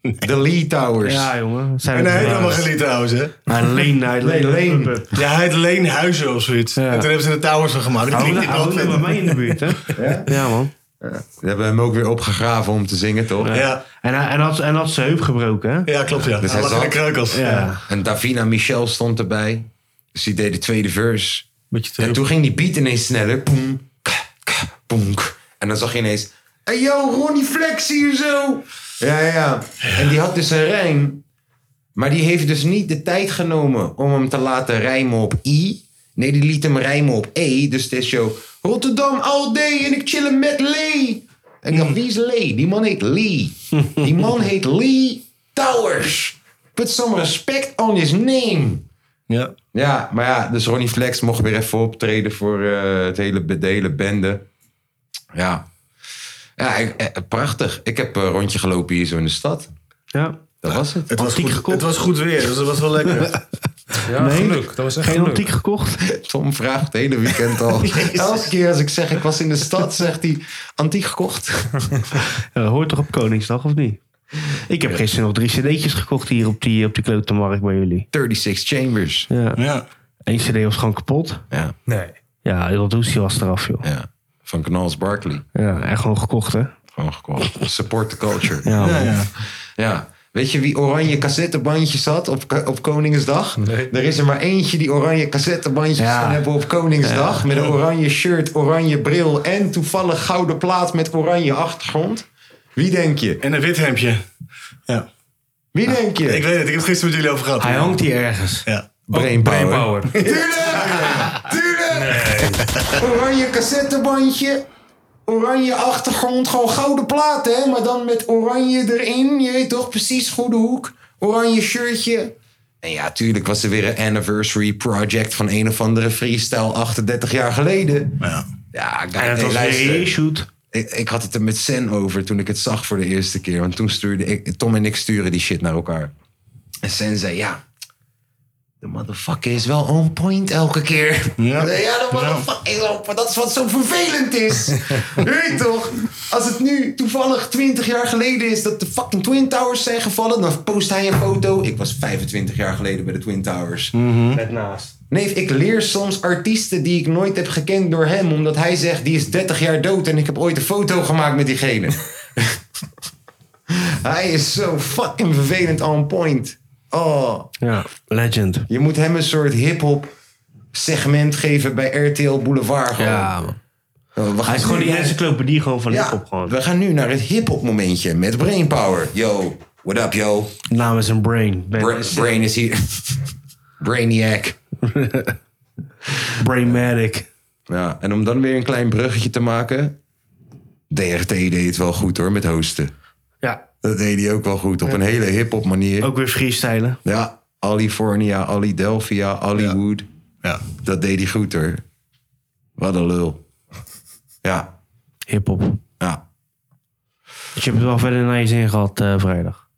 [SPEAKER 2] De Lee Towers.
[SPEAKER 3] Ja, jongen. dat Zijn
[SPEAKER 4] En
[SPEAKER 3] we
[SPEAKER 4] hij heet
[SPEAKER 3] niet
[SPEAKER 4] allemaal
[SPEAKER 3] waard.
[SPEAKER 4] geen Lee Towers, hè?
[SPEAKER 3] Hij leent hij leent.
[SPEAKER 2] leent.
[SPEAKER 3] Hup, hup.
[SPEAKER 4] Ja, hij heet Leenhuizen of zoiets. En toen hebben ze de Towers van gemaakt. Dat
[SPEAKER 3] Hij
[SPEAKER 4] klinkt
[SPEAKER 3] woont-
[SPEAKER 4] niet
[SPEAKER 3] hij woont
[SPEAKER 4] wel
[SPEAKER 3] bij
[SPEAKER 4] vet.
[SPEAKER 3] mij in de buurt, hè? Ja, man.
[SPEAKER 2] We hebben hem ook weer opgegraven om te zingen, toch?
[SPEAKER 4] Ja,
[SPEAKER 3] En hij, en had, en had zijn heup gebroken, hè?
[SPEAKER 4] ja, klopt, ja.
[SPEAKER 2] Dus
[SPEAKER 4] hij
[SPEAKER 2] hij
[SPEAKER 4] lag in de
[SPEAKER 2] zat-
[SPEAKER 4] kreukels. Ja.
[SPEAKER 2] En Davina Michel stond erbij. Dus die deed de tweede verse.
[SPEAKER 4] Beetje te
[SPEAKER 2] En toen ging die beat ineens sneller. Poem, ka, ka, poem, k. En dan zag je ineens... Hey yo, Ronnie Flex hier zo. Ja, ja, ja. En die had dus een rijm. Maar die heeft dus niet de tijd genomen om hem te laten rijmen op I. Nee, die liet hem rijmen op E. Dus het is zo... Rotterdam all day en ik chillen met Lee. En ik dacht, wie is Lee? Die man heet Lee. Die man heet Lee Towers. Put some respect on his name.
[SPEAKER 4] Ja.
[SPEAKER 2] Ja, maar ja, dus Ronnie Flex mocht weer even optreden voor eh, het hele, be- de hele bende. Ja, ja ik- eh, prachtig. Ik heb een rondje gelopen hier zo in de stad.
[SPEAKER 3] Ja.
[SPEAKER 2] Dat was het.
[SPEAKER 4] Het was,
[SPEAKER 3] Antiek
[SPEAKER 4] goed,
[SPEAKER 3] gekocht.
[SPEAKER 4] het was goed weer, dus dat was wel lekker.
[SPEAKER 5] Ja, geluk. Dat was echt
[SPEAKER 3] Geen
[SPEAKER 5] geluk.
[SPEAKER 3] antiek gekocht?
[SPEAKER 2] Tom vraagt het hele weekend al. Elke keer als ik zeg ik was in de stad, zegt hij antiek gekocht.
[SPEAKER 3] Ja, Eh, hoort toch op Koningsdag, of niet? Ik heb gisteren nog drie cd'tjes gekocht hier op die, op die klotenmarkt bij jullie.
[SPEAKER 2] 36 Chambers.
[SPEAKER 3] Ja.
[SPEAKER 4] Ja.
[SPEAKER 3] Eén cd was gewoon kapot.
[SPEAKER 2] Ja,
[SPEAKER 5] Nee.
[SPEAKER 3] Ja, heel doezie was eraf, joh.
[SPEAKER 2] ja. Van Knals Barkley.
[SPEAKER 3] Ja, echt gewoon gekocht, hè?
[SPEAKER 2] gewoon gekocht. Support the culture.
[SPEAKER 3] Ja, man.
[SPEAKER 4] ja.
[SPEAKER 2] Ja. Weet je wie oranje cassettebandjes had op, op Koningsdag? Er is er maar eentje die oranje cassettebandjes
[SPEAKER 3] Ja.
[SPEAKER 2] gaan hebben op Koningsdag. Met een oranje shirt, oranje bril en toevallig gouden plaat met oranje achtergrond. Wie denk je?
[SPEAKER 4] En een wit hemdje. Ja.
[SPEAKER 2] Wie denk je?
[SPEAKER 4] Ik weet het, ik heb het gisteren met jullie over gehad.
[SPEAKER 3] Hij hangt hier ergens.
[SPEAKER 4] Ja.
[SPEAKER 2] Brainpower.
[SPEAKER 5] Brainpower.
[SPEAKER 2] Oranje cassettebandje. Oranje achtergrond. Gewoon gouden plaat, hè? Maar dan met oranje erin. Je weet toch precies, goede hoek. Oranje shirtje. En ja, tuurlijk was er weer een anniversary project van een of andere freestyle 38 jaar geleden.
[SPEAKER 4] Ja.
[SPEAKER 2] Ja, ik
[SPEAKER 3] En het was weer gereshoot.
[SPEAKER 2] ik, ik had het er met Sen over toen ik het zag voor de eerste keer. Want toen stuurde ik, Tom en ik sturen die shit naar elkaar. En Sen zei, ja, de motherfucker is wel on point elke keer. Ja,
[SPEAKER 4] Ja.
[SPEAKER 2] de motherfucker, is on point. dat is wat zo vervelend is. Je Weet toch? Als het nu toevallig 20 jaar geleden is dat de fucking Twin Towers zijn gevallen, dan post hij een foto. Ik was 25 jaar geleden bij de Twin Towers.
[SPEAKER 5] Hm?
[SPEAKER 3] Net naast.
[SPEAKER 2] Nee, ik leer soms artiesten die ik nooit heb gekend door hem, omdat hij zegt die is 30 jaar dood en ik heb ooit een foto gemaakt met diegene. hij is zo fucking vervelend on point. Oh,
[SPEAKER 3] Ja, legend.
[SPEAKER 2] je moet hem een soort hip-hop segment geven bij RTL Boulevard. Gewoon.
[SPEAKER 3] Ja, man.
[SPEAKER 2] Oh, we gaan
[SPEAKER 3] Hij is gewoon
[SPEAKER 2] nu-
[SPEAKER 3] die encyclopedie gewoon van hip-hop
[SPEAKER 2] ja,
[SPEAKER 3] gewoon.
[SPEAKER 2] we gaan nu naar het hip-hop momentje met Brainpower. Yo, what up, yo?
[SPEAKER 3] Naam is een brain. Ben-
[SPEAKER 2] Bra- brain is hier. Brainiac.
[SPEAKER 3] Brainmatic.
[SPEAKER 2] Ja, en om dan weer een klein bruggetje te maken. DRT deed het wel goed hoor, met hosten.
[SPEAKER 3] Ja,
[SPEAKER 2] Dat deed hij ook wel goed, op een hele hip-hop manier.
[SPEAKER 3] ook weer freestylen.
[SPEAKER 2] Ja, Alifornia, Ali Delphia, Hollywood.
[SPEAKER 4] Ja.
[SPEAKER 2] Dat deed hij goed hoor. Wat een lul. Ja,
[SPEAKER 3] Hip-hop.
[SPEAKER 2] ja.
[SPEAKER 3] Dus je hebt het wel verder naar je zin gehad eh, vrijdag.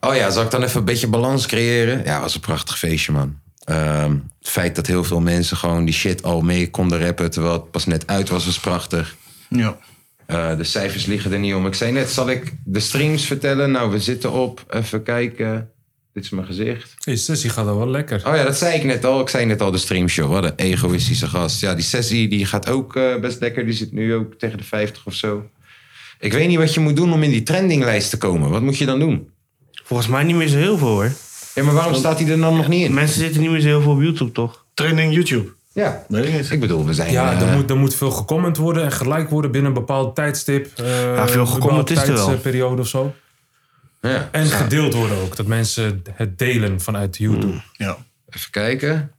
[SPEAKER 2] Oh ja, zal ik dan even een beetje balans creëren? Ja, was een prachtig feestje, man. Ehm, het feit dat heel veel mensen gewoon die shit al mee konden rappen... terwijl het pas net uit was, was prachtig.
[SPEAKER 4] Ja.
[SPEAKER 2] Eh, de cijfers liggen er niet om. Ik zei net, zal ik de streams vertellen? Nou, we zitten op. Even kijken. Dit is mijn gezicht.
[SPEAKER 5] Hey, sessie gaat al wel lekker.
[SPEAKER 2] Oh ja, dat zei ik net al. Ik zei net al de streamshow. Wat een egoïstische gast. Ja, die sessie die gaat ook eh, best lekker. Die zit nu ook tegen de 50 of zo. Ik weet niet wat je moet doen om in die trendinglijst te komen. Wat moet je dan doen?
[SPEAKER 3] Volgens mij niet meer zo heel veel hoor.
[SPEAKER 2] Ja, maar waarom staat hij er dan nog niet in?
[SPEAKER 3] Mensen zitten niet meer zo heel veel op YouTube toch?
[SPEAKER 4] Training YouTube.
[SPEAKER 2] Ja,
[SPEAKER 4] Weet ik niet.
[SPEAKER 2] ik bedoel, we zijn...
[SPEAKER 5] Ja,
[SPEAKER 2] eh,
[SPEAKER 5] er moet, er moet veel gecomment worden en gelijk worden binnen een bepaald tijdstip. eh,
[SPEAKER 3] Ja, veel
[SPEAKER 5] een
[SPEAKER 3] gecomment is er wel.
[SPEAKER 5] bepaalde tijdsperiode of zo.
[SPEAKER 2] ja.
[SPEAKER 5] En gedeeld worden ook. Dat mensen het delen vanuit YouTube.
[SPEAKER 4] Ja.
[SPEAKER 2] Even kijken.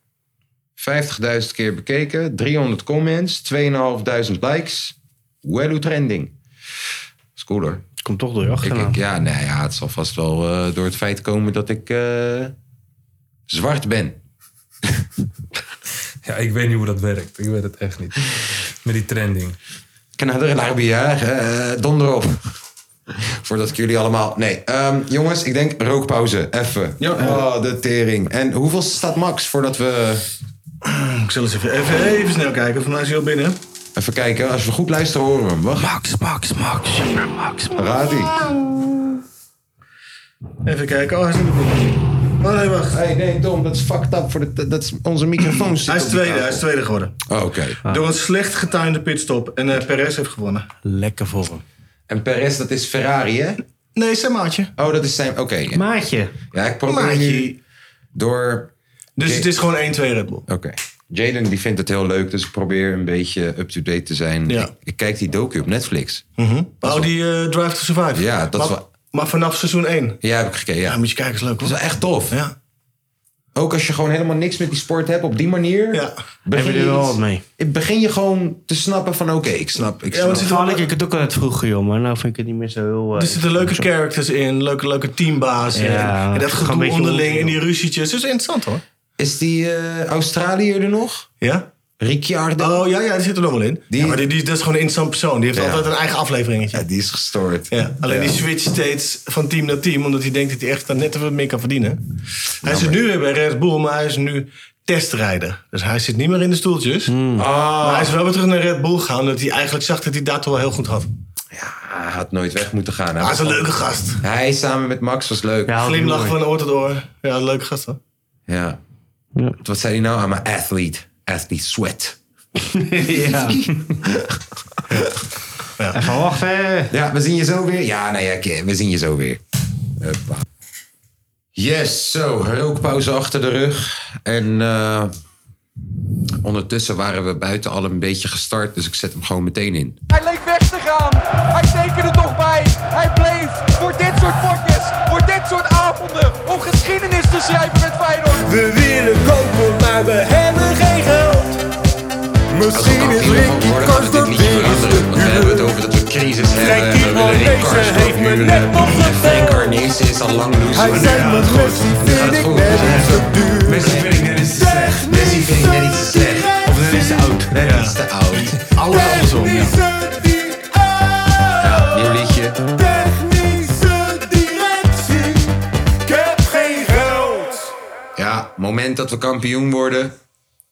[SPEAKER 2] 50.000 keer bekeken, 300 comments, 2.500 likes. Wello trending. is cool hoor.
[SPEAKER 3] Het komt toch door je
[SPEAKER 2] Ik,
[SPEAKER 3] achternaam.
[SPEAKER 2] ik- ja, nee, ja, het zal vast wel eh, door het feit komen dat ik eh, zwart ben.
[SPEAKER 5] Ja, ik weet niet hoe dat werkt. Ik weet het echt niet. Met die trending.
[SPEAKER 2] Knader en Arbia, eh donder op. Voordat ik jullie allemaal... Nee, ehm, jongens, ik denk rookpauze, even. Ja. Oh, de tering. En hoeveel staat Max voordat we...
[SPEAKER 4] Ik zal eens even, even, even snel kijken. Van mij is hij al binnen.
[SPEAKER 2] Even kijken, als we goed luisteren horen we hem. Wacht,
[SPEAKER 3] Max, Max, Max. Max,
[SPEAKER 2] daar gaat hij.
[SPEAKER 4] Even kijken. Oh, hij is in de boek. Oh nee, wacht.
[SPEAKER 2] Hey, nee, Tom, dat is fucked up. Voor de, dat is onze microfoon. zit
[SPEAKER 4] Hij is
[SPEAKER 2] op die
[SPEAKER 4] tweede.
[SPEAKER 2] tafel.
[SPEAKER 4] Hij is tweede geworden.
[SPEAKER 2] Oh, Oké.
[SPEAKER 4] Door een slecht getimede pitstop. En eh Perez heeft gewonnen.
[SPEAKER 3] Lekker voor hem.
[SPEAKER 2] En Perez, dat is Ferrari, hè?
[SPEAKER 4] Nee, zijn maatje.
[SPEAKER 2] Oh, dat is zijn. Oké. ja.
[SPEAKER 3] Maatje.
[SPEAKER 2] Ja, ik probeer nu
[SPEAKER 4] Maatje.
[SPEAKER 2] door.
[SPEAKER 4] Dus het is gewoon 1-2 Red Bull.
[SPEAKER 2] Oké. Jaden die vindt het heel leuk, dus ik probeer een beetje up-to-date te zijn.
[SPEAKER 4] Ja.
[SPEAKER 2] Ik, ik kijk die docu op Netflix.
[SPEAKER 4] Oh, die eh, Drive to Survive.
[SPEAKER 2] Ja, dat is
[SPEAKER 4] maar,
[SPEAKER 2] wel-
[SPEAKER 4] maar vanaf seizoen 1.
[SPEAKER 2] Ja, heb ik gekeken. Ja.
[SPEAKER 4] Ja,
[SPEAKER 2] Dat
[SPEAKER 4] moet je kijken, is leuk
[SPEAKER 2] is
[SPEAKER 4] hoor.
[SPEAKER 2] wel echt tof.
[SPEAKER 4] Ja.
[SPEAKER 2] Ook als je gewoon helemaal niks met die sport hebt op die manier.
[SPEAKER 4] Ja.
[SPEAKER 2] Begin
[SPEAKER 3] Heb je er wel
[SPEAKER 2] iets-
[SPEAKER 3] wat mee?
[SPEAKER 2] Begin je gewoon te snappen van oké, ik snap. Ik
[SPEAKER 4] Ja, want
[SPEAKER 2] snap.
[SPEAKER 4] er zitten,
[SPEAKER 3] Vooral ik,
[SPEAKER 4] wel-
[SPEAKER 3] ik het ook altijd vroeger joh, maar nou vind ik het niet meer zo heel... eh,
[SPEAKER 4] er zitten leuke characters in, leuke, leuke teambaas. in.
[SPEAKER 3] Ja,
[SPEAKER 4] en dat
[SPEAKER 3] gewoon een
[SPEAKER 4] gedoe
[SPEAKER 3] beetje
[SPEAKER 4] onderling
[SPEAKER 3] onzin.
[SPEAKER 4] en die ruzietjes. Dat is interessant hoor.
[SPEAKER 2] Is die eh, Australiër er nog?
[SPEAKER 4] Ja?
[SPEAKER 2] Ricciardo?
[SPEAKER 4] Oh ja, ja, die zit er nog wel in.
[SPEAKER 2] Die-
[SPEAKER 4] Ja, maar die, die, dat is gewoon een interessant persoon. Die heeft
[SPEAKER 2] Ja.
[SPEAKER 4] altijd een eigen afleveringetje.
[SPEAKER 2] Ja, die is gestoord.
[SPEAKER 4] Ja,
[SPEAKER 2] Ja.
[SPEAKER 4] alleen die switcht steeds van team naar team, omdat hij denkt dat hij echt daar net wat meer kan verdienen. Hij zit nu weer bij Red Bull, maar hij is nu testrijder. Dus hij zit niet meer in de stoeltjes. Maar hij is wel weer terug naar Red Bull gegaan, omdat hij eigenlijk zag dat hij dat wel heel goed had.
[SPEAKER 2] Ja, hij had nooit weg moeten gaan. Hij,
[SPEAKER 4] Hij
[SPEAKER 2] was
[SPEAKER 4] is een
[SPEAKER 2] al-
[SPEAKER 4] leuke gast.
[SPEAKER 2] Hij samen met Max was leuk.
[SPEAKER 3] Ja,
[SPEAKER 2] Ja.
[SPEAKER 3] had ik
[SPEAKER 4] Glimlach
[SPEAKER 3] nooit.
[SPEAKER 4] van oor tot oor. Ja, een leuke gast hoor.
[SPEAKER 3] Ja.
[SPEAKER 2] Wat zei hij nou? I'm an athlete. Athlete sweat.
[SPEAKER 3] ja. Even wachten.
[SPEAKER 2] Ja, we zien je zo weer. Ja, nee, oké, we zien je zo weer. Huppa. Yes, zo. Rookpauze achter de rug. En eh, ondertussen waren we buiten al een beetje gestart. Dus ik zet hem gewoon meteen in.
[SPEAKER 7] Hij leek weg te gaan. Hij tekende toch bij. Hij bleef voor dit soort potjes, voor dit soort avonden, om geschiedenis te schrijven met Feyenoord.
[SPEAKER 8] We willen kopen, maar we hebben geen geld. Misschien
[SPEAKER 2] Als
[SPEAKER 8] is
[SPEAKER 2] we dat
[SPEAKER 8] Ricky
[SPEAKER 2] worden, gaat
[SPEAKER 8] Kans
[SPEAKER 2] het dit
[SPEAKER 8] dat
[SPEAKER 2] niet veranderen. Want we hebben het over dat we crisis hebben.
[SPEAKER 8] Frankie
[SPEAKER 2] We willen geen
[SPEAKER 8] Arnezen
[SPEAKER 2] Karsdorp
[SPEAKER 8] heeft me
[SPEAKER 2] huren.
[SPEAKER 8] net nog
[SPEAKER 2] En Frank
[SPEAKER 8] verteld.
[SPEAKER 2] Arnezen is al lang loose.
[SPEAKER 8] Hij
[SPEAKER 2] maar
[SPEAKER 8] zei
[SPEAKER 2] ja,
[SPEAKER 8] met
[SPEAKER 2] goed.
[SPEAKER 8] Messi
[SPEAKER 2] Het
[SPEAKER 8] vind ik
[SPEAKER 2] gaat goed.
[SPEAKER 8] net iets te duur.
[SPEAKER 2] Messi vind ik net iets te slecht. Messi vind ik net iets te slecht.
[SPEAKER 8] Of
[SPEAKER 4] Dat is oud.
[SPEAKER 2] Net iets te oud.
[SPEAKER 4] Alles andersom, ja.
[SPEAKER 2] Ja, nieuw liedje.
[SPEAKER 8] Technische directie, ik heb geen geld.
[SPEAKER 2] Ja, moment dat we kampioen worden,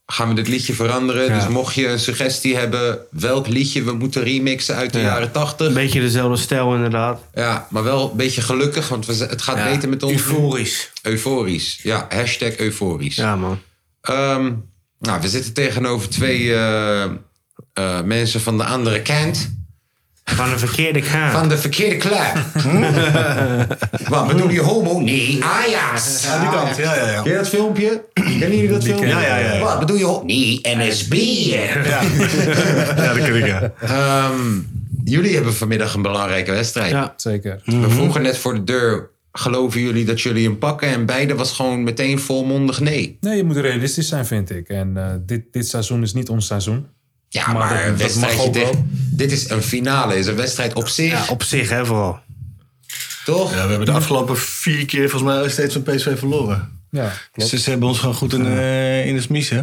[SPEAKER 2] gaan we dit liedje veranderen. Dus mocht je een suggestie hebben welk liedje we moeten remixen uit de jaren
[SPEAKER 3] Een
[SPEAKER 2] 80.
[SPEAKER 3] beetje dezelfde stijl inderdaad.
[SPEAKER 2] Ja, maar wel een beetje gelukkig, want we, z- het gaat beter met ons.
[SPEAKER 3] Euforisch.
[SPEAKER 2] Euforisch. Ja, hashtag euforisch.
[SPEAKER 3] Ja, man.
[SPEAKER 2] Ehm, nou, we zitten tegenover twee eh, eh, mensen van de andere kant.
[SPEAKER 3] Van een verkeerde kaart.
[SPEAKER 2] Van de verkeerde club. Wat, bedoel je homo? Nee, Ajax.
[SPEAKER 4] Aan die kant, ja, ja, ja.
[SPEAKER 2] Ken je dat filmpje? Kennen jullie dat filmpje?
[SPEAKER 4] kennen we. Ah, Ja, ja, ja.
[SPEAKER 2] Wat bedoel je? ho- Nee, NSB.
[SPEAKER 4] Ja, dat ken ik, ja.
[SPEAKER 2] Ehm, jullie hebben vanmiddag een belangrijke wedstrijd.
[SPEAKER 3] Ja.
[SPEAKER 5] Zeker.
[SPEAKER 2] We vroegen net voor de deur, geloven jullie dat jullie hem pakken? En beide was gewoon meteen volmondig nee.
[SPEAKER 5] Nee, je moet realistisch zijn, vind ik. En eh, dit, dit seizoen is niet ons seizoen.
[SPEAKER 2] Ja, maar,
[SPEAKER 5] Maar dat-
[SPEAKER 2] een
[SPEAKER 5] dat mag
[SPEAKER 2] wedstrijdje
[SPEAKER 5] ook wel.
[SPEAKER 2] tegen... Dit is een finale, is een wedstrijd op zich,
[SPEAKER 3] Ja, op zich hè, vooral.
[SPEAKER 2] toch?
[SPEAKER 4] Ja, we hebben de afgelopen vier keer volgens mij steeds van PSV verloren.
[SPEAKER 5] Ja, klopt.
[SPEAKER 4] Dus ze hebben ons gewoon goed in, eh, in de smies, hè.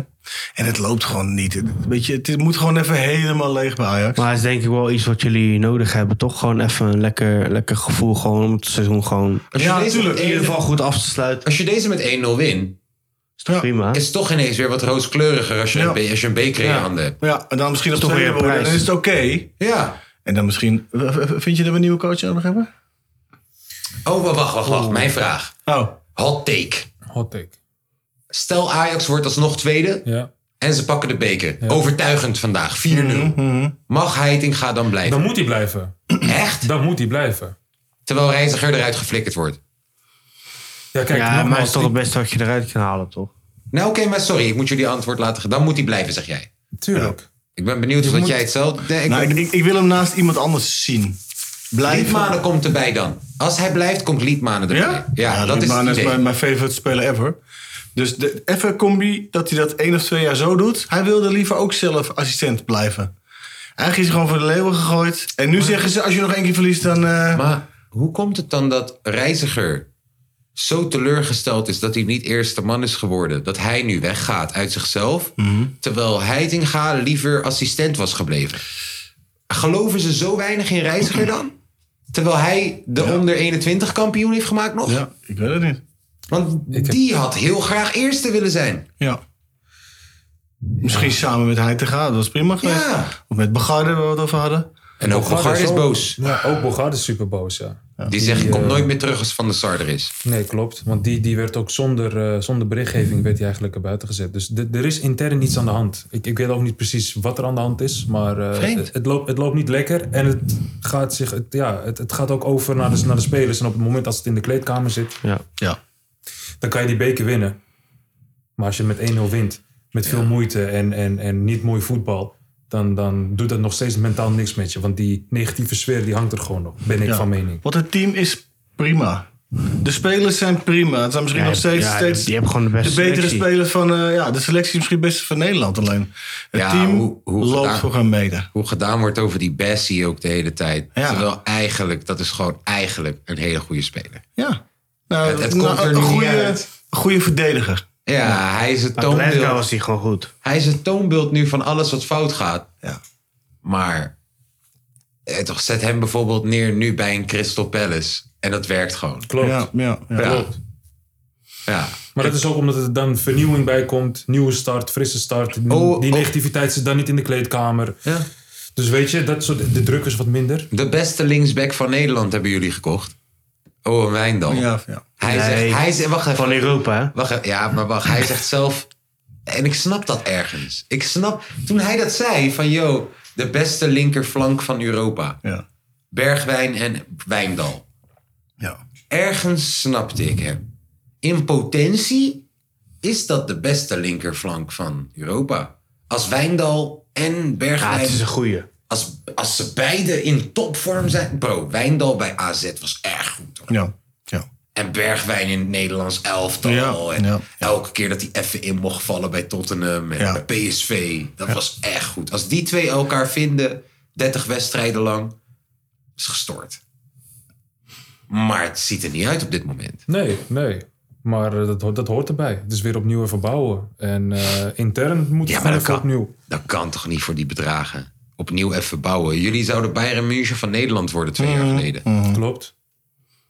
[SPEAKER 4] En het loopt gewoon niet. Het- Weet je, het moet gewoon even helemaal leeg bij Ajax.
[SPEAKER 3] Maar het is denk ik wel iets wat jullie nodig hebben. Toch gewoon even een lekker, lekker gevoel gewoon om het seizoen gewoon...
[SPEAKER 2] Als je,
[SPEAKER 4] Ja,
[SPEAKER 2] deze,
[SPEAKER 4] tuurlijk.
[SPEAKER 2] met
[SPEAKER 3] In ieder
[SPEAKER 2] 1-0
[SPEAKER 3] geval goed af te sluiten.
[SPEAKER 2] als je deze met 1-0 wint,
[SPEAKER 4] Ja.
[SPEAKER 3] Prima.
[SPEAKER 2] is het toch ineens weer wat rooskleriger als je,
[SPEAKER 4] Ja.
[SPEAKER 2] een, B- als je een beker in je
[SPEAKER 3] Ja.
[SPEAKER 2] handen hebt.
[SPEAKER 4] Ja, en dan misschien nog
[SPEAKER 3] Toch
[SPEAKER 4] tweede
[SPEAKER 3] weer een
[SPEAKER 4] worden. Dan
[SPEAKER 3] prijs.
[SPEAKER 4] is het oké.
[SPEAKER 2] Ja.
[SPEAKER 4] En dan misschien... Vind je dat we een nieuwe coach nodig hebben?
[SPEAKER 2] Oh, maar wacht, wacht, wacht. Mijn vraag.
[SPEAKER 4] Oh.
[SPEAKER 2] Hot take.
[SPEAKER 5] Hot take.
[SPEAKER 2] Stel Ajax wordt alsnog tweede
[SPEAKER 5] Ja.
[SPEAKER 2] en ze pakken de beker. Overtuigend vandaag, 4-0.
[SPEAKER 4] Mhm,
[SPEAKER 2] Mag Heitinga dan blijven?
[SPEAKER 5] Dan moet hij blijven.
[SPEAKER 2] Echt?
[SPEAKER 5] Dan moet hij blijven.
[SPEAKER 2] Terwijl Reiziger eruit geflikkerd wordt.
[SPEAKER 5] Ja, kijk,
[SPEAKER 3] ja, maar het
[SPEAKER 5] nogmaals,
[SPEAKER 3] is toch
[SPEAKER 5] ik-
[SPEAKER 3] het beste wat je eruit kan halen, toch?
[SPEAKER 2] Nou oké, maar sorry, ik moet jullie antwoord laten. ge- Dan moet hij blijven, zeg jij.
[SPEAKER 5] Tuurlijk.
[SPEAKER 2] Ik ben benieuwd of dat
[SPEAKER 5] moet-
[SPEAKER 2] jij hetzelfde... Nee, ik-
[SPEAKER 4] Nou, ik, ik, ik wil hem naast iemand anders zien. Blijf
[SPEAKER 2] Liedmanen komt erbij dan. Als hij blijft, komt Liedmanen erbij. Ja,
[SPEAKER 4] Ja?
[SPEAKER 2] dat is
[SPEAKER 4] Liedmanen
[SPEAKER 2] het idee.
[SPEAKER 4] mijn, mijn favorite speler ever. Dus de even combi dat hij dat één of twee jaar zo doet. Hij wilde liever ook zelf assistent blijven. Eigenlijk is hij gewoon voor de leeuwen gegooid. En nu zeggen ze, als je nog één keer verliest, dan... eh,
[SPEAKER 2] Maar hoe komt het dan dat Reiziger zo teleurgesteld is dat hij niet eerste man is geworden? Dat hij nu weggaat uit zichzelf, terwijl Heitinga liever assistent was gebleven. Geloven ze zo weinig in Reiziger dan? Terwijl hij de onder 21 kampioen heeft gemaakt nog?
[SPEAKER 4] Ja, ik weet het niet.
[SPEAKER 2] Want die had heel graag eerste willen zijn.
[SPEAKER 4] Ja. Misschien samen met hij te gaan, dat was prima geweest.
[SPEAKER 2] Ja.
[SPEAKER 4] Of met Begarde, waar we het over hadden.
[SPEAKER 2] En
[SPEAKER 3] Nou,
[SPEAKER 2] ook Bogar is
[SPEAKER 5] ook-
[SPEAKER 2] boos.
[SPEAKER 5] Ja, ook Bogarde is super boos, ja.
[SPEAKER 2] Die zegt, ik kom
[SPEAKER 5] eh,
[SPEAKER 2] nooit meer terug als Van der Sar er is.
[SPEAKER 5] Nee, klopt. Want die, die werd ook zonder, eh, zonder berichtgeving werd hij eigenlijk er buiten gezet. Dus de- er is intern iets aan de hand. Ik, ik weet ook niet precies wat er aan de hand is. Maar eh,
[SPEAKER 2] Vreemd.
[SPEAKER 5] het, het loopt, het loopt niet lekker. En het gaat, zich, het, ja, het, het gaat ook over naar de, naar de spelers. En op het moment als het in de kleedkamer zit,
[SPEAKER 3] Ja.
[SPEAKER 4] Ja.
[SPEAKER 5] dan kan je die beker winnen. Maar als je met 1-0 wint, met veel moeite en, en, en niet mooi voetbal... Dan, dan doet dat nog steeds mentaal niks met je. Want die negatieve sfeer die hangt er gewoon nog, ben ik
[SPEAKER 4] Ja.
[SPEAKER 5] van mening.
[SPEAKER 4] Want het team is prima. De spelers zijn prima. Het zijn misschien nog steeds,
[SPEAKER 3] ja,
[SPEAKER 4] steeds
[SPEAKER 3] Je hebt gewoon de beste
[SPEAKER 4] de betere
[SPEAKER 3] selectie.
[SPEAKER 4] spelers van eh, ja, de selectie is misschien best van Nederland alleen. Het
[SPEAKER 2] Ja,
[SPEAKER 4] team
[SPEAKER 2] hoe- hoe
[SPEAKER 4] loopt
[SPEAKER 2] gedaan?
[SPEAKER 4] voor gaan mede.
[SPEAKER 2] hoe gedaan wordt over die Bessie ook de hele tijd.
[SPEAKER 4] Ja.
[SPEAKER 2] Terwijl eigenlijk, dat is gewoon eigenlijk een hele goede speler.
[SPEAKER 4] Ja. Nou,
[SPEAKER 2] Het- het komt er
[SPEAKER 4] een
[SPEAKER 2] niet
[SPEAKER 4] goede,
[SPEAKER 2] uit.
[SPEAKER 4] een goede verdediger.
[SPEAKER 2] Ja, Hij, is het
[SPEAKER 3] Maar Glasgow
[SPEAKER 2] toonbeeld,
[SPEAKER 3] was hij gewoon goed.
[SPEAKER 2] hij is het toonbeeld nu van alles wat fout gaat.
[SPEAKER 4] Ja.
[SPEAKER 2] Maar eh, toch, zet hem bijvoorbeeld neer nu bij een Crystal Palace. En dat werkt gewoon.
[SPEAKER 5] Klopt.
[SPEAKER 4] Ja, ja, ja.
[SPEAKER 2] Ja.
[SPEAKER 5] Klopt.
[SPEAKER 2] Ja.
[SPEAKER 5] Maar dat is ook omdat er dan vernieuwing bij komt. Nieuwe start, frisse start. Die
[SPEAKER 2] Oh, oh.
[SPEAKER 5] negativiteit zit dan niet in de kleedkamer.
[SPEAKER 2] Ja.
[SPEAKER 5] Dus weet je, dat soort, de druk is wat minder.
[SPEAKER 2] De beste linksback van Nederland hebben jullie gekocht. Oh, Wijndal.
[SPEAKER 4] Ja, ja.
[SPEAKER 2] Hij
[SPEAKER 3] Nee.
[SPEAKER 2] zegt, hij zegt, wacht even.
[SPEAKER 3] Van Europa, hè?
[SPEAKER 2] Wacht, even, ja, maar wacht. Hij zegt zelf, En ik snap dat ergens. Ik snap, toen hij dat zei, van yo, de beste linkerflank van Europa.
[SPEAKER 4] Ja.
[SPEAKER 2] Bergwijn en Wijndal.
[SPEAKER 4] Ja.
[SPEAKER 2] Ergens snapte ik hem. In potentie is dat de beste linkerflank van Europa. Als Wijndal en
[SPEAKER 3] Ja,
[SPEAKER 2] Bergwijn...
[SPEAKER 3] het is een goeie.
[SPEAKER 2] als, als ze beide in topvorm zijn... Bro, Wijndal bij AZ was erg goed. hoor.
[SPEAKER 4] Ja. Ja.
[SPEAKER 2] En Bergwijn in het Nederlands elftal.
[SPEAKER 4] Ja,
[SPEAKER 2] en
[SPEAKER 4] ja.
[SPEAKER 2] elke keer dat hij even in mocht vallen bij Tottenham en
[SPEAKER 4] Ja.
[SPEAKER 2] bij PSV. Dat was echt goed. Als die twee elkaar vinden, 30 wedstrijden lang, is gestoord. Maar het ziet er niet uit op dit moment.
[SPEAKER 5] Nee, nee. Maar eh, dat, ho- dat hoort erbij. Het is weer opnieuw even bouwen. En eh, intern moet het
[SPEAKER 2] Ja, maar
[SPEAKER 5] gewoon
[SPEAKER 2] dat
[SPEAKER 5] even
[SPEAKER 2] kan,
[SPEAKER 5] opnieuw.
[SPEAKER 2] dat kan toch niet voor die bedragen? Opnieuw even bouwen. Jullie zouden Bayern München van Nederland worden twee
[SPEAKER 4] Mhm.
[SPEAKER 2] jaar geleden.
[SPEAKER 5] Klopt.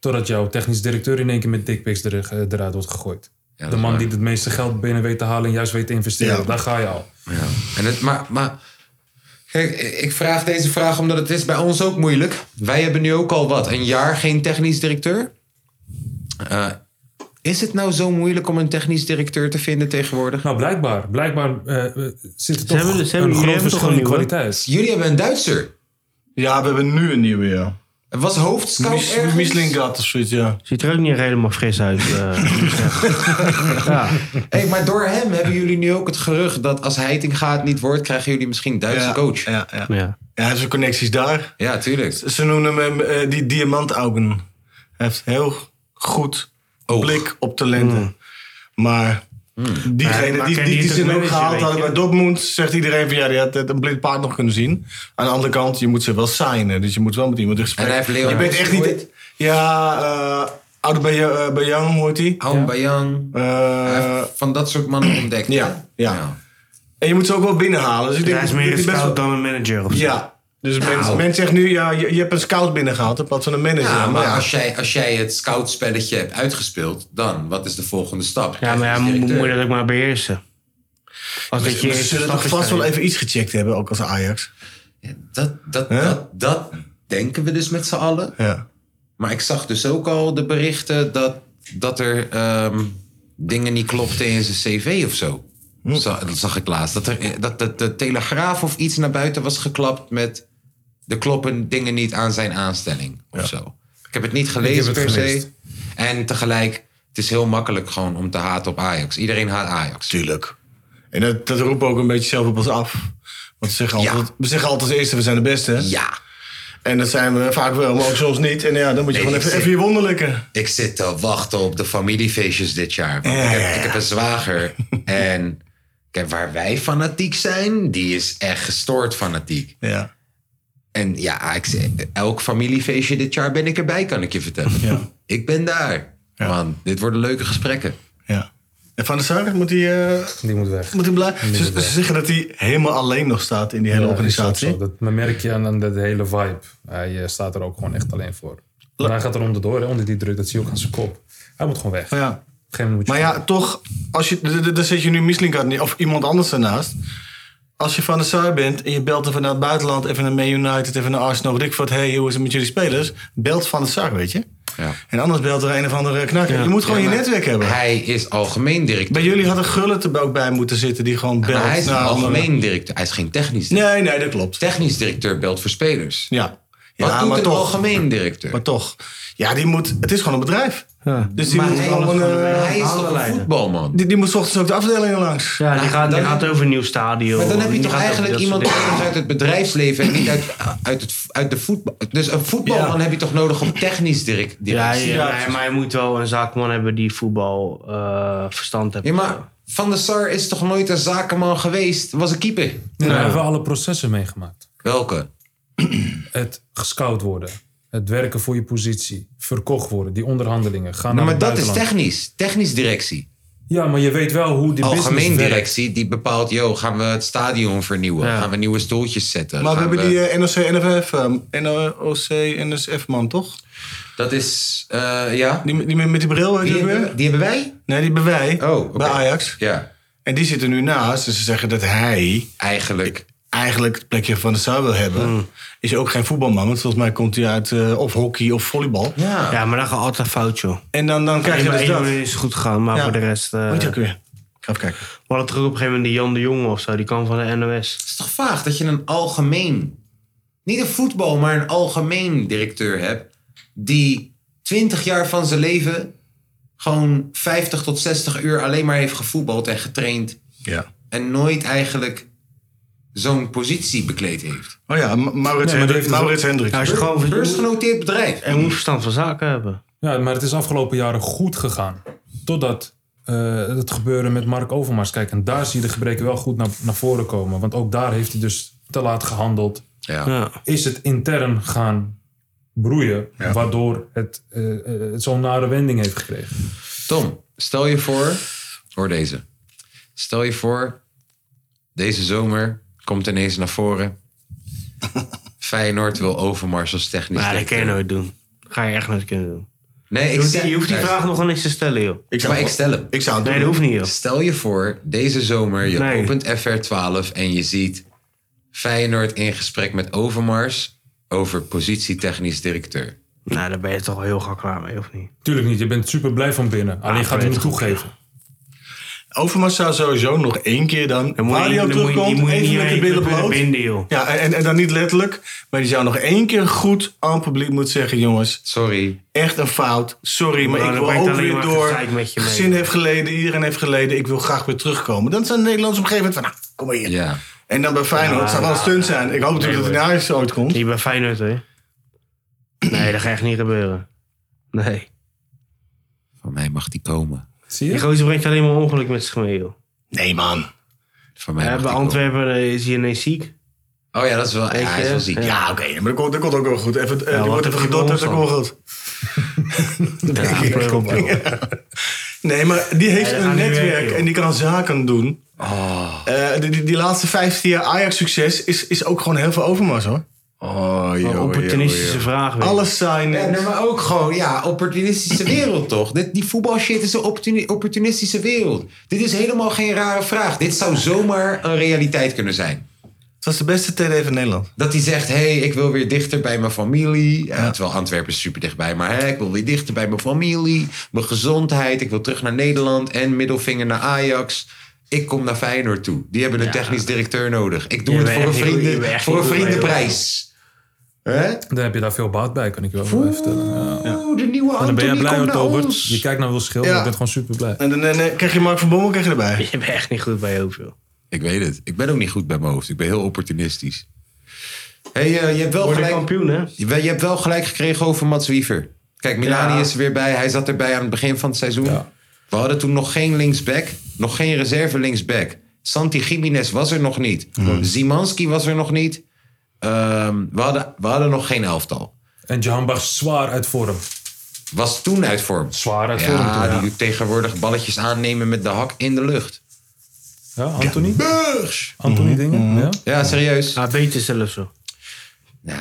[SPEAKER 5] Totdat jouw technisch directeur in één keer met dickpics er, eh, eruit wordt gegooid.
[SPEAKER 2] dat
[SPEAKER 5] de
[SPEAKER 2] is
[SPEAKER 5] man
[SPEAKER 2] waar.
[SPEAKER 5] die het meeste geld binnen weet te halen en juist weet te investeren.
[SPEAKER 4] Ja.
[SPEAKER 5] Daar ga je al.
[SPEAKER 2] Ja. En het, maar, maar kijk, ik vraag deze vraag omdat het is bij ons ook moeilijk. Wij hebben nu ook al wat, een jaar geen technisch directeur. Eh, is het nou zo moeilijk om een technisch directeur te vinden tegenwoordig?
[SPEAKER 5] Nou, blijkbaar. Blijkbaar eh, eh, zit er toch
[SPEAKER 3] hebben- ze hebben-
[SPEAKER 5] een
[SPEAKER 3] jullie hebben
[SPEAKER 5] groot
[SPEAKER 3] toch
[SPEAKER 5] verschil
[SPEAKER 3] een
[SPEAKER 5] in
[SPEAKER 3] nieuwe?
[SPEAKER 5] kwaliteit.
[SPEAKER 2] Jullie hebben een Duitser.
[SPEAKER 4] Ja, we hebben nu een nieuwe, ja.
[SPEAKER 2] Het was hoofdscout
[SPEAKER 4] Mis-
[SPEAKER 2] ergens.
[SPEAKER 4] Mislingat of zoiets, ja.
[SPEAKER 3] Ziet er ook niet helemaal fris uit. eh, moet ik zeggen. ja.
[SPEAKER 2] Hey, maar door hem hebben jullie nu ook het gerucht dat als Heitinga het niet wordt, krijgen jullie misschien een Duitse
[SPEAKER 4] ja,
[SPEAKER 2] coach. Ja,
[SPEAKER 4] Ja, ja.
[SPEAKER 3] ja.
[SPEAKER 4] Ja, hij heeft zijn connecties daar.
[SPEAKER 2] tuurlijk.
[SPEAKER 4] Ze noemen hem eh, die diamantaugen. Hij heeft heel goed
[SPEAKER 2] Oog. Mm.
[SPEAKER 4] blik op talenten. Maar diegene
[SPEAKER 3] maar
[SPEAKER 4] die,
[SPEAKER 3] ken
[SPEAKER 4] die,
[SPEAKER 3] je
[SPEAKER 4] die
[SPEAKER 3] het
[SPEAKER 4] ze
[SPEAKER 3] als
[SPEAKER 4] ook
[SPEAKER 3] manager,
[SPEAKER 4] gehaald
[SPEAKER 3] weet
[SPEAKER 4] hadden
[SPEAKER 3] je?
[SPEAKER 4] bij Dortmund... zegt iedereen van ja, die had het een blind paard nog kunnen zien. Aan de andere kant, je moet ze wel signen. Dus je moet wel met iemand in gesprek.
[SPEAKER 2] En hij heeft Leon
[SPEAKER 4] je bent echt niet...
[SPEAKER 2] ooit.
[SPEAKER 4] Ja, eh oude bij, eh, bij Young hoort hij.
[SPEAKER 2] Aung Bayang. Hij
[SPEAKER 4] Eh,
[SPEAKER 2] heeft van dat soort mannen ontdekt.
[SPEAKER 4] ja,
[SPEAKER 2] hè?
[SPEAKER 4] ja. En je moet ze ook wel binnenhalen. Dus ik denk
[SPEAKER 3] Hij is
[SPEAKER 4] dat
[SPEAKER 3] meer een
[SPEAKER 4] die best
[SPEAKER 3] scout
[SPEAKER 4] wel-
[SPEAKER 3] dan een manager. Of zo.
[SPEAKER 4] Ja. Dus mensen mensen zeggen nu, ja, je, je hebt een scout binnengehaald in plaats van een manager.
[SPEAKER 2] Nou. Ja, maar
[SPEAKER 4] ja.
[SPEAKER 2] als jij, als jij het scoutspelletje hebt uitgespeeld, dan wat is de volgende stap?
[SPEAKER 3] Ja, maar ja,
[SPEAKER 2] Technisch
[SPEAKER 3] moet, moet je
[SPEAKER 2] directeur.
[SPEAKER 3] dat ook maar beheersen. Als dat je
[SPEAKER 4] Ze
[SPEAKER 3] eerste
[SPEAKER 4] zullen
[SPEAKER 3] stap
[SPEAKER 4] toch
[SPEAKER 3] is
[SPEAKER 4] vast
[SPEAKER 3] daarin.
[SPEAKER 4] wel even iets gecheckt hebben, ook als Ajax.
[SPEAKER 2] dat, dat,
[SPEAKER 4] Hè?
[SPEAKER 2] dat, dat denken we dus met z'n allen.
[SPEAKER 4] Ja.
[SPEAKER 2] Maar ik zag dus ook al de berichten dat, dat er ehm, dingen niet klopten in zijn cv of zo.
[SPEAKER 5] Hm.
[SPEAKER 2] Za- dat zag ik laatst. Dat, er, eh, dat de, de Telegraaf of iets naar buiten was geklapt met... de kloppen dingen niet aan zijn aanstelling of zo. Ik heb het niet gelezen
[SPEAKER 5] Ik heb
[SPEAKER 2] per
[SPEAKER 5] het
[SPEAKER 2] se.
[SPEAKER 5] gemist.
[SPEAKER 2] En tegelijk, het is heel makkelijk gewoon om te haten op Ajax. Iedereen haat Ajax.
[SPEAKER 4] Tuurlijk. En dat, dat roepen we ook een beetje zelf op ons af. Want we zeggen,
[SPEAKER 2] Ja.
[SPEAKER 4] altijd, we zeggen altijd als eerste, we zijn de beste. hè?
[SPEAKER 2] Ja,
[SPEAKER 4] En dat zijn we vaak wel, maar ook soms niet. En ja, dan moet je
[SPEAKER 2] Nee,
[SPEAKER 4] gewoon
[SPEAKER 2] ik
[SPEAKER 4] even,
[SPEAKER 2] zeg-
[SPEAKER 4] even je wonderlijke.
[SPEAKER 2] ik zit te wachten op de familiefeestjes dit jaar. Want
[SPEAKER 4] Ja,
[SPEAKER 2] ik, heb,
[SPEAKER 4] ja, ja.
[SPEAKER 2] ik heb een zwager. en kijk, waar wij fanatiek zijn, die is echt gestoord fanatiek.
[SPEAKER 4] Ja.
[SPEAKER 2] En ja, ik, zeg, elk familiefeestje dit jaar ben ik erbij, kan ik je vertellen.
[SPEAKER 4] Ja.
[SPEAKER 2] Ik ben daar.
[SPEAKER 4] Ja.
[SPEAKER 2] Man, dit worden leuke gesprekken.
[SPEAKER 4] ja. En Van der Sar, moet hij, eh
[SPEAKER 5] Die moet weg.
[SPEAKER 4] moet hij blijven? Ze, ze zeggen dat hij helemaal alleen nog staat in die hele
[SPEAKER 5] Ja, dat is ook
[SPEAKER 4] organisatie.
[SPEAKER 5] zo. Dat merk je aan, aan de, hele vibe. Hij eh, staat er ook gewoon echt alleen voor. Maar hij gaat er onderdoor, hè, onder die druk. Dat zie je ook aan zijn kop. Hij moet gewoon weg. Op
[SPEAKER 4] Maar Oh ja,
[SPEAKER 5] een gegeven moment moet
[SPEAKER 4] Maar
[SPEAKER 5] je
[SPEAKER 4] ja, toch, als je, d- d- daar zet je nu Mislingat neer, of iemand anders ernaast. Als je van de Sar bent en je belt even naar het buitenland, even naar Man United, even naar Arsenal, weet ik wat, hey, hoe is het met jullie spelers? Belt van de Sar, weet je?
[SPEAKER 2] Ja.
[SPEAKER 4] En anders belt er een of andere knakker. Je moet gewoon
[SPEAKER 2] Ja,
[SPEAKER 4] je
[SPEAKER 2] maar
[SPEAKER 4] netwerk hebben.
[SPEAKER 2] Hij is algemeen directeur.
[SPEAKER 4] Bij jullie had een gullet er ook bij moeten zitten die gewoon belt.
[SPEAKER 2] Maar hij is een
[SPEAKER 4] naar andere-
[SPEAKER 2] algemeen directeur. Hij is geen technisch directeur.
[SPEAKER 4] nou, Nee, nee, dat klopt.
[SPEAKER 2] Technisch directeur belt voor spelers.
[SPEAKER 4] Ja,
[SPEAKER 2] Wat
[SPEAKER 4] ja
[SPEAKER 2] doet
[SPEAKER 4] maar
[SPEAKER 2] een
[SPEAKER 4] toch.
[SPEAKER 2] algemeen directeur?
[SPEAKER 4] Maar toch. Ja, die moet, het is gewoon een bedrijf. Dus die
[SPEAKER 2] Maar
[SPEAKER 4] moet
[SPEAKER 2] hij,
[SPEAKER 4] gewoon... eh,
[SPEAKER 2] hij is toch een
[SPEAKER 3] handenleider.
[SPEAKER 2] voetbalman?
[SPEAKER 4] die, die moet 's ochtends ook de afdelingen langs.
[SPEAKER 3] Ja, die gaat, die
[SPEAKER 2] dan-
[SPEAKER 3] gaat over een nieuw stadion.
[SPEAKER 2] Maar dan heb je
[SPEAKER 3] Die
[SPEAKER 2] toch
[SPEAKER 3] gaat over
[SPEAKER 2] eigenlijk
[SPEAKER 3] dat soort
[SPEAKER 2] iemand
[SPEAKER 3] dingen.
[SPEAKER 2] anders uit het bedrijfsleven en niet uit, uit, het, uit de voetbal. Dus een voetbalman
[SPEAKER 4] Ja.
[SPEAKER 2] heb je toch nodig om technisch direct-
[SPEAKER 3] Ja,
[SPEAKER 2] directie.
[SPEAKER 3] ja, maar- maar je moet wel een zaakman hebben die voetbal eh, verstand heeft.
[SPEAKER 2] Ja, maar Van der Sar is toch nooit een zakenman geweest? Was een keeper.
[SPEAKER 5] Nee, we hebben alle processen meegemaakt.
[SPEAKER 2] Welke?
[SPEAKER 5] Het gescout worden. Het werken voor je positie. Verkocht worden. Die onderhandelingen.
[SPEAKER 2] Nou,
[SPEAKER 5] Gaan naar
[SPEAKER 2] maar
[SPEAKER 5] het
[SPEAKER 2] dat is
[SPEAKER 5] buitenland.
[SPEAKER 2] technisch. Technisch directie.
[SPEAKER 5] Ja, maar je weet wel hoe die
[SPEAKER 2] Algemeen
[SPEAKER 5] business werkt.
[SPEAKER 2] directie die bepaalt, joh, gaan we het stadion vernieuwen? Gaan we nieuwe stoeltjes zetten?
[SPEAKER 4] Maar we
[SPEAKER 2] Gaan
[SPEAKER 4] hebben die eh, NOC-NFF, eh, NOC-NSF-man, toch?
[SPEAKER 2] Dat is, eh, ja.
[SPEAKER 4] Die, die met met die bril, weet
[SPEAKER 2] Die
[SPEAKER 4] je ook weer?
[SPEAKER 2] hebben, die hebben wij?
[SPEAKER 4] Nee, die hebben wij,
[SPEAKER 2] Oh, oké.
[SPEAKER 4] bij Ajax.
[SPEAKER 2] Ja,
[SPEAKER 4] En die zitten nu naast, dus ze zeggen dat hij
[SPEAKER 2] eigenlijk.
[SPEAKER 4] eigenlijk het plekje van de Saar wil hebben.
[SPEAKER 3] Hmm.
[SPEAKER 4] Is ook geen voetbalman, want volgens mij komt hij uit eh, of hockey of volleybal.
[SPEAKER 2] Ja.
[SPEAKER 3] Ja, maar dat gaat altijd fout, joh.
[SPEAKER 4] En dan, dan krijg
[SPEAKER 3] Alleen
[SPEAKER 4] je
[SPEAKER 3] maar
[SPEAKER 4] dus
[SPEAKER 3] één
[SPEAKER 4] dat.
[SPEAKER 3] manier is het goed gegaan, maar
[SPEAKER 4] Ja.
[SPEAKER 3] voor de rest... eh,
[SPEAKER 4] Weet je ook weer? ga even kijken.
[SPEAKER 3] We hadden terug op een gegeven moment die Jan de Jong of zo. Die kwam van de NOS.
[SPEAKER 2] Het is toch vaag dat je een algemeen, niet een voetbal, maar een algemeen directeur hebt. Die 20 jaar van zijn leven gewoon 50 tot 60 uur alleen maar heeft gevoetbald en getraind.
[SPEAKER 4] Ja.
[SPEAKER 2] En nooit eigenlijk zo'n positie bekleed heeft.
[SPEAKER 4] Oh ja, Ma- Maurits,
[SPEAKER 5] Nee, maar die heeft
[SPEAKER 4] Hendrik, Maurits Hendricks.
[SPEAKER 3] Hij is gewoon...
[SPEAKER 2] Beursgenoteerd bedrijf.
[SPEAKER 3] En moet verstand van zaken hebben.
[SPEAKER 5] Ja, maar het is afgelopen jaren goed gegaan. Totdat eh, het gebeuren met Mark Overmars. Kijk, en daar zie je de gebreken wel goed naar, naar voren komen. Want ook daar heeft hij dus te laat gehandeld.
[SPEAKER 2] Ja.
[SPEAKER 3] Ja.
[SPEAKER 5] Is het intern gaan broeien, waardoor het, eh, eh, het zo'n nare wending heeft gekregen.
[SPEAKER 2] Tom, stel je voor, hoor deze. Stel je voor, deze zomer komt ineens naar voren. Feyenoord wil Overmars als technisch
[SPEAKER 3] Maar dat
[SPEAKER 2] directeur.
[SPEAKER 3] kun je nooit doen. Ga je echt nooit kunnen doen.
[SPEAKER 2] Nee, ik
[SPEAKER 3] Je hoeft,
[SPEAKER 2] stel-
[SPEAKER 3] die- je hoeft die vraag nog wel eens te stellen, joh.
[SPEAKER 4] Ik
[SPEAKER 2] Maar ik stel hem.
[SPEAKER 4] Ik zou het
[SPEAKER 3] Nee,
[SPEAKER 4] doen.
[SPEAKER 3] dat hoeft niet, joh.
[SPEAKER 2] Stel je voor, deze zomer, je
[SPEAKER 3] Nee.
[SPEAKER 2] opent FR12 en je ziet Feyenoord in gesprek met Overmars over positie technisch directeur.
[SPEAKER 3] Nou, daar ben je toch wel heel gauw klaar mee, of niet?
[SPEAKER 5] Tuurlijk niet, je bent super blij van binnen.
[SPEAKER 2] Ah,
[SPEAKER 5] Alleen je gaat het
[SPEAKER 3] weet
[SPEAKER 5] niet
[SPEAKER 3] het goed.
[SPEAKER 5] toegeven.
[SPEAKER 4] Overmars zou sowieso nog één keer dan, waar hij
[SPEAKER 3] dan
[SPEAKER 4] ook
[SPEAKER 3] moet je- die
[SPEAKER 4] terugkomt,
[SPEAKER 3] moet je
[SPEAKER 4] even
[SPEAKER 3] niet
[SPEAKER 4] met de
[SPEAKER 3] even
[SPEAKER 4] billen
[SPEAKER 3] kunnen
[SPEAKER 4] bloot.
[SPEAKER 3] binden, joh.
[SPEAKER 4] Ja, en, en dan niet letterlijk, maar die zou nog één keer goed aan het publiek moeten zeggen, jongens,
[SPEAKER 2] Sorry.
[SPEAKER 4] echt een fout, sorry, maar
[SPEAKER 3] Nou,
[SPEAKER 4] ik
[SPEAKER 3] dan
[SPEAKER 4] wil
[SPEAKER 3] brengt
[SPEAKER 4] ook
[SPEAKER 3] alleen
[SPEAKER 4] weer
[SPEAKER 3] maar
[SPEAKER 4] door.
[SPEAKER 3] gezeik met je mee.
[SPEAKER 4] Gezin heeft geleden, iedereen heeft geleden, ik wil graag weer terugkomen. Dan zijn de Nederlanders op een gegeven moment van, nou, kom maar hier.
[SPEAKER 2] Ja.
[SPEAKER 4] En dan bij Feyenoord, het zou wel een stunt zijn. Ik hoop natuurlijk dat hij naar huis ooit komt.
[SPEAKER 3] Niet bij Feyenoord, hè? Nee, dat gaat echt niet gebeuren. Nee.
[SPEAKER 2] Van mij mag die komen.
[SPEAKER 5] Zie
[SPEAKER 3] Die
[SPEAKER 5] je?
[SPEAKER 3] gozer brengt alleen maar ongeluk met zich mee, joh.
[SPEAKER 4] Nee, man.
[SPEAKER 2] Van mij
[SPEAKER 3] Ja,
[SPEAKER 2] mag die
[SPEAKER 3] bij Antwerpen eh, is hij ineens ziek.
[SPEAKER 2] komen. Oh ja, dat is wel, ja,
[SPEAKER 3] Weet
[SPEAKER 2] hij is
[SPEAKER 3] je,
[SPEAKER 2] wel ziek.
[SPEAKER 3] ja.
[SPEAKER 4] Ja, oké, maar dat komt, dat komt ook wel goed. Even, eh,
[SPEAKER 3] Ja,
[SPEAKER 4] er
[SPEAKER 3] wat
[SPEAKER 4] wordt
[SPEAKER 3] heb
[SPEAKER 4] even
[SPEAKER 3] je
[SPEAKER 4] gedopt, dat
[SPEAKER 3] ons
[SPEAKER 4] komt wel goed.
[SPEAKER 3] Ja, kom maar.
[SPEAKER 4] Nee, maar die heeft
[SPEAKER 3] dat
[SPEAKER 4] een
[SPEAKER 3] gaat niet
[SPEAKER 4] netwerk
[SPEAKER 3] werken, joh. Oh.
[SPEAKER 4] en die kan zaken doen. Eh, die, die, die laatste 15 jaar Ajax-succes is, is ook gewoon heel veel overmars, hoor.
[SPEAKER 2] Oh, joh,
[SPEAKER 3] Opportunistische vraag weer.
[SPEAKER 4] Alles zijn...
[SPEAKER 2] Ja, nee, maar ook gewoon, ja, opportunistische wereld toch? Dit, die voetbalshit is een opportuni- opportunistische wereld. Dit is helemaal geen rare vraag. Dit zou zomaar een realiteit kunnen zijn.
[SPEAKER 4] Het was de beste TD van Nederland.
[SPEAKER 2] Dat hij zegt, hé, hey, ik wil weer dichter bij mijn familie. Ja, terwijl Antwerpen is super dichtbij, maar hè, ik wil weer dichter bij mijn familie. Mijn gezondheid, ik wil terug naar Nederland en middelvinger naar Ajax. Ik kom naar Feyenoord toe. Die hebben een technisch directeur nodig. Ik doe
[SPEAKER 3] Je
[SPEAKER 2] het
[SPEAKER 3] bent
[SPEAKER 2] voor een,
[SPEAKER 3] echt niet goed, je bent
[SPEAKER 2] vrienden,
[SPEAKER 3] echt
[SPEAKER 2] voor
[SPEAKER 3] niet
[SPEAKER 2] een
[SPEAKER 3] goed,
[SPEAKER 2] vriendenprijs. Hè?
[SPEAKER 5] Dan heb je daar veel baat bij, kan ik je wel even vertellen. Ja.
[SPEAKER 2] Oeh, de nieuwe
[SPEAKER 5] En dan
[SPEAKER 2] Anthony
[SPEAKER 5] ben jij blij
[SPEAKER 2] komt
[SPEAKER 5] met
[SPEAKER 2] naar
[SPEAKER 5] Robert.
[SPEAKER 2] ons.
[SPEAKER 5] Je kijkt naar Wil Schil,
[SPEAKER 4] Ja.
[SPEAKER 5] je bent gewoon super blij.
[SPEAKER 4] En dan eh, nee, krijg je Mark van Bommel krijg je erbij.
[SPEAKER 3] Je bent echt niet goed bij je hoofd, joh.
[SPEAKER 2] Ik weet het. Ik ben ook niet goed bij mijn hoofd. Ik ben heel opportunistisch. hey, eh, je, hebt wel
[SPEAKER 3] Word je
[SPEAKER 2] gelijk,
[SPEAKER 3] kampioen, hè?
[SPEAKER 2] je, je hebt wel gelijk gekregen over Mats Wiever. Kijk, Milani
[SPEAKER 3] Ja.
[SPEAKER 2] is er weer bij. Hij zat erbij aan het begin van het seizoen.
[SPEAKER 5] Ja.
[SPEAKER 2] We hadden toen nog geen linksback. Nog geen reserve linksback. Santi Jiménez was er nog niet. Zimanski was er nog niet. Ehm, we, hadden, we hadden nog geen elftal.
[SPEAKER 5] En Jahanbach zwaar uit vorm.
[SPEAKER 2] Was toen uit vorm.
[SPEAKER 5] Zwaar uit vorm. toen,
[SPEAKER 2] Ja,
[SPEAKER 5] ja.
[SPEAKER 2] die tegenwoordig balletjes aannemen met de hak in de lucht.
[SPEAKER 5] Ja, Anthony? Anthony
[SPEAKER 2] Mhm,
[SPEAKER 5] Dingen? Ja?
[SPEAKER 2] Ja, serieus.
[SPEAKER 3] Ah, beter zelfs, zo.
[SPEAKER 2] Nou,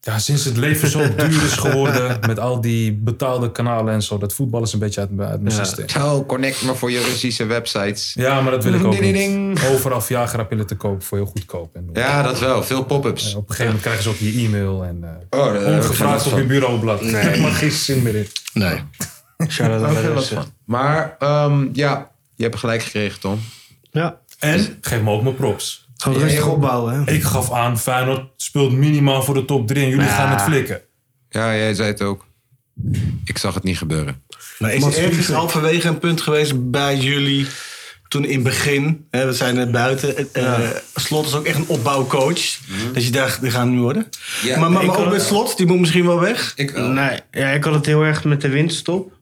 [SPEAKER 5] ja, sinds het leven zo duur is geworden met al die betaalde kanalen en zo. Dat voetbal is een beetje uit, mijn- uit mijn systeem.
[SPEAKER 2] oh, connect me voor je Russische websites.
[SPEAKER 5] Ja, maar dat wil ik ook
[SPEAKER 2] Ding, ding,
[SPEAKER 5] niet. Overal Viagra-pillen te kopen voor heel goedkoop. En
[SPEAKER 2] Ja, dat wel. Veel pop-ups.
[SPEAKER 5] Op een gegeven moment krijgen ze ook je e-mail en eh,
[SPEAKER 2] Oh, daar heb ik geen last
[SPEAKER 5] ongevraagd op
[SPEAKER 2] van.
[SPEAKER 5] je bureaublad. Nee. Dat mag geen zin meer in.
[SPEAKER 4] Nee.
[SPEAKER 3] Shout-out aan de rest, hè.
[SPEAKER 2] Maar ehm, ja, je hebt gelijk gekregen, Tom.
[SPEAKER 3] Ja.
[SPEAKER 5] En Dus geef me ook mijn props.
[SPEAKER 3] Gewoon rustig opbouwen, hè?
[SPEAKER 5] Ik gaf aan, Feyenoord speelt minimaal voor de top 3 en jullie gaan het flikken.
[SPEAKER 2] Ja, jij zei het ook. Ik zag het niet gebeuren.
[SPEAKER 4] Maar is er ergens halverwege een punt geweest bij jullie toen in het begin, hè, we zijn er buiten, eh, eh, Slot is ook echt een opbouwcoach. Dat je dacht, die gaan we nu worden.
[SPEAKER 2] Ja,
[SPEAKER 4] maar maar,
[SPEAKER 3] Mhm. ik eh,
[SPEAKER 4] maar ook
[SPEAKER 3] kan-
[SPEAKER 4] met Slot, die moet misschien wel weg.
[SPEAKER 2] Ik
[SPEAKER 3] Nee, ja, ik had het heel erg met de windstop.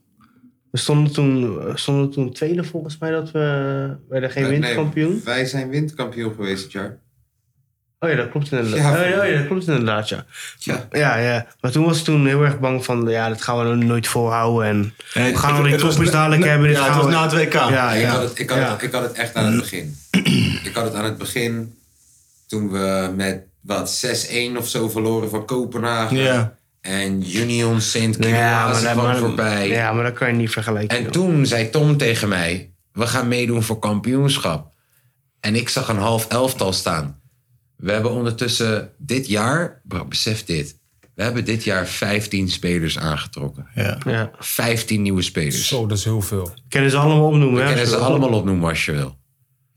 [SPEAKER 3] We stonden toen, we stonden toen tweede volgens mij dat we... We werden geen windkampioen.
[SPEAKER 2] wij zijn windkampioen geweest dit jaar.
[SPEAKER 3] Oh ja, dat klopt inderdaad.
[SPEAKER 2] Ja,
[SPEAKER 3] Ja, oh, ja,
[SPEAKER 2] voor-
[SPEAKER 3] ja, dat klopt inderdaad, ja.
[SPEAKER 2] Ja.
[SPEAKER 3] Ja, ja. Maar toen was ik toen heel erg bang van... Ja, dat gaan we nooit volhouden. En we gaan al die
[SPEAKER 4] Eh, Het was
[SPEAKER 3] toppers
[SPEAKER 4] na-
[SPEAKER 3] dadelijk
[SPEAKER 4] na-
[SPEAKER 3] hebben. Dit
[SPEAKER 4] Ja, het
[SPEAKER 3] gaan
[SPEAKER 4] was
[SPEAKER 3] we-
[SPEAKER 4] na het WK.
[SPEAKER 3] Ja,
[SPEAKER 2] Ik, had
[SPEAKER 3] ja. Mm.
[SPEAKER 2] het, ik, had het, ik had het echt aan het begin. Ik had het aan het begin toen we met wat 6-1 of zo verloren van Kopenhagen.
[SPEAKER 4] Ja.
[SPEAKER 2] En Union St.
[SPEAKER 3] Ja,
[SPEAKER 2] Kilda
[SPEAKER 3] maar, dat,
[SPEAKER 2] kwam
[SPEAKER 3] maar,
[SPEAKER 2] voorbij.
[SPEAKER 3] ja, maar dat kan je niet vergelijken.
[SPEAKER 2] En
[SPEAKER 3] joh.
[SPEAKER 2] toen zei Tom tegen mij: We gaan meedoen voor kampioenschap. En ik zag een half elftal staan. We hebben ondertussen dit jaar, bro, besef dit. We hebben dit jaar 15 spelers aangetrokken.
[SPEAKER 4] Ja.
[SPEAKER 3] Ja.
[SPEAKER 2] 15 nieuwe spelers.
[SPEAKER 5] Zo, Oh, dat is heel veel.
[SPEAKER 3] Kennen ze allemaal opnoemen, hè?
[SPEAKER 2] En dat
[SPEAKER 3] als
[SPEAKER 2] ze
[SPEAKER 3] je wil.
[SPEAKER 2] allemaal opnoemen als je wil.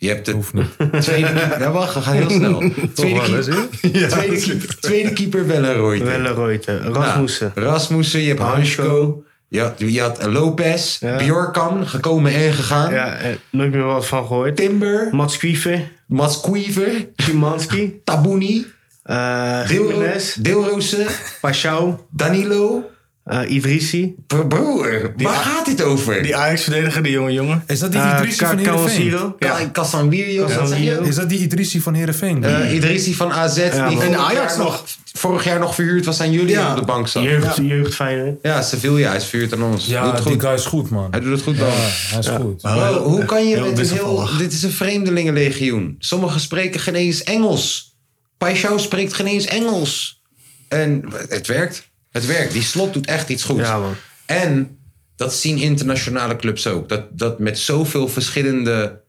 [SPEAKER 2] Je hebt de
[SPEAKER 5] Hoeft niet.
[SPEAKER 2] tweede... Ja, wacht, we gaan heel snel. Tweede,
[SPEAKER 5] wel, hè,
[SPEAKER 2] keeper, tweede, keeper, tweede keeper Welleroyte.
[SPEAKER 3] Welleroyte, Rasmussen.
[SPEAKER 2] Nou, Rasmussen, je hebt Hansko. Je had, je had Lopez, Bjorkan, gekomen en gegaan.
[SPEAKER 3] Ja, eh, nooit meer wat van gehoord.
[SPEAKER 2] Timber,
[SPEAKER 3] Mats Kwiever,
[SPEAKER 2] Mats Kuiver,
[SPEAKER 3] Szymanski,
[SPEAKER 2] Tabuni,
[SPEAKER 3] eh
[SPEAKER 2] Dilro-
[SPEAKER 3] Jiménez,
[SPEAKER 2] Dilrosen,
[SPEAKER 3] Pashao,
[SPEAKER 2] Danilo.
[SPEAKER 3] eh Idrissi,
[SPEAKER 2] Bro- Broer, waar gaat dit over?
[SPEAKER 4] Die Ajax-verdediger, die jonge jongen.
[SPEAKER 5] Is dat die
[SPEAKER 3] eh,
[SPEAKER 5] Idrissi
[SPEAKER 3] Ka-
[SPEAKER 5] van Heerenveen?
[SPEAKER 3] Kawasiro.
[SPEAKER 2] Ja. Casanwirio.
[SPEAKER 3] Casemiro.
[SPEAKER 5] Is dat die Idrissi van Heerenveen? Die-
[SPEAKER 2] Eh Idrissi van AZ. die
[SPEAKER 3] man.
[SPEAKER 2] vorig
[SPEAKER 4] En Ajax
[SPEAKER 2] jaar
[SPEAKER 4] nog.
[SPEAKER 2] Vorig jaar nog verhuurd was aan jullie
[SPEAKER 4] Ja.
[SPEAKER 2] en op de bank zat.
[SPEAKER 3] Jeugd, jeugd Feyenoord.
[SPEAKER 2] Ja, Sevilla is verhuurd aan ons.
[SPEAKER 5] Ja,
[SPEAKER 2] Doet het
[SPEAKER 5] die
[SPEAKER 2] goed.
[SPEAKER 5] guy is goed, man.
[SPEAKER 2] Hij doet het goed dan.
[SPEAKER 5] Ja, hij is goed.
[SPEAKER 3] Oh,
[SPEAKER 2] Bro, hoe kan je
[SPEAKER 4] heel
[SPEAKER 2] met een heel...
[SPEAKER 4] wisselvallig.
[SPEAKER 2] Dit is een vreemdelingenlegioen. Sommigen spreken geen eens Engels. Paixão spreekt geen eens Engels. En het werkt. Het werkt. Die slot doet echt iets goeds.
[SPEAKER 3] Ja, man.
[SPEAKER 2] En dat zien internationale clubs ook. Dat, dat met zoveel verschillende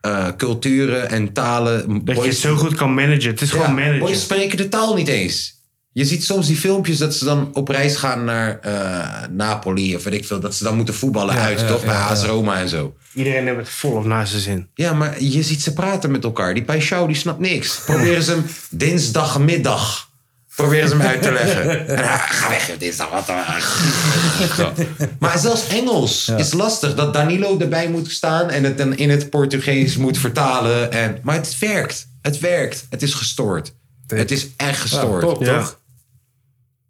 [SPEAKER 2] eh, culturen en talen...
[SPEAKER 3] Dat je het
[SPEAKER 2] boys-
[SPEAKER 3] zo goed kan managen. Het is
[SPEAKER 2] ja,
[SPEAKER 3] gewoon managen.
[SPEAKER 2] boys spreken de taal niet eens. Je ziet soms die filmpjes dat ze dan op reis gaan naar eh, Napoli of weet ik veel. Dat ze dan moeten voetballen uit, toch? bij AS Roma en zo.
[SPEAKER 3] Iedereen heeft het volop naast zijn zin.
[SPEAKER 2] Ja, maar je ziet ze praten met elkaar. Die Paixão, die snapt niks. Proberen ze hem dinsdagmiddag... Proberen ze hem uit te leggen. En hij, ga weg, joh, dinsdag. Wat dan? Zo. maar zelfs Engels is lastig. Dat Danilo erbij moet staan en het dan in het Portugees moet vertalen. En, maar het werkt. Het werkt. Het is gestoord. Het is echt gestoord.
[SPEAKER 5] Top,
[SPEAKER 3] Ja.
[SPEAKER 5] toch?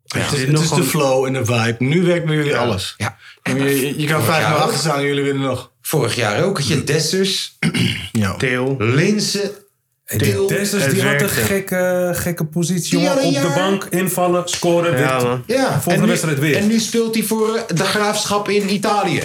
[SPEAKER 4] Het is,
[SPEAKER 3] dit
[SPEAKER 4] het
[SPEAKER 3] nog
[SPEAKER 4] is de
[SPEAKER 3] gewoon-
[SPEAKER 4] flow en de vibe. Nu werkt bij jullie alles.
[SPEAKER 2] Ja.
[SPEAKER 4] Je, je- je kan vijf
[SPEAKER 2] Ja,
[SPEAKER 4] jaar
[SPEAKER 2] hoor.
[SPEAKER 4] achter staan en jullie winnen nog.
[SPEAKER 2] Vorig jaar ook had je Dessers,
[SPEAKER 4] Ja.
[SPEAKER 3] Theo.
[SPEAKER 2] Linsen, Til.
[SPEAKER 5] Dessers
[SPEAKER 3] Het
[SPEAKER 5] die had een
[SPEAKER 3] werkte.
[SPEAKER 5] gekke, gekke positie,
[SPEAKER 2] Die
[SPEAKER 5] jongen.
[SPEAKER 2] had
[SPEAKER 5] Op
[SPEAKER 2] een
[SPEAKER 5] de
[SPEAKER 2] jaar-
[SPEAKER 5] bank, invallen, scoren,
[SPEAKER 3] Ja,
[SPEAKER 5] weer-
[SPEAKER 3] man.
[SPEAKER 2] Ja,
[SPEAKER 5] Volgende
[SPEAKER 2] en nu-
[SPEAKER 5] wedstrijd weer.
[SPEAKER 2] En nu speelt hij voor eh, de graafschap in Italië.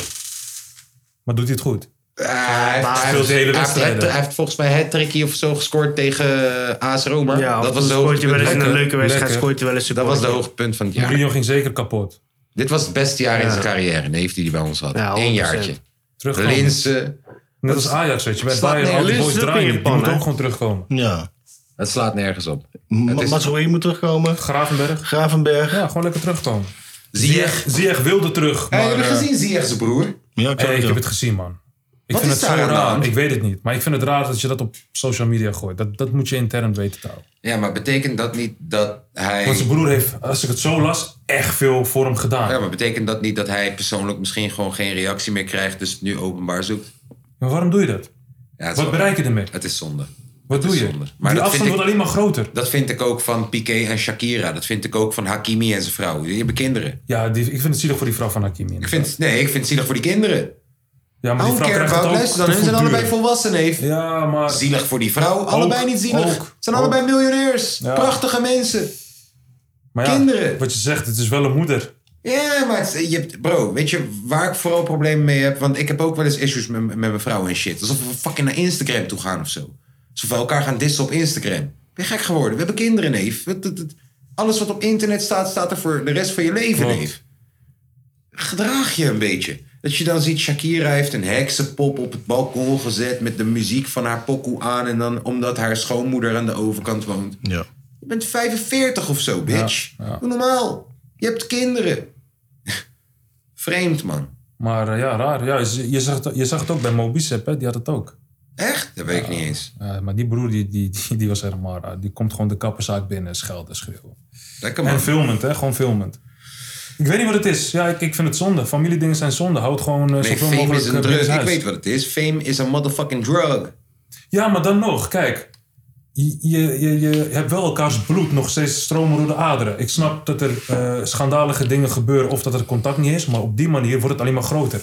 [SPEAKER 5] Maar doet hij het goed?
[SPEAKER 2] Eh, hij heeft- hij
[SPEAKER 5] speelt
[SPEAKER 2] heeft-
[SPEAKER 5] de
[SPEAKER 2] hij
[SPEAKER 5] hele
[SPEAKER 2] heeft-
[SPEAKER 5] wedstrijden.
[SPEAKER 2] Hij heeft volgens mij het trickje of zo gescoord tegen eh, AS Roma.
[SPEAKER 3] Ja,
[SPEAKER 2] dat was, de
[SPEAKER 3] scoort je wel eens in
[SPEAKER 2] hoogtepunt.
[SPEAKER 3] een leuke wedstrijd,
[SPEAKER 5] lekker.
[SPEAKER 3] scoort je wel eens een
[SPEAKER 2] dat was de
[SPEAKER 3] goal.
[SPEAKER 2] hoogtepunt van het jaar.
[SPEAKER 5] Mourinho ging zeker kapot.
[SPEAKER 2] Dit was het beste jaar in zijn carrière. Nee, heeft hij die bij ons had.
[SPEAKER 3] Ja,
[SPEAKER 2] Eén
[SPEAKER 3] 100%.
[SPEAKER 2] jaartje.
[SPEAKER 5] Terugkomen.
[SPEAKER 2] Linsen.
[SPEAKER 5] Net als Ajax, weet je. Bij
[SPEAKER 2] Staat
[SPEAKER 5] Bayern,
[SPEAKER 2] nee,
[SPEAKER 5] al die
[SPEAKER 2] Linz
[SPEAKER 5] boys
[SPEAKER 3] is ook
[SPEAKER 5] draaien.
[SPEAKER 3] in
[SPEAKER 5] Die
[SPEAKER 3] Japan,
[SPEAKER 5] moet ook
[SPEAKER 3] hè?
[SPEAKER 5] gewoon terugkomen.
[SPEAKER 4] ja.
[SPEAKER 2] Het slaat nergens op. Het is-
[SPEAKER 4] Matsuri moet terugkomen.
[SPEAKER 5] Gravenberg.
[SPEAKER 4] Gravenberg.
[SPEAKER 5] Ja, gewoon lekker terugkomen.
[SPEAKER 2] Ziyech.
[SPEAKER 5] Ziyech wilde terug, maar...
[SPEAKER 2] Hey, Heb je
[SPEAKER 5] eh,
[SPEAKER 2] gezien Ziyech zijn broer?
[SPEAKER 4] Ja, ik
[SPEAKER 5] hey, ik
[SPEAKER 4] ook.
[SPEAKER 5] heb het gezien, man. Ik
[SPEAKER 2] Wat
[SPEAKER 5] vind
[SPEAKER 2] is
[SPEAKER 5] het
[SPEAKER 2] daar
[SPEAKER 5] zo
[SPEAKER 2] aan de hand?
[SPEAKER 5] raar. Ik weet het niet. Maar ik vind het raar dat je dat op social media gooit. Dat, dat moet je intern weten te houden.
[SPEAKER 2] Ja, maar betekent dat niet dat hij...
[SPEAKER 5] Want zijn broer heeft, als ik het zo las, echt veel voor hem gedaan.
[SPEAKER 2] Ja, maar betekent dat niet dat hij persoonlijk misschien gewoon geen reactie meer krijgt, dus het nu openbaar zoekt?
[SPEAKER 5] Maar waarom doe je dat?
[SPEAKER 2] Ja, het is
[SPEAKER 5] Wat bereik je ermee?
[SPEAKER 2] Het is zonde.
[SPEAKER 5] Wat doe
[SPEAKER 2] is
[SPEAKER 5] je?
[SPEAKER 2] zonde. Maar
[SPEAKER 5] die
[SPEAKER 2] dat vind
[SPEAKER 5] afstand
[SPEAKER 2] ik-
[SPEAKER 5] wordt alleen maar groter.
[SPEAKER 2] Dat vind ik ook van Piqué en Shakira. Dat vind ik ook van Hakimi en zijn vrouw. Die hebben kinderen.
[SPEAKER 5] Ja, die, ik vind het zielig voor die vrouw van Hakimi.
[SPEAKER 2] Ik vind, nee, ik vind het zielig voor die kinderen.
[SPEAKER 5] ja, maar
[SPEAKER 2] Hou
[SPEAKER 5] die
[SPEAKER 2] een
[SPEAKER 5] vrouw
[SPEAKER 2] keer
[SPEAKER 5] krijgt
[SPEAKER 2] about.
[SPEAKER 5] het ook
[SPEAKER 2] Luister dan, hun
[SPEAKER 5] te
[SPEAKER 2] zijn allebei
[SPEAKER 5] verduren.
[SPEAKER 2] volwassen, neef.
[SPEAKER 5] Ja, maar...
[SPEAKER 2] Zielig voor die vrouw. allebei niet zielig.
[SPEAKER 5] ook,
[SPEAKER 2] Het zijn allebei miljonairs.
[SPEAKER 5] Ja.
[SPEAKER 2] Prachtige mensen.
[SPEAKER 5] maar ja,
[SPEAKER 2] kinderen.
[SPEAKER 5] Wat je zegt, het is wel een moeder.
[SPEAKER 2] Ja, maar het- je hebt, bro, weet je waar ik vooral problemen mee heb? Want ik heb ook wel eens issues met, met mijn vrouw en shit. Alsof we fucking naar Instagram toe gaan of zo. Alsof we elkaar gaan dissen op Instagram. Ben je gek geworden? We hebben kinderen, neef. Wat- dat- dat- Alles wat op internet staat, staat er voor de rest van je leven,
[SPEAKER 5] Klopt.
[SPEAKER 2] neef. Gedraag je een beetje. Dat je dan ziet, Shakira heeft een heksenpop op het balkon gezet... met de muziek van haar pokoe aan... en dan omdat haar schoonmoeder aan de overkant woont.
[SPEAKER 4] Ja.
[SPEAKER 2] Je bent 45 of zo, bitch. Doe normaal. Je hebt kinderen. Vreemd, man.
[SPEAKER 5] Maar eh, ja, raar. Ja, je, je, zag, het- je zag het ook bij Mo Bicep, hè? die had het ook.
[SPEAKER 2] Echt? Dat weet ik niet eens.
[SPEAKER 5] Ja, maar die broer, die, die, die, die was helemaal raar. Die komt gewoon de kapperzaak binnen, schelden, schreeuwen.
[SPEAKER 2] Lekker,
[SPEAKER 5] En
[SPEAKER 2] man.
[SPEAKER 5] filmend, hè? Gewoon filmend. Ik weet niet wat het is. Ja, ik, ik vind het zonde. Familiedingen zijn zonde. Houd gewoon eh,
[SPEAKER 2] Nee,
[SPEAKER 5] zoveel
[SPEAKER 2] fame
[SPEAKER 5] mogelijk
[SPEAKER 2] is
[SPEAKER 5] eh,
[SPEAKER 2] een
[SPEAKER 5] binnen
[SPEAKER 2] drug.
[SPEAKER 5] het
[SPEAKER 2] Ik
[SPEAKER 5] huis.
[SPEAKER 2] weet wat het is. Fame is een motherfucking drug.
[SPEAKER 5] Ja, maar dan nog, kijk. Je, je, je, je hebt wel elkaars bloed nog steeds stromen door de aderen. Ik snap dat er eh, schandalige dingen gebeuren of dat er contact niet is, maar op die manier wordt het alleen maar groter.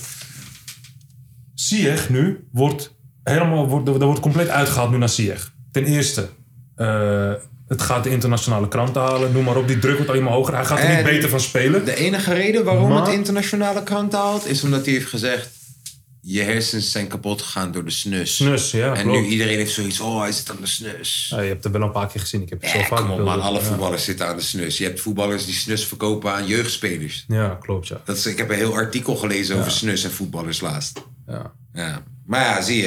[SPEAKER 5] Sieg nu wordt helemaal wordt, er wordt compleet uitgehaald nu naar Sieg. Ten eerste, eh, het gaat de internationale kranten halen, noem maar op. Die druk wordt alleen maar hoger. Hij gaat er
[SPEAKER 2] Eh,
[SPEAKER 5] niet
[SPEAKER 2] die-
[SPEAKER 5] beter van spelen.
[SPEAKER 2] De enige reden waarom
[SPEAKER 5] Maar-
[SPEAKER 2] het internationale krant haalt... is omdat hij heeft gezegd... je hersens zijn kapot gegaan door de snus.
[SPEAKER 5] Snus, ja.
[SPEAKER 2] En
[SPEAKER 5] klopt.
[SPEAKER 2] nu iedereen heeft zoiets... oh, hij zit aan de snus.
[SPEAKER 5] Ja, je hebt het wel een paar keer gezien. Ik heb het zo
[SPEAKER 2] Eh,
[SPEAKER 5] vaak
[SPEAKER 2] kom op,
[SPEAKER 5] beelden.
[SPEAKER 2] man. Alle
[SPEAKER 5] Ja.
[SPEAKER 2] voetballers zitten aan de snus. Je hebt voetballers die snus verkopen aan jeugdspelers.
[SPEAKER 5] Ja, klopt, ja.
[SPEAKER 2] Dat is, ik heb een heel artikel gelezen over snus en voetballers laatst.
[SPEAKER 5] ja.
[SPEAKER 2] Ja. Maar ja, zie je.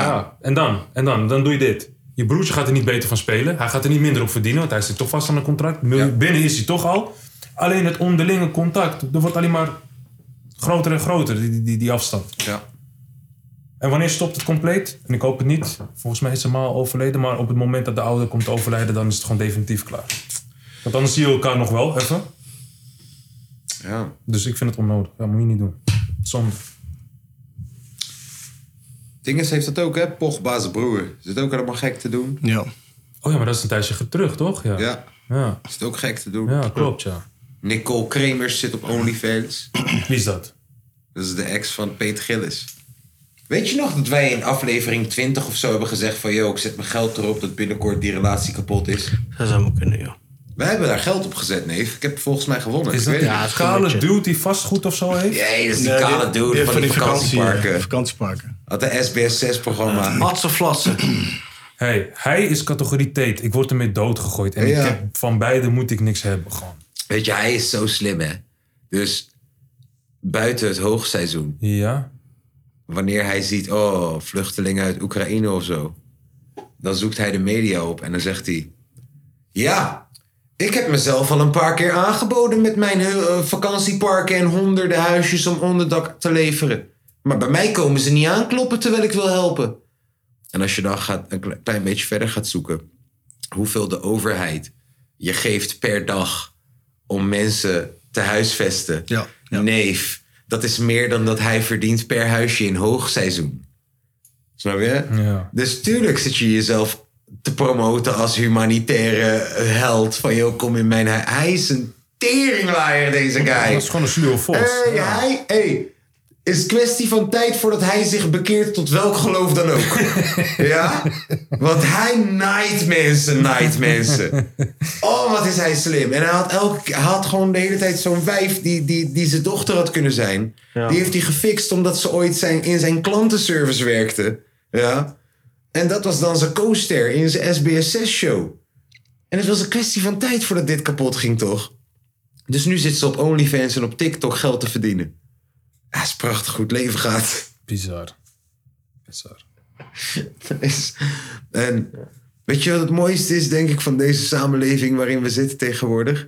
[SPEAKER 9] Ah.
[SPEAKER 5] Ah. Ja. en dan, en dan, dan doe je dit. Je broertje gaat er niet beter van spelen. Hij gaat er niet minder op verdienen, want hij zit toch vast aan een contract. Mil- Binnen is hij toch al. Alleen het onderlinge contact, er wordt alleen maar groter en groter, die, die, die afstand.
[SPEAKER 2] Ja.
[SPEAKER 5] En wanneer stopt het compleet? En ik hoop het niet. Volgens mij is ze maar overleden, maar op het moment dat de ouder komt te overlijden, dan is het gewoon definitief klaar. Want anders zie je elkaar nog wel even.
[SPEAKER 2] Ja.
[SPEAKER 5] Dus ik vind het onnodig. Ja, moet je niet doen. Zonde.
[SPEAKER 2] Dinges heeft dat ook, hè? Pogba's broer. Zit ook helemaal gek te doen.
[SPEAKER 4] Ja.
[SPEAKER 5] Oh ja, maar dat is een tijdje ge- terug, toch? Ja.
[SPEAKER 2] Ja,
[SPEAKER 5] Ja,
[SPEAKER 2] zit ook gek te doen.
[SPEAKER 5] ja klopt, ja.
[SPEAKER 2] Nicole Kremers zit op OnlyFans.
[SPEAKER 5] Wie is dat?
[SPEAKER 2] Dat is Dus de ex van Peter Gillis. Weet je nog dat wij in aflevering 20 of zo hebben gezegd van... ...joh, ik zet mijn geld erop dat binnenkort die relatie kapot is?
[SPEAKER 3] Dat zou maar kunnen, joh.
[SPEAKER 2] Wij hebben daar geld op gezet, neef. Ik heb volgens mij gewonnen.
[SPEAKER 5] Is
[SPEAKER 2] Ik
[SPEAKER 5] dat
[SPEAKER 2] weet
[SPEAKER 5] die
[SPEAKER 2] het
[SPEAKER 3] het is een
[SPEAKER 5] kale
[SPEAKER 3] beetje-
[SPEAKER 5] dude die vastgoed of zo heeft?
[SPEAKER 2] niet. Nee, dat is die kale dude van, die vakantieparken. Had de SBS6-programma.
[SPEAKER 3] Matse flassen.
[SPEAKER 5] Hey, hij is categorie Tate. Ik word ermee doodgegooid. En
[SPEAKER 2] Ja.
[SPEAKER 5] ik heb, van beide moet ik niks hebben, gewoon.
[SPEAKER 2] Weet je, hij is zo slim, hè? Dus buiten het hoogseizoen,
[SPEAKER 5] Ja?
[SPEAKER 2] wanneer hij ziet, oh, vluchtelingen uit Oekraïne of zo, dan zoekt hij de media op en dan zegt hij: Ja, ik heb mezelf al een paar keer aangeboden met mijn eh, vakantieparken en honderden huisjes om onderdak te leveren. Maar bij mij komen ze niet aankloppen terwijl ik wil helpen. En als je dan gaat, een kle- klein beetje verder gaat zoeken, hoeveel de overheid je geeft per dag om mensen te huisvesten.
[SPEAKER 4] Ja, ja.
[SPEAKER 2] Neef, dat is meer dan dat hij verdient per huisje in hoogseizoen. Snap je?
[SPEAKER 5] Ja.
[SPEAKER 2] Dus tuurlijk zit je jezelf te promoten als humanitaire held. Van joh, kom in mijn huis. Hij is een teringlaaier, deze guy.
[SPEAKER 5] Dat is gewoon een sluwe vos.
[SPEAKER 2] Hey,
[SPEAKER 5] Ja.
[SPEAKER 2] hij, hey. Is kwestie van tijd voordat hij zich bekeert tot welk geloof dan ook. ja? Want hij naait mensen, naait mensen. Oh, wat is hij slim. En hij had, elke, hij had gewoon de hele tijd zo'n wijf die, die, die zijn dochter had kunnen zijn. Die heeft hij gefixt omdat ze ooit zijn, in zijn klantenservice werkte. Ja? En dat was dan zijn co-ster in zijn SBS6-show. En het was een kwestie van tijd voordat dit kapot ging, toch? Dus nu zit ze op OnlyFans en op TikTok geld te verdienen. Ja, is prachtig goed leven gaat.
[SPEAKER 5] Bizar. Bizar.
[SPEAKER 2] Is- en weet je wat het mooiste is, denk ik, van deze samenleving waarin we zitten tegenwoordig?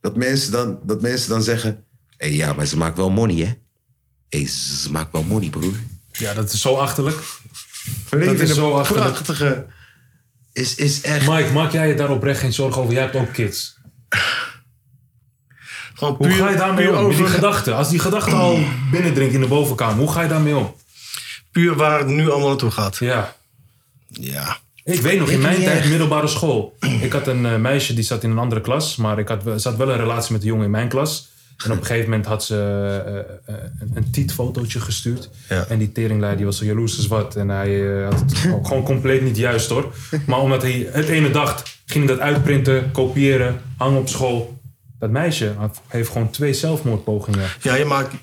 [SPEAKER 2] Dat mensen dan, dat mensen dan zeggen: Hé, ja, maar ze maakt wel money, hè? Hé, ze maakt wel money, broer.
[SPEAKER 5] Ja, dat is zo achterlijk.
[SPEAKER 2] We leven
[SPEAKER 5] is
[SPEAKER 2] in
[SPEAKER 5] zo
[SPEAKER 2] een
[SPEAKER 5] achterlijk.
[SPEAKER 2] prachtige. Is, is echt.
[SPEAKER 5] Mike, maak jij je daar oprecht geen zorgen over? Jij hebt ook kids.
[SPEAKER 4] Gewoon
[SPEAKER 5] Hoe ga je daarmee
[SPEAKER 4] puur
[SPEAKER 5] om? Met die
[SPEAKER 4] over-
[SPEAKER 5] gedachte. Als die gedachte al binnendringt in de bovenkamer, hoe ga je daarmee om?
[SPEAKER 4] puur waar het nu allemaal naartoe gaat.
[SPEAKER 5] Ja.
[SPEAKER 4] Ja.
[SPEAKER 5] Ik weet nog, in mijn
[SPEAKER 2] niet
[SPEAKER 5] tijd
[SPEAKER 2] echt.
[SPEAKER 5] middelbare school. Ik had een eh, meisje die zat in een andere klas. Maar ik had, wel- zat wel een relatie met een jongen in mijn klas. En op een gegeven moment had ze eh, eh, een, een tietfotootje gestuurd.
[SPEAKER 4] Ja.
[SPEAKER 5] En die teringleider die was zo jaloers als wat. En hij eh, had het gewoon- gewoon compleet niet juist hoor. Maar omdat hij het ene dacht, ging hij dat uitprinten, kopiëren, hangen op school. Dat meisje had- heeft gewoon twee zelfmoordpogingen.
[SPEAKER 4] ja, je maakt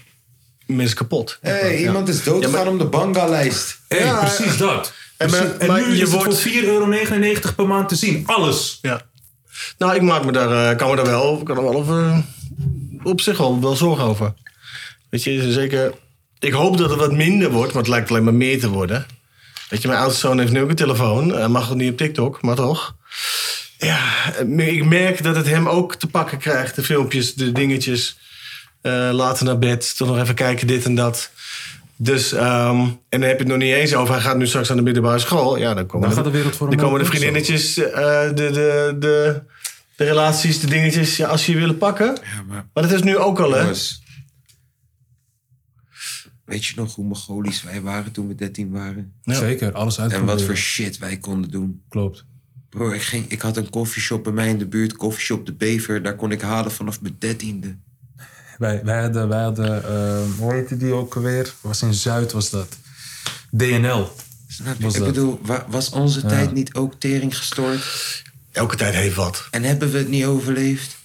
[SPEAKER 4] mensen kapot.
[SPEAKER 2] Hé, iemand is doodgegaan om de banga-lijst.
[SPEAKER 5] Hé, precies dat.
[SPEAKER 4] eh, En maar-
[SPEAKER 5] Precies- en
[SPEAKER 4] maar
[SPEAKER 5] nu
[SPEAKER 4] je
[SPEAKER 5] is het
[SPEAKER 4] wordt-
[SPEAKER 5] voor 4,99 euro per maand te zien. Alles.
[SPEAKER 4] Ja. Nou, ik maak me daar, eh, kan me daar wel, kan er wel over, op zich wel, wel zorgen over. Weet je, zeker. Ik hoop dat het wat minder wordt, maar het lijkt alleen maar meer te worden. Weet je, mijn oudste zoon heeft nu ook een telefoon. Hij mag wel niet op TikTok, maar toch. Ja, ik merk dat het hem ook te pakken krijgt. De filmpjes, de dingetjes. Eh, later naar bed, toch nog even kijken, dit en dat. Dus, ehm, en dan heb je het nog niet eens over. Hij gaat nu straks aan de middelbare school. Ja, dan komen
[SPEAKER 5] Dan gaat
[SPEAKER 4] de-
[SPEAKER 5] de wereld voor hem
[SPEAKER 4] dan komen de
[SPEAKER 5] open, zo.
[SPEAKER 4] vriendinnetjes, eh, de, de, de, de relaties, de dingetjes. Ja, als je je willen pakken. maar... dat is nu ook al, hè?
[SPEAKER 2] Jongens. Weet je nog hoe Mongolisch wij waren toen we 13 waren?
[SPEAKER 4] Ja.
[SPEAKER 5] Zeker, alles
[SPEAKER 2] En
[SPEAKER 5] uitproberen.
[SPEAKER 2] wat voor shit wij konden doen.
[SPEAKER 5] Klopt.
[SPEAKER 2] Bro, ik, ging, ik had een koffieshop bij mij in de buurt, koffieshop De Bever. Daar kon ik halen vanaf mijn dertiende.
[SPEAKER 5] Wij, wij hadden, wij hadden ehm, hoe heette die ook alweer? Was in Zuid was dat. DNL.
[SPEAKER 2] Snap je?
[SPEAKER 5] Was
[SPEAKER 2] Ik
[SPEAKER 5] dat?
[SPEAKER 2] bedoel, wa- was onze tijd niet ook tering gestoord?
[SPEAKER 4] Elke tijd heeft wat.
[SPEAKER 2] En hebben we het niet overleefd?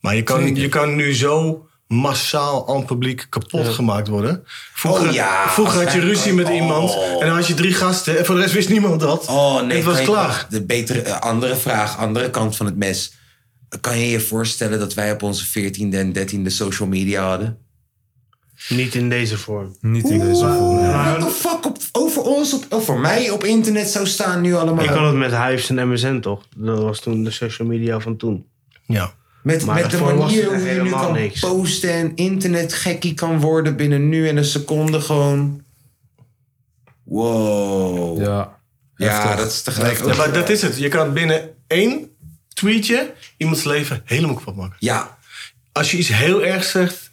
[SPEAKER 4] Maar je kan, je kan nu zo massaal aan het publiek kapot gemaakt worden. Vroeger,
[SPEAKER 2] Oh ja.
[SPEAKER 4] vroeger had je ruzie met iemand en dan had je drie gasten en voor de rest wist niemand dat.
[SPEAKER 2] Oh nee,
[SPEAKER 4] het was
[SPEAKER 2] kan je-
[SPEAKER 4] klaar.
[SPEAKER 2] De betere, eh, andere vraag, andere kant van het mes. Kan je je voorstellen dat wij op onze veertiende en dertiende social media hadden?
[SPEAKER 3] Niet in deze vorm.
[SPEAKER 5] Niet in deze vorm.
[SPEAKER 2] What the fuck op, over ons, op, over mij op internet zou staan nu allemaal.
[SPEAKER 3] Ik had het met Hives en MSN toch? Dat was toen de social media van toen.
[SPEAKER 4] Ja.
[SPEAKER 2] Met,
[SPEAKER 3] Maar
[SPEAKER 2] met de
[SPEAKER 3] daarvoor was
[SPEAKER 2] manier
[SPEAKER 3] het
[SPEAKER 2] hoe
[SPEAKER 3] echt
[SPEAKER 2] je nu
[SPEAKER 3] helemaal
[SPEAKER 2] kan
[SPEAKER 3] niks.
[SPEAKER 2] posten en internetgekkie kan worden binnen nu en een seconde gewoon. Wow. Ja,
[SPEAKER 5] Ja.
[SPEAKER 2] dat is tegelijk ook...
[SPEAKER 4] Ja, maar dat is het. Je kan binnen één tweetje iemands leven helemaal kapot maken.
[SPEAKER 2] Ja,
[SPEAKER 4] Als je iets heel erg zegt,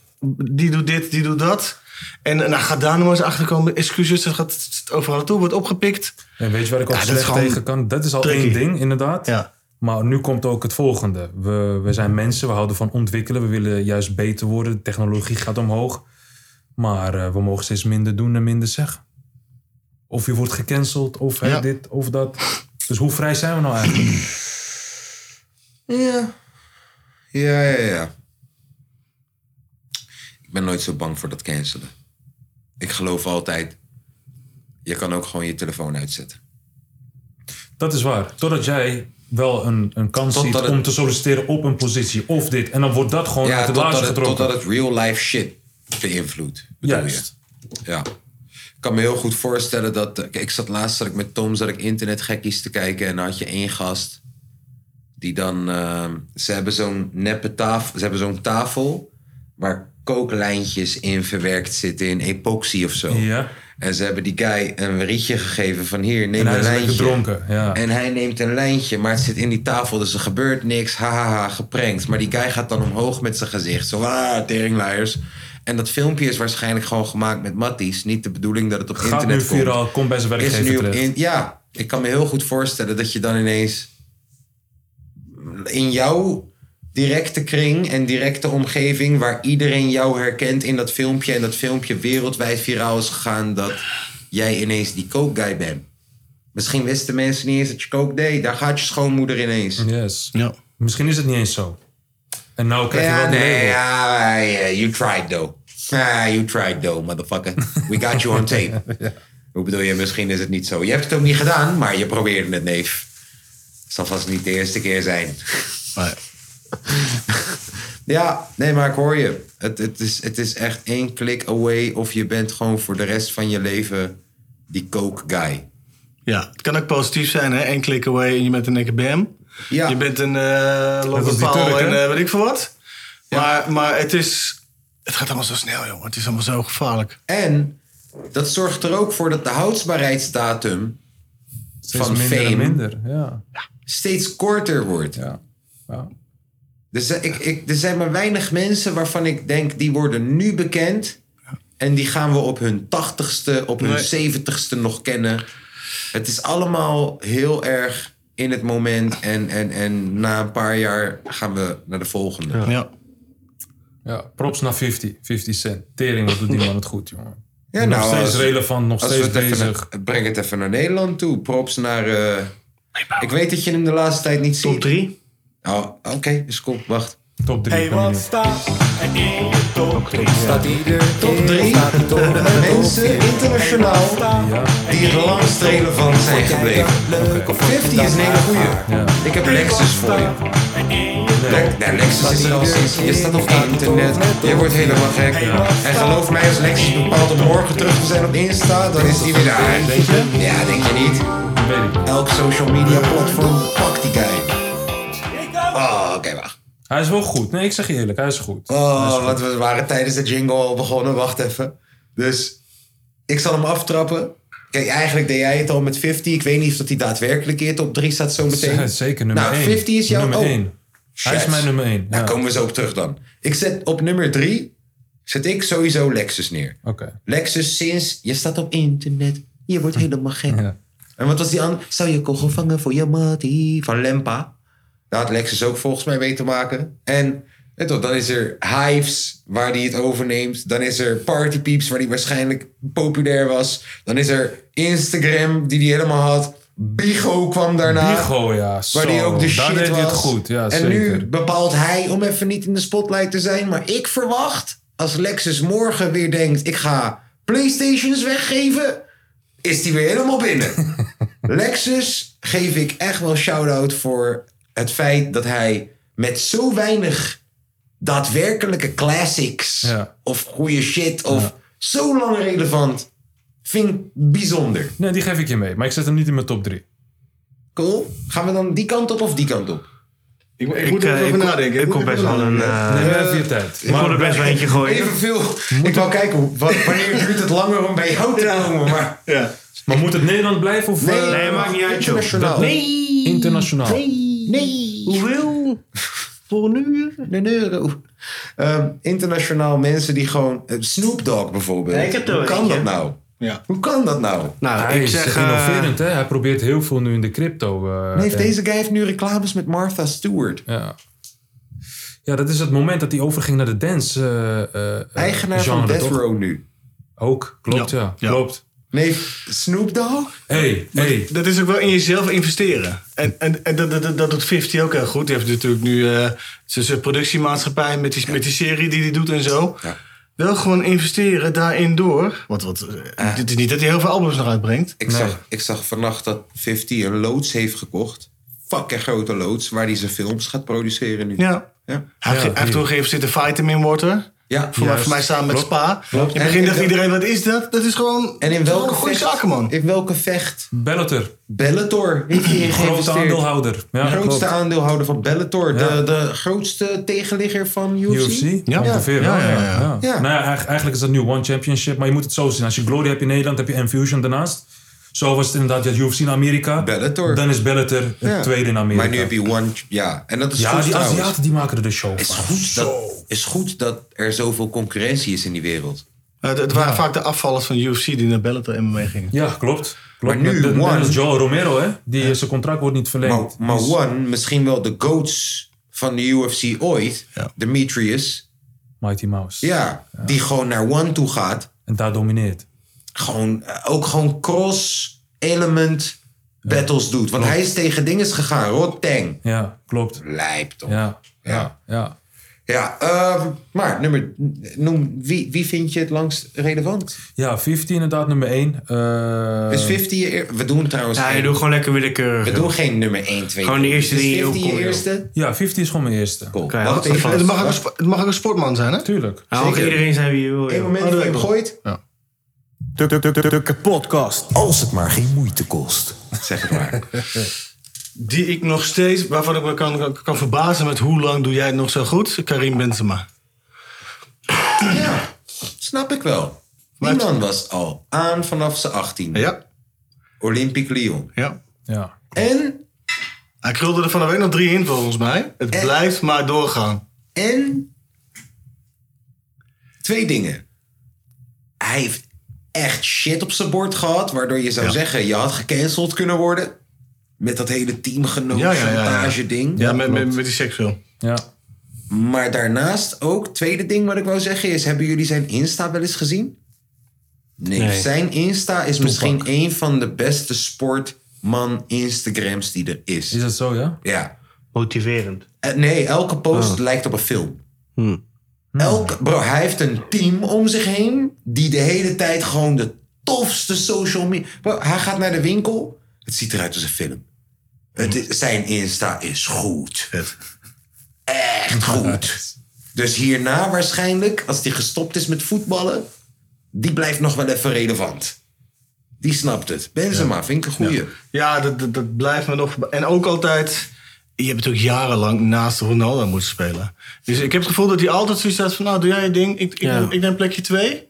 [SPEAKER 4] die doet dit, die doet dat. En nou, ga daar nog eens achter komen. Excuses, het gaat overal naartoe, wordt opgepikt.
[SPEAKER 5] En weet je waar ik ook
[SPEAKER 4] Ja, dat is
[SPEAKER 5] slecht
[SPEAKER 4] gewoon
[SPEAKER 5] tegen kan? Dat is al
[SPEAKER 4] tricky.
[SPEAKER 5] één ding, inderdaad.
[SPEAKER 4] Ja.
[SPEAKER 5] Maar nu komt ook het volgende. We, we zijn mensen, we houden van ontwikkelen. We willen juist beter worden. De technologie gaat omhoog. Maar eh, we mogen steeds minder doen en minder zeggen. Of je wordt gecanceld, of hey,
[SPEAKER 4] Ja.
[SPEAKER 5] dit, of dat. Dus hoe vrij zijn we nou eigenlijk?
[SPEAKER 2] Ja. Ja, ja, ja. Ik ben nooit zo bang voor dat cancelen. Ik geloof altijd, je kan ook gewoon je telefoon uitzetten.
[SPEAKER 5] Dat is waar. Totdat jij wel een, een kans
[SPEAKER 2] Totdat
[SPEAKER 5] ziet
[SPEAKER 2] het-
[SPEAKER 5] om te solliciteren op een positie of dit. En dan wordt dat gewoon
[SPEAKER 2] ja,
[SPEAKER 5] uit de
[SPEAKER 2] totdat
[SPEAKER 5] basis
[SPEAKER 2] het,
[SPEAKER 5] getrokken.
[SPEAKER 2] totdat het real life shit beïnvloedt. bedoel
[SPEAKER 5] Juist.
[SPEAKER 2] je. Ja. Ik kan me heel goed voorstellen dat... eh, kijk, Ik zat laatst zat ik met Tom zat ik internetgekkies te kijken... en dan had je één gast die dan... eh, ze hebben zo'n neppe tafel... Ze hebben zo'n tafel waar kooklijntjes in verwerkt zitten... in epoxy of zo.
[SPEAKER 5] Ja.
[SPEAKER 2] En ze hebben die guy een rietje gegeven van hier, neem
[SPEAKER 5] En hij
[SPEAKER 2] een
[SPEAKER 5] is lekker
[SPEAKER 2] lijntje.
[SPEAKER 5] dronken, ja.
[SPEAKER 2] En hij neemt een lijntje, maar het zit in die tafel, dus er gebeurt niks. Hahaha, geprankt. Maar die guy gaat dan omhoog met zijn gezicht. Zo, ah, teringluiers. En dat filmpje is waarschijnlijk gewoon gemaakt met Matties. Niet de bedoeling dat het op
[SPEAKER 5] Gaat nu
[SPEAKER 2] internet komt.
[SPEAKER 5] viraal, komt bij zijn
[SPEAKER 2] is
[SPEAKER 5] werkgever
[SPEAKER 2] nu op
[SPEAKER 5] terecht.
[SPEAKER 2] in, Ja, ik kan me heel goed voorstellen dat je dan ineens... in jouw directe kring en directe omgeving... waar iedereen jou herkent in dat filmpje... en dat filmpje wereldwijd viraal is gegaan... dat jij ineens die kookguy bent. Misschien wisten mensen niet eens dat je kook deed. Daar gaat je schoonmoeder ineens.
[SPEAKER 5] Yes.
[SPEAKER 4] Ja.
[SPEAKER 5] Misschien is het niet eens zo. En nou krijg je
[SPEAKER 2] Ja,
[SPEAKER 5] wel de
[SPEAKER 2] nee,
[SPEAKER 5] label.
[SPEAKER 2] ja, yeah, you tried though. Ah, you tried though, motherfucker. We got you on tape. Hoe bedoel je, misschien is het niet zo. Je hebt het ook niet gedaan, maar je probeerde het, neef. Zal vast niet de eerste keer zijn.
[SPEAKER 4] Maar
[SPEAKER 2] Ja, nee, maar ik hoor je. Het, het, is, het is echt één klik away of je bent gewoon voor de rest van je leven die coke guy.
[SPEAKER 4] ja, het kan ook positief zijn, hè? Eén klik away en je bent een dikke bam.
[SPEAKER 2] Ja,
[SPEAKER 4] Je bent een eh
[SPEAKER 5] was
[SPEAKER 4] losse
[SPEAKER 5] die
[SPEAKER 4] paal
[SPEAKER 5] Turk,
[SPEAKER 4] en
[SPEAKER 5] hè?
[SPEAKER 4] eh, weet ik veel wat. Maar, maar het is... Het gaat allemaal zo snel, jongen. Het is allemaal zo gevaarlijk.
[SPEAKER 2] en dat zorgt er ook voor dat de houdbaarheidsdatum
[SPEAKER 5] Steeds
[SPEAKER 2] van
[SPEAKER 5] minder en
[SPEAKER 2] fame
[SPEAKER 5] minder. Ja.
[SPEAKER 2] steeds korter wordt.
[SPEAKER 5] Ja. Ja.
[SPEAKER 2] Dus eh, ik, ik, er zijn maar weinig mensen waarvan ik denk, die worden nu bekend. En die gaan we op hun tachtigste, op hun
[SPEAKER 4] Nee.
[SPEAKER 2] zeventigste nog kennen. Het is allemaal heel erg in het moment. En, en, en na een paar jaar gaan we naar de volgende. Ja,
[SPEAKER 4] Ja.
[SPEAKER 5] Ja. Props naar 50. 50 cent. Tering, wat doet die man het goed, jongen. nog
[SPEAKER 2] nou,
[SPEAKER 5] steeds
[SPEAKER 2] als-
[SPEAKER 5] relevant, nog
[SPEAKER 2] als we
[SPEAKER 5] steeds
[SPEAKER 2] het even
[SPEAKER 5] bezig.
[SPEAKER 2] naar- breng het even naar Nederland toe. Props naar... eh, ik weet dat je hem de laatste tijd niet
[SPEAKER 3] Top
[SPEAKER 2] ziet.
[SPEAKER 3] drie?
[SPEAKER 2] Oh, oké, is cool. Wacht.
[SPEAKER 5] Top 3.
[SPEAKER 8] Hey, wat staat er in je top 3? Staat ieder
[SPEAKER 2] Top drie mensen internationaal
[SPEAKER 5] Ja.
[SPEAKER 2] die er langs de relevant zijn gebleven. 50 is een hele goeie.
[SPEAKER 5] Ja.
[SPEAKER 2] Ik heb Lexus voor je. Le- Nee, Lexus is er al sinds. Je staat op internet. Je wordt helemaal gek. En geloof mij, als Lexus bepaalt om morgen terug te zijn op Insta, dan is die weer daar. Ja, denk je niet?
[SPEAKER 5] Weet ik.
[SPEAKER 2] Elk social media platform pakt die guy. Oh, oké, wacht.
[SPEAKER 5] Hij is wel goed. Nee, ik zeg je eerlijk. Hij is goed. Hij is
[SPEAKER 2] Oh,
[SPEAKER 5] goed.
[SPEAKER 2] want we waren tijdens de jingle al begonnen. Wacht even. Dus ik zal hem aftrappen. Kijk, eigenlijk deed jij het al met 50. Ik weet niet of hij daadwerkelijk in op 3 staat zo meteen.
[SPEAKER 5] Zeker nummer 1.
[SPEAKER 2] Nou, 50 is jouw...
[SPEAKER 5] nummer
[SPEAKER 2] oh,
[SPEAKER 5] 1. Hij is
[SPEAKER 2] shit.
[SPEAKER 5] mijn nummer 1.
[SPEAKER 2] Daar
[SPEAKER 5] Ja.
[SPEAKER 2] komen we zo op terug dan. Ik zet op nummer 3 zet ik sowieso Lexus neer.
[SPEAKER 5] Oké.
[SPEAKER 2] Lexus sinds je staat op internet. Je wordt helemaal gek.
[SPEAKER 5] Ja.
[SPEAKER 2] En wat was die andere? Zou je kogel vangen voor je matie? Van Lempa. Daar had Lexus ook volgens mij mee te maken. En weet toch, dan is er Hives waar hij het overneemt. Dan is er Party Peeps waar hij waarschijnlijk populair was. Dan is er Instagram die hij helemaal had. Bigo kwam daarna.
[SPEAKER 5] Bigo, ja. Zo.
[SPEAKER 2] Waar die ook de
[SPEAKER 5] Daar
[SPEAKER 2] shit
[SPEAKER 5] deed
[SPEAKER 2] was.
[SPEAKER 5] hij het goed. Ja,
[SPEAKER 2] en
[SPEAKER 5] zeker.
[SPEAKER 2] nu bepaalt hij om even niet in de spotlight te zijn. Maar ik verwacht, als Lexus morgen weer denkt... ik ga Playstations weggeven, is die weer helemaal binnen. Lexus geef ik echt wel shout-out voor het feit dat hij met zo weinig daadwerkelijke classics
[SPEAKER 5] Ja.
[SPEAKER 2] of goede shit of zo lang relevant vind ik bijzonder.
[SPEAKER 5] Nee, die geef ik je mee. Maar ik zet hem niet in mijn top 3.
[SPEAKER 2] Cool. Gaan we dan die kant op of die kant op?
[SPEAKER 4] Ik, ik,
[SPEAKER 3] Ik,
[SPEAKER 4] moet er
[SPEAKER 3] eh,
[SPEAKER 4] even
[SPEAKER 3] ik,
[SPEAKER 4] over
[SPEAKER 3] kon,
[SPEAKER 4] nadenken.
[SPEAKER 3] ik kon best wel een... eh,
[SPEAKER 5] Neem even je tijd.
[SPEAKER 3] ik kon er best wel eentje gooien.
[SPEAKER 2] Evenveel. Ik wou kijken, hoe- wat, wanneer duurt het langer om bij jou te komen? Maar,
[SPEAKER 4] Ja.
[SPEAKER 5] Maar moet het Nederland blijven of eh,
[SPEAKER 3] nee, maakt niet uit, joh.
[SPEAKER 2] internationaal.
[SPEAKER 5] internationaal?
[SPEAKER 3] Hoeveel? Voor nu?
[SPEAKER 2] Een euro. Ehm, internationaal mensen die gewoon... eh, Snoop Dogg bijvoorbeeld.
[SPEAKER 3] Nee, ik heb er
[SPEAKER 2] Hoe
[SPEAKER 3] wel
[SPEAKER 2] kan
[SPEAKER 3] eentje.
[SPEAKER 2] dat nou?
[SPEAKER 4] Ja.
[SPEAKER 2] Hoe kan dat nou?
[SPEAKER 3] Nou,
[SPEAKER 5] Hij
[SPEAKER 3] ik
[SPEAKER 5] is
[SPEAKER 3] zeg... eh,
[SPEAKER 5] innoverend, hè? Hij probeert heel veel nu in de crypto. eh,
[SPEAKER 2] Nee, heeft
[SPEAKER 5] en-
[SPEAKER 2] deze guy heeft nu reclames met Martha Stewart.
[SPEAKER 5] Ja. ja, dat is het moment dat hij overging naar de dance. eh, eh,
[SPEAKER 2] Eigenaar
[SPEAKER 5] genre,
[SPEAKER 2] van Death
[SPEAKER 5] toch?
[SPEAKER 2] Row nu.
[SPEAKER 5] Ook, klopt, ja.
[SPEAKER 4] Ja.
[SPEAKER 5] Klopt.
[SPEAKER 2] Nee, Snoop Dogg?
[SPEAKER 5] Hey, hey.
[SPEAKER 4] Dat is ook wel in jezelf investeren. En, en, en dat, dat, dat doet 50 ook heel goed. Die heeft natuurlijk nu eh, zijn zijn productiemaatschappij met die, met die serie die hij doet en zo.
[SPEAKER 2] Ja.
[SPEAKER 4] Wel gewoon investeren daarin door. Want wat, eh, het is niet dat hij heel veel albums nog uitbrengt.
[SPEAKER 2] Ik, zag, ik zag vannacht dat 50 een loods heeft gekocht. Fucking grote loods, waar hij zijn films gaat produceren nu.
[SPEAKER 4] Ja.
[SPEAKER 2] Ja.
[SPEAKER 4] Hij heeft- hij heeft toen geïnvesteerd in Vitamin Water.
[SPEAKER 2] Ja.
[SPEAKER 4] Voor mij, voor mij samen met Spa. In
[SPEAKER 2] En-
[SPEAKER 4] het begin
[SPEAKER 2] en
[SPEAKER 4] dacht
[SPEAKER 2] wel-
[SPEAKER 4] iedereen, wat is dat? Dat is gewoon
[SPEAKER 2] En in
[SPEAKER 4] dat is gewoon
[SPEAKER 2] welke
[SPEAKER 4] een goede
[SPEAKER 2] vecht-
[SPEAKER 4] zaken, man.
[SPEAKER 2] In welke vecht?
[SPEAKER 5] Bellator,
[SPEAKER 2] Bellator heeft hij in
[SPEAKER 5] grote
[SPEAKER 2] geïnvesteerd.
[SPEAKER 5] aandeelhouder. Ja,
[SPEAKER 2] grootste
[SPEAKER 5] klopt.
[SPEAKER 2] aandeelhouder van Bellator.
[SPEAKER 5] Ja.
[SPEAKER 2] De, de grootste tegenligger van UFC.
[SPEAKER 5] UFC?
[SPEAKER 4] Ja.
[SPEAKER 5] ongeveer.
[SPEAKER 4] Ja,
[SPEAKER 5] wel,
[SPEAKER 4] ja, ja, ja.
[SPEAKER 2] Ja.
[SPEAKER 5] Nou ja, eigenlijk- eigenlijk is dat nu One Championship, maar je moet het zo zien. Als je Glory hebt in Nederland, heb je Infusion daarnaast. Zo was het inderdaad, je had UFC in Amerika.
[SPEAKER 2] Bellator.
[SPEAKER 5] Dan is Bellator het
[SPEAKER 2] Ja.
[SPEAKER 5] tweede in Amerika.
[SPEAKER 2] Maar nu heb je One... Ja, en dat is
[SPEAKER 5] ja,
[SPEAKER 2] goed
[SPEAKER 5] die
[SPEAKER 2] trouwens.
[SPEAKER 5] Aziaten die maken er de show
[SPEAKER 2] is
[SPEAKER 5] van.
[SPEAKER 2] goed, dat, is goed dat er zoveel concurrentie is in die wereld.
[SPEAKER 4] Eh, het- het waren vaak de afvallers van UFC die naar Bellator MMA gingen.
[SPEAKER 5] Ja, klopt. klopt.
[SPEAKER 2] Maar nu
[SPEAKER 5] Dat- dat-
[SPEAKER 2] One-
[SPEAKER 5] dat is Joel Romero, hè? Die, eh, Zijn contract wordt niet
[SPEAKER 2] Maar,
[SPEAKER 5] verlengd.
[SPEAKER 2] maar
[SPEAKER 5] Dus-
[SPEAKER 2] One, misschien wel de goats van de UFC ooit,
[SPEAKER 4] Ja.
[SPEAKER 2] Demetrius,
[SPEAKER 5] Mighty Mouse.
[SPEAKER 2] ja, die gewoon naar One toe gaat.
[SPEAKER 5] En daar domineert.
[SPEAKER 2] Gewoon, eh, ook gewoon cross-element battles doet. Want hij is tegen dinges gegaan. Rod Tang.
[SPEAKER 5] Ja, klopt.
[SPEAKER 2] Lijp toch.
[SPEAKER 5] Ja,
[SPEAKER 2] Ja.
[SPEAKER 5] ja, ja.
[SPEAKER 2] Ja, ehm, maar nummer, noem, wie, wie vind je het langst relevant?
[SPEAKER 5] Ja, 50 inderdaad, nummer Eh, 1.
[SPEAKER 2] is
[SPEAKER 5] Ehm.
[SPEAKER 2] 50 je eer- We doen trouwens
[SPEAKER 3] Ja, je
[SPEAKER 2] geen,
[SPEAKER 3] doet gewoon lekker willekeurig.
[SPEAKER 2] we
[SPEAKER 3] joh.
[SPEAKER 2] doen geen nummer 1, 2,
[SPEAKER 3] Gewoon de eerste die in je opkomt,
[SPEAKER 2] je
[SPEAKER 3] joh.
[SPEAKER 2] eerste?
[SPEAKER 5] Ja, 50 is gewoon mijn eerste.
[SPEAKER 2] Cool.
[SPEAKER 3] Oké,
[SPEAKER 2] Wacht
[SPEAKER 3] wat
[SPEAKER 2] even.
[SPEAKER 4] Het mag, ook een,
[SPEAKER 2] Wacht.
[SPEAKER 4] sp- het mag ook een sportman zijn, hè?
[SPEAKER 5] Tuurlijk.
[SPEAKER 3] Nou, mag
[SPEAKER 2] Zeker.
[SPEAKER 3] iedereen zijn wie je wil.
[SPEAKER 2] Eén
[SPEAKER 3] joh.
[SPEAKER 2] moment dat je hem gooit.
[SPEAKER 8] De, de, de, de, de, de podcast.
[SPEAKER 1] Als het maar geen moeite kost.
[SPEAKER 2] Zeg het maar.
[SPEAKER 4] Die ik nog steeds, waarvan ik me kan, kan verbazen met hoe lang doe jij het nog zo goed? Karim Benzema.
[SPEAKER 2] ja, snap ik wel. Die
[SPEAKER 4] Maar-
[SPEAKER 2] man was al aan vanaf zijn 18.
[SPEAKER 4] Ja,
[SPEAKER 2] Olympique Lyon.
[SPEAKER 4] ja.
[SPEAKER 5] Ja.
[SPEAKER 2] En,
[SPEAKER 4] Hij krulde er van de week nog drie in volgens mij. Het
[SPEAKER 2] Echt?
[SPEAKER 4] blijft maar doorgaan.
[SPEAKER 2] en... Twee dingen. Hij heeft echt shit op zijn bord gehad. Waardoor je zou
[SPEAKER 4] Ja.
[SPEAKER 2] zeggen, je had gecanceld kunnen worden. Met dat hele teamgenoot
[SPEAKER 4] Ja, ja, ja, ja.
[SPEAKER 2] chantage ding.
[SPEAKER 4] Ja, met, met, met die seksfilm.
[SPEAKER 5] Ja.
[SPEAKER 2] Maar daarnaast ook, tweede ding wat ik wou zeggen is... Hebben jullie zijn Insta wel eens gezien? Nee. Zijn Insta is misschien een van de beste sportman Instagrams die er is.
[SPEAKER 5] Is dat zo, ja?
[SPEAKER 2] Ja.
[SPEAKER 3] Motiverend.
[SPEAKER 2] Eh, Nee, elke post lijkt op een film. Hmm. Elke, bro, hij heeft een team om zich heen die de hele tijd gewoon de tofste social media... Bro, hij gaat naar de winkel, het ziet eruit als een film. Het is- zijn Insta is goed. Echt goed. Dus hierna waarschijnlijk, als hij gestopt is met voetballen... die blijft nog wel even relevant. Die snapt het. Benzema, vind ik een goeie.
[SPEAKER 4] Ja, dat, dat, dat blijft me nog. En ook altijd. Je hebt natuurlijk jarenlang naast Ronaldo moeten spelen. Dus ik heb het gevoel dat hij altijd zoiets had van: nou, doe jij je ding, ik, ik,
[SPEAKER 3] Ja.
[SPEAKER 4] neem, ik neem plekje twee.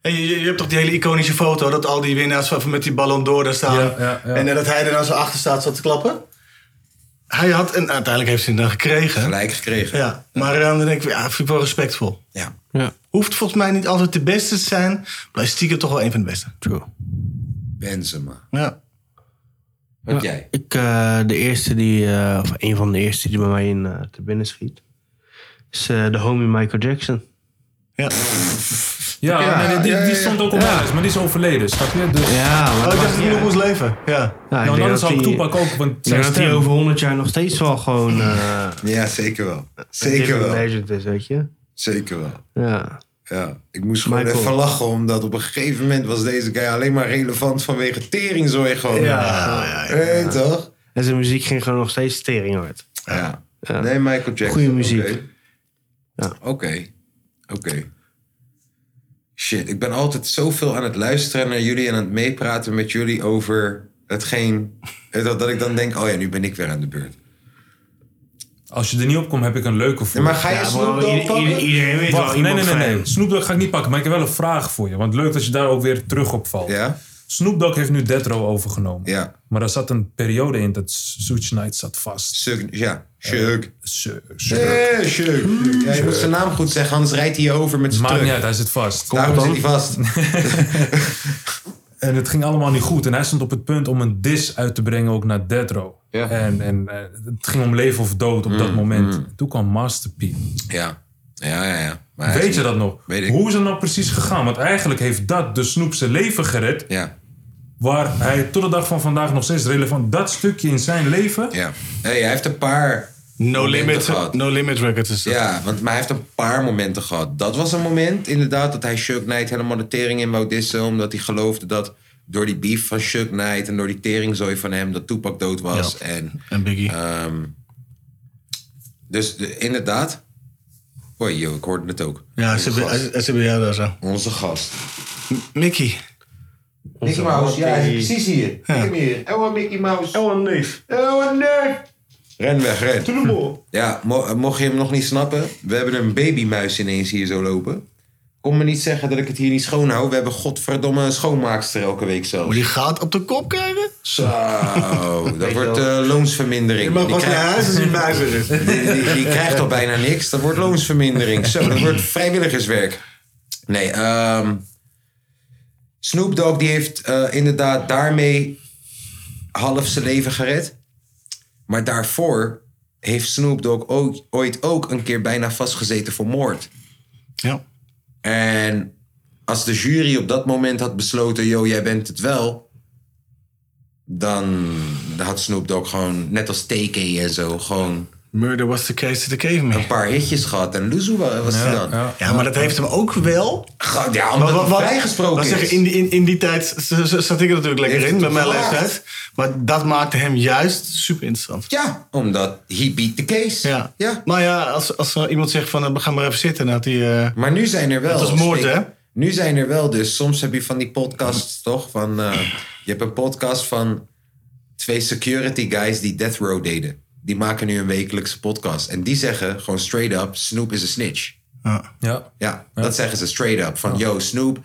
[SPEAKER 4] En je, je hebt toch die hele iconische foto dat al die winnaars van, met die ballon door daar staan.
[SPEAKER 5] Ja, ja, ja.
[SPEAKER 4] En eh, dat hij er dan zo achter staat, zat te klappen. Hij had, en uiteindelijk heeft hij hem dan gekregen.
[SPEAKER 2] Gelijk gekregen.
[SPEAKER 4] Ja, maar eh, dan denk ik, ja, vind ik wel respectvol.
[SPEAKER 2] Ja.
[SPEAKER 4] Hoeft volgens mij niet altijd de beste te zijn, maar hij is stiekem toch wel een van de beste.
[SPEAKER 2] Benzema.
[SPEAKER 4] Ja.
[SPEAKER 2] Wat jij?
[SPEAKER 3] Ik, eh, de eerste die, eh, of een van de eerste die bij mij in eh, te binnen schiet, is eh, de homie Michael Jackson.
[SPEAKER 4] ja.
[SPEAKER 5] Ja,
[SPEAKER 2] Ja,
[SPEAKER 5] nee, die,
[SPEAKER 2] ja,
[SPEAKER 5] die
[SPEAKER 2] ja,
[SPEAKER 5] stond ook op mijn lijst, maar die is overleden, snap je? Dus, ja,
[SPEAKER 3] Ja, maar
[SPEAKER 4] Oh,
[SPEAKER 3] dat
[SPEAKER 4] ik dacht
[SPEAKER 3] maakt
[SPEAKER 4] dat
[SPEAKER 3] niet
[SPEAKER 4] hij
[SPEAKER 3] uit.
[SPEAKER 4] nog moest leven. Ja.
[SPEAKER 3] Ja, ik
[SPEAKER 5] nou,
[SPEAKER 3] denk
[SPEAKER 5] anders zou ik
[SPEAKER 3] die-
[SPEAKER 5] Toepak ook, want
[SPEAKER 3] Ik denk
[SPEAKER 5] zijn
[SPEAKER 3] dat hij
[SPEAKER 5] stem...
[SPEAKER 3] over 100 jaar nog steeds wel gewoon eh,
[SPEAKER 2] Ja, zeker wel.
[SPEAKER 3] een
[SPEAKER 2] Zeker
[SPEAKER 3] living
[SPEAKER 2] wel.
[SPEAKER 3] legend is, weet je.
[SPEAKER 2] Zeker wel.
[SPEAKER 3] Ja.
[SPEAKER 2] Ja. Ik moest gewoon
[SPEAKER 3] Michael.
[SPEAKER 2] even lachen, omdat op een gegeven moment was deze guy alleen maar relevant vanwege teringzooi gewoon.
[SPEAKER 4] Ja, ja, ja.
[SPEAKER 2] Hé, toch?
[SPEAKER 3] En zijn muziek ging gewoon nog steeds tering hard.
[SPEAKER 2] Ja. Nee, Michael Jackson.
[SPEAKER 3] Goeie muziek.
[SPEAKER 2] oké. Oké. Oké. Shit, ik ben altijd zoveel aan het luisteren naar jullie en aan het meepraten met jullie over hetgeen. Dat, dat ik dan denk, oh ja, nu ben ik weer aan de beurt.
[SPEAKER 5] Als je er niet op komt, heb ik een leuke voor
[SPEAKER 2] Ja, maar ga je Snoop Dogg
[SPEAKER 3] Ieder- ieder-
[SPEAKER 2] pakken?
[SPEAKER 3] iedereen weet
[SPEAKER 5] Wacht,
[SPEAKER 3] wel
[SPEAKER 5] nee,
[SPEAKER 3] iemand
[SPEAKER 5] nee, nee,
[SPEAKER 3] van
[SPEAKER 5] nee.
[SPEAKER 3] hem.
[SPEAKER 5] Snoop Dogg ga ik niet pakken, maar ik heb wel een vraag voor je. Want leuk dat je daar ook weer terug op valt.
[SPEAKER 2] Ja?
[SPEAKER 5] Snoop Dogg heeft nu Death Row overgenomen.
[SPEAKER 2] Ja.
[SPEAKER 5] Maar er zat een periode in dat Suge Knight zat vast.
[SPEAKER 2] Suk, ja. Suk.
[SPEAKER 5] Su- Su-
[SPEAKER 2] Eh, Suk. Ja, je moet zijn naam goed zeggen, anders rijdt hij je over met zijn
[SPEAKER 5] Maakt niet
[SPEAKER 2] truck.
[SPEAKER 5] uit, hij zit vast.
[SPEAKER 2] Daarom zit hij vast.
[SPEAKER 5] En het ging allemaal niet goed. En hij stond op het punt om een dis uit te brengen ook naar Death Row.
[SPEAKER 2] Ja.
[SPEAKER 5] En, en eh, het ging om leven of dood op
[SPEAKER 2] Mm,
[SPEAKER 5] dat moment. Toen kwam Master P.
[SPEAKER 2] Ja. Ja, ja, ja. Maar hij
[SPEAKER 5] Weet
[SPEAKER 2] is-
[SPEAKER 5] je dat nog?
[SPEAKER 2] Weet ik.
[SPEAKER 5] Hoe is het nou precies gegaan? Want eigenlijk heeft dat de Snoep zijn leven gered.
[SPEAKER 2] Ja.
[SPEAKER 5] Waar hij tot de dag van vandaag nog steeds relevant... Dat stukje in zijn leven...
[SPEAKER 2] Ja. Hey, hij heeft een paar
[SPEAKER 4] No
[SPEAKER 2] Momenten
[SPEAKER 4] Limit,
[SPEAKER 2] gehad.
[SPEAKER 4] no limit Records is dat.
[SPEAKER 2] Ja, want, maar hij heeft een paar momenten gehad. Dat was een moment, inderdaad, dat hij Chuck Knight helemaal de tering in wou dissen. Omdat hij geloofde dat door die beef van Chuck Knight en door die teringzooi van hem, dat Tupac dood was. En,
[SPEAKER 4] En Biggie.
[SPEAKER 2] ehm, dus de- inderdaad. Hoi, joh, ik hoorde het ook.
[SPEAKER 4] ja,
[SPEAKER 2] onze
[SPEAKER 4] ze hebben-
[SPEAKER 2] gast.
[SPEAKER 4] ze hebben jou daar zo.
[SPEAKER 2] Onze gast.
[SPEAKER 4] Mickey.
[SPEAKER 2] Mickey Mouse, ja, hij is precies hier. Kijk hem hier. Elwa Mickey Mouse. Elwa neef. Elwa neef. Ren weg, ren. Ja, mo- eh, mocht je hem nog niet snappen, we hebben een babymuis ineens hier zo lopen. Kom me niet zeggen dat ik het hier niet schoon hou. We hebben godverdomme een schoonmaakster elke week
[SPEAKER 4] Maar
[SPEAKER 2] zelf.
[SPEAKER 4] die gaat op de kop krijgen?
[SPEAKER 2] Zo, dat wordt eh,
[SPEAKER 4] Je
[SPEAKER 2] loonsvermindering.
[SPEAKER 4] mag
[SPEAKER 2] Die
[SPEAKER 4] pas naar
[SPEAKER 2] krijgt,
[SPEAKER 4] huis als je bij zich is.
[SPEAKER 2] die, die- die krijgt al bijna niks. Dat wordt loonsvermindering. Zo, dat wordt vrijwilligerswerk. Nee, ehm Snoop Dogg die heeft eh, inderdaad daarmee half zijn leven gered. Maar daarvoor heeft Snoop Dogg ook, ooit ook een keer bijna vastgezeten voor moord.
[SPEAKER 4] Ja.
[SPEAKER 2] En als de jury op dat moment had besloten, yo, jij bent het wel. Dan had Snoop Dogg gewoon, net als TK en zo, gewoon
[SPEAKER 4] Murder was the case to the caveman.
[SPEAKER 2] een paar hitjes gehad. En Luzu wa- was hij dan.
[SPEAKER 5] Ja.
[SPEAKER 4] Ja, maar dat heeft hem ook wel.
[SPEAKER 2] Ga- Ja, omdat hij vrijgesproken
[SPEAKER 4] wat
[SPEAKER 2] is.
[SPEAKER 4] zeg, je, in, die- in, in die tijd z- z- zat ik er natuurlijk lekker
[SPEAKER 2] Heeft
[SPEAKER 4] in, met
[SPEAKER 2] het
[SPEAKER 4] mijn
[SPEAKER 2] geraakt.
[SPEAKER 4] leeftijd. Maar dat maakte hem juist super interessant.
[SPEAKER 2] Ja, omdat he beat the case.
[SPEAKER 4] Ja.
[SPEAKER 2] ja.
[SPEAKER 4] Maar ja, als, als er iemand zegt van, eh, we gaan maar even zitten. Dan had hij, eh,
[SPEAKER 2] Maar nu zijn er wel.
[SPEAKER 4] Dat is moord,
[SPEAKER 2] Kijk,
[SPEAKER 4] hè?
[SPEAKER 2] Nu zijn er wel dus. Soms heb je van die podcasts toch? Van, eh, je hebt een podcast van twee security guys die Death Row deden. Die maken nu een wekelijkse podcast. En die zeggen gewoon straight up: Snoop is een snitch.
[SPEAKER 5] Ja.
[SPEAKER 2] Ja, dat zeggen ze straight up. Van, yo, Snoop,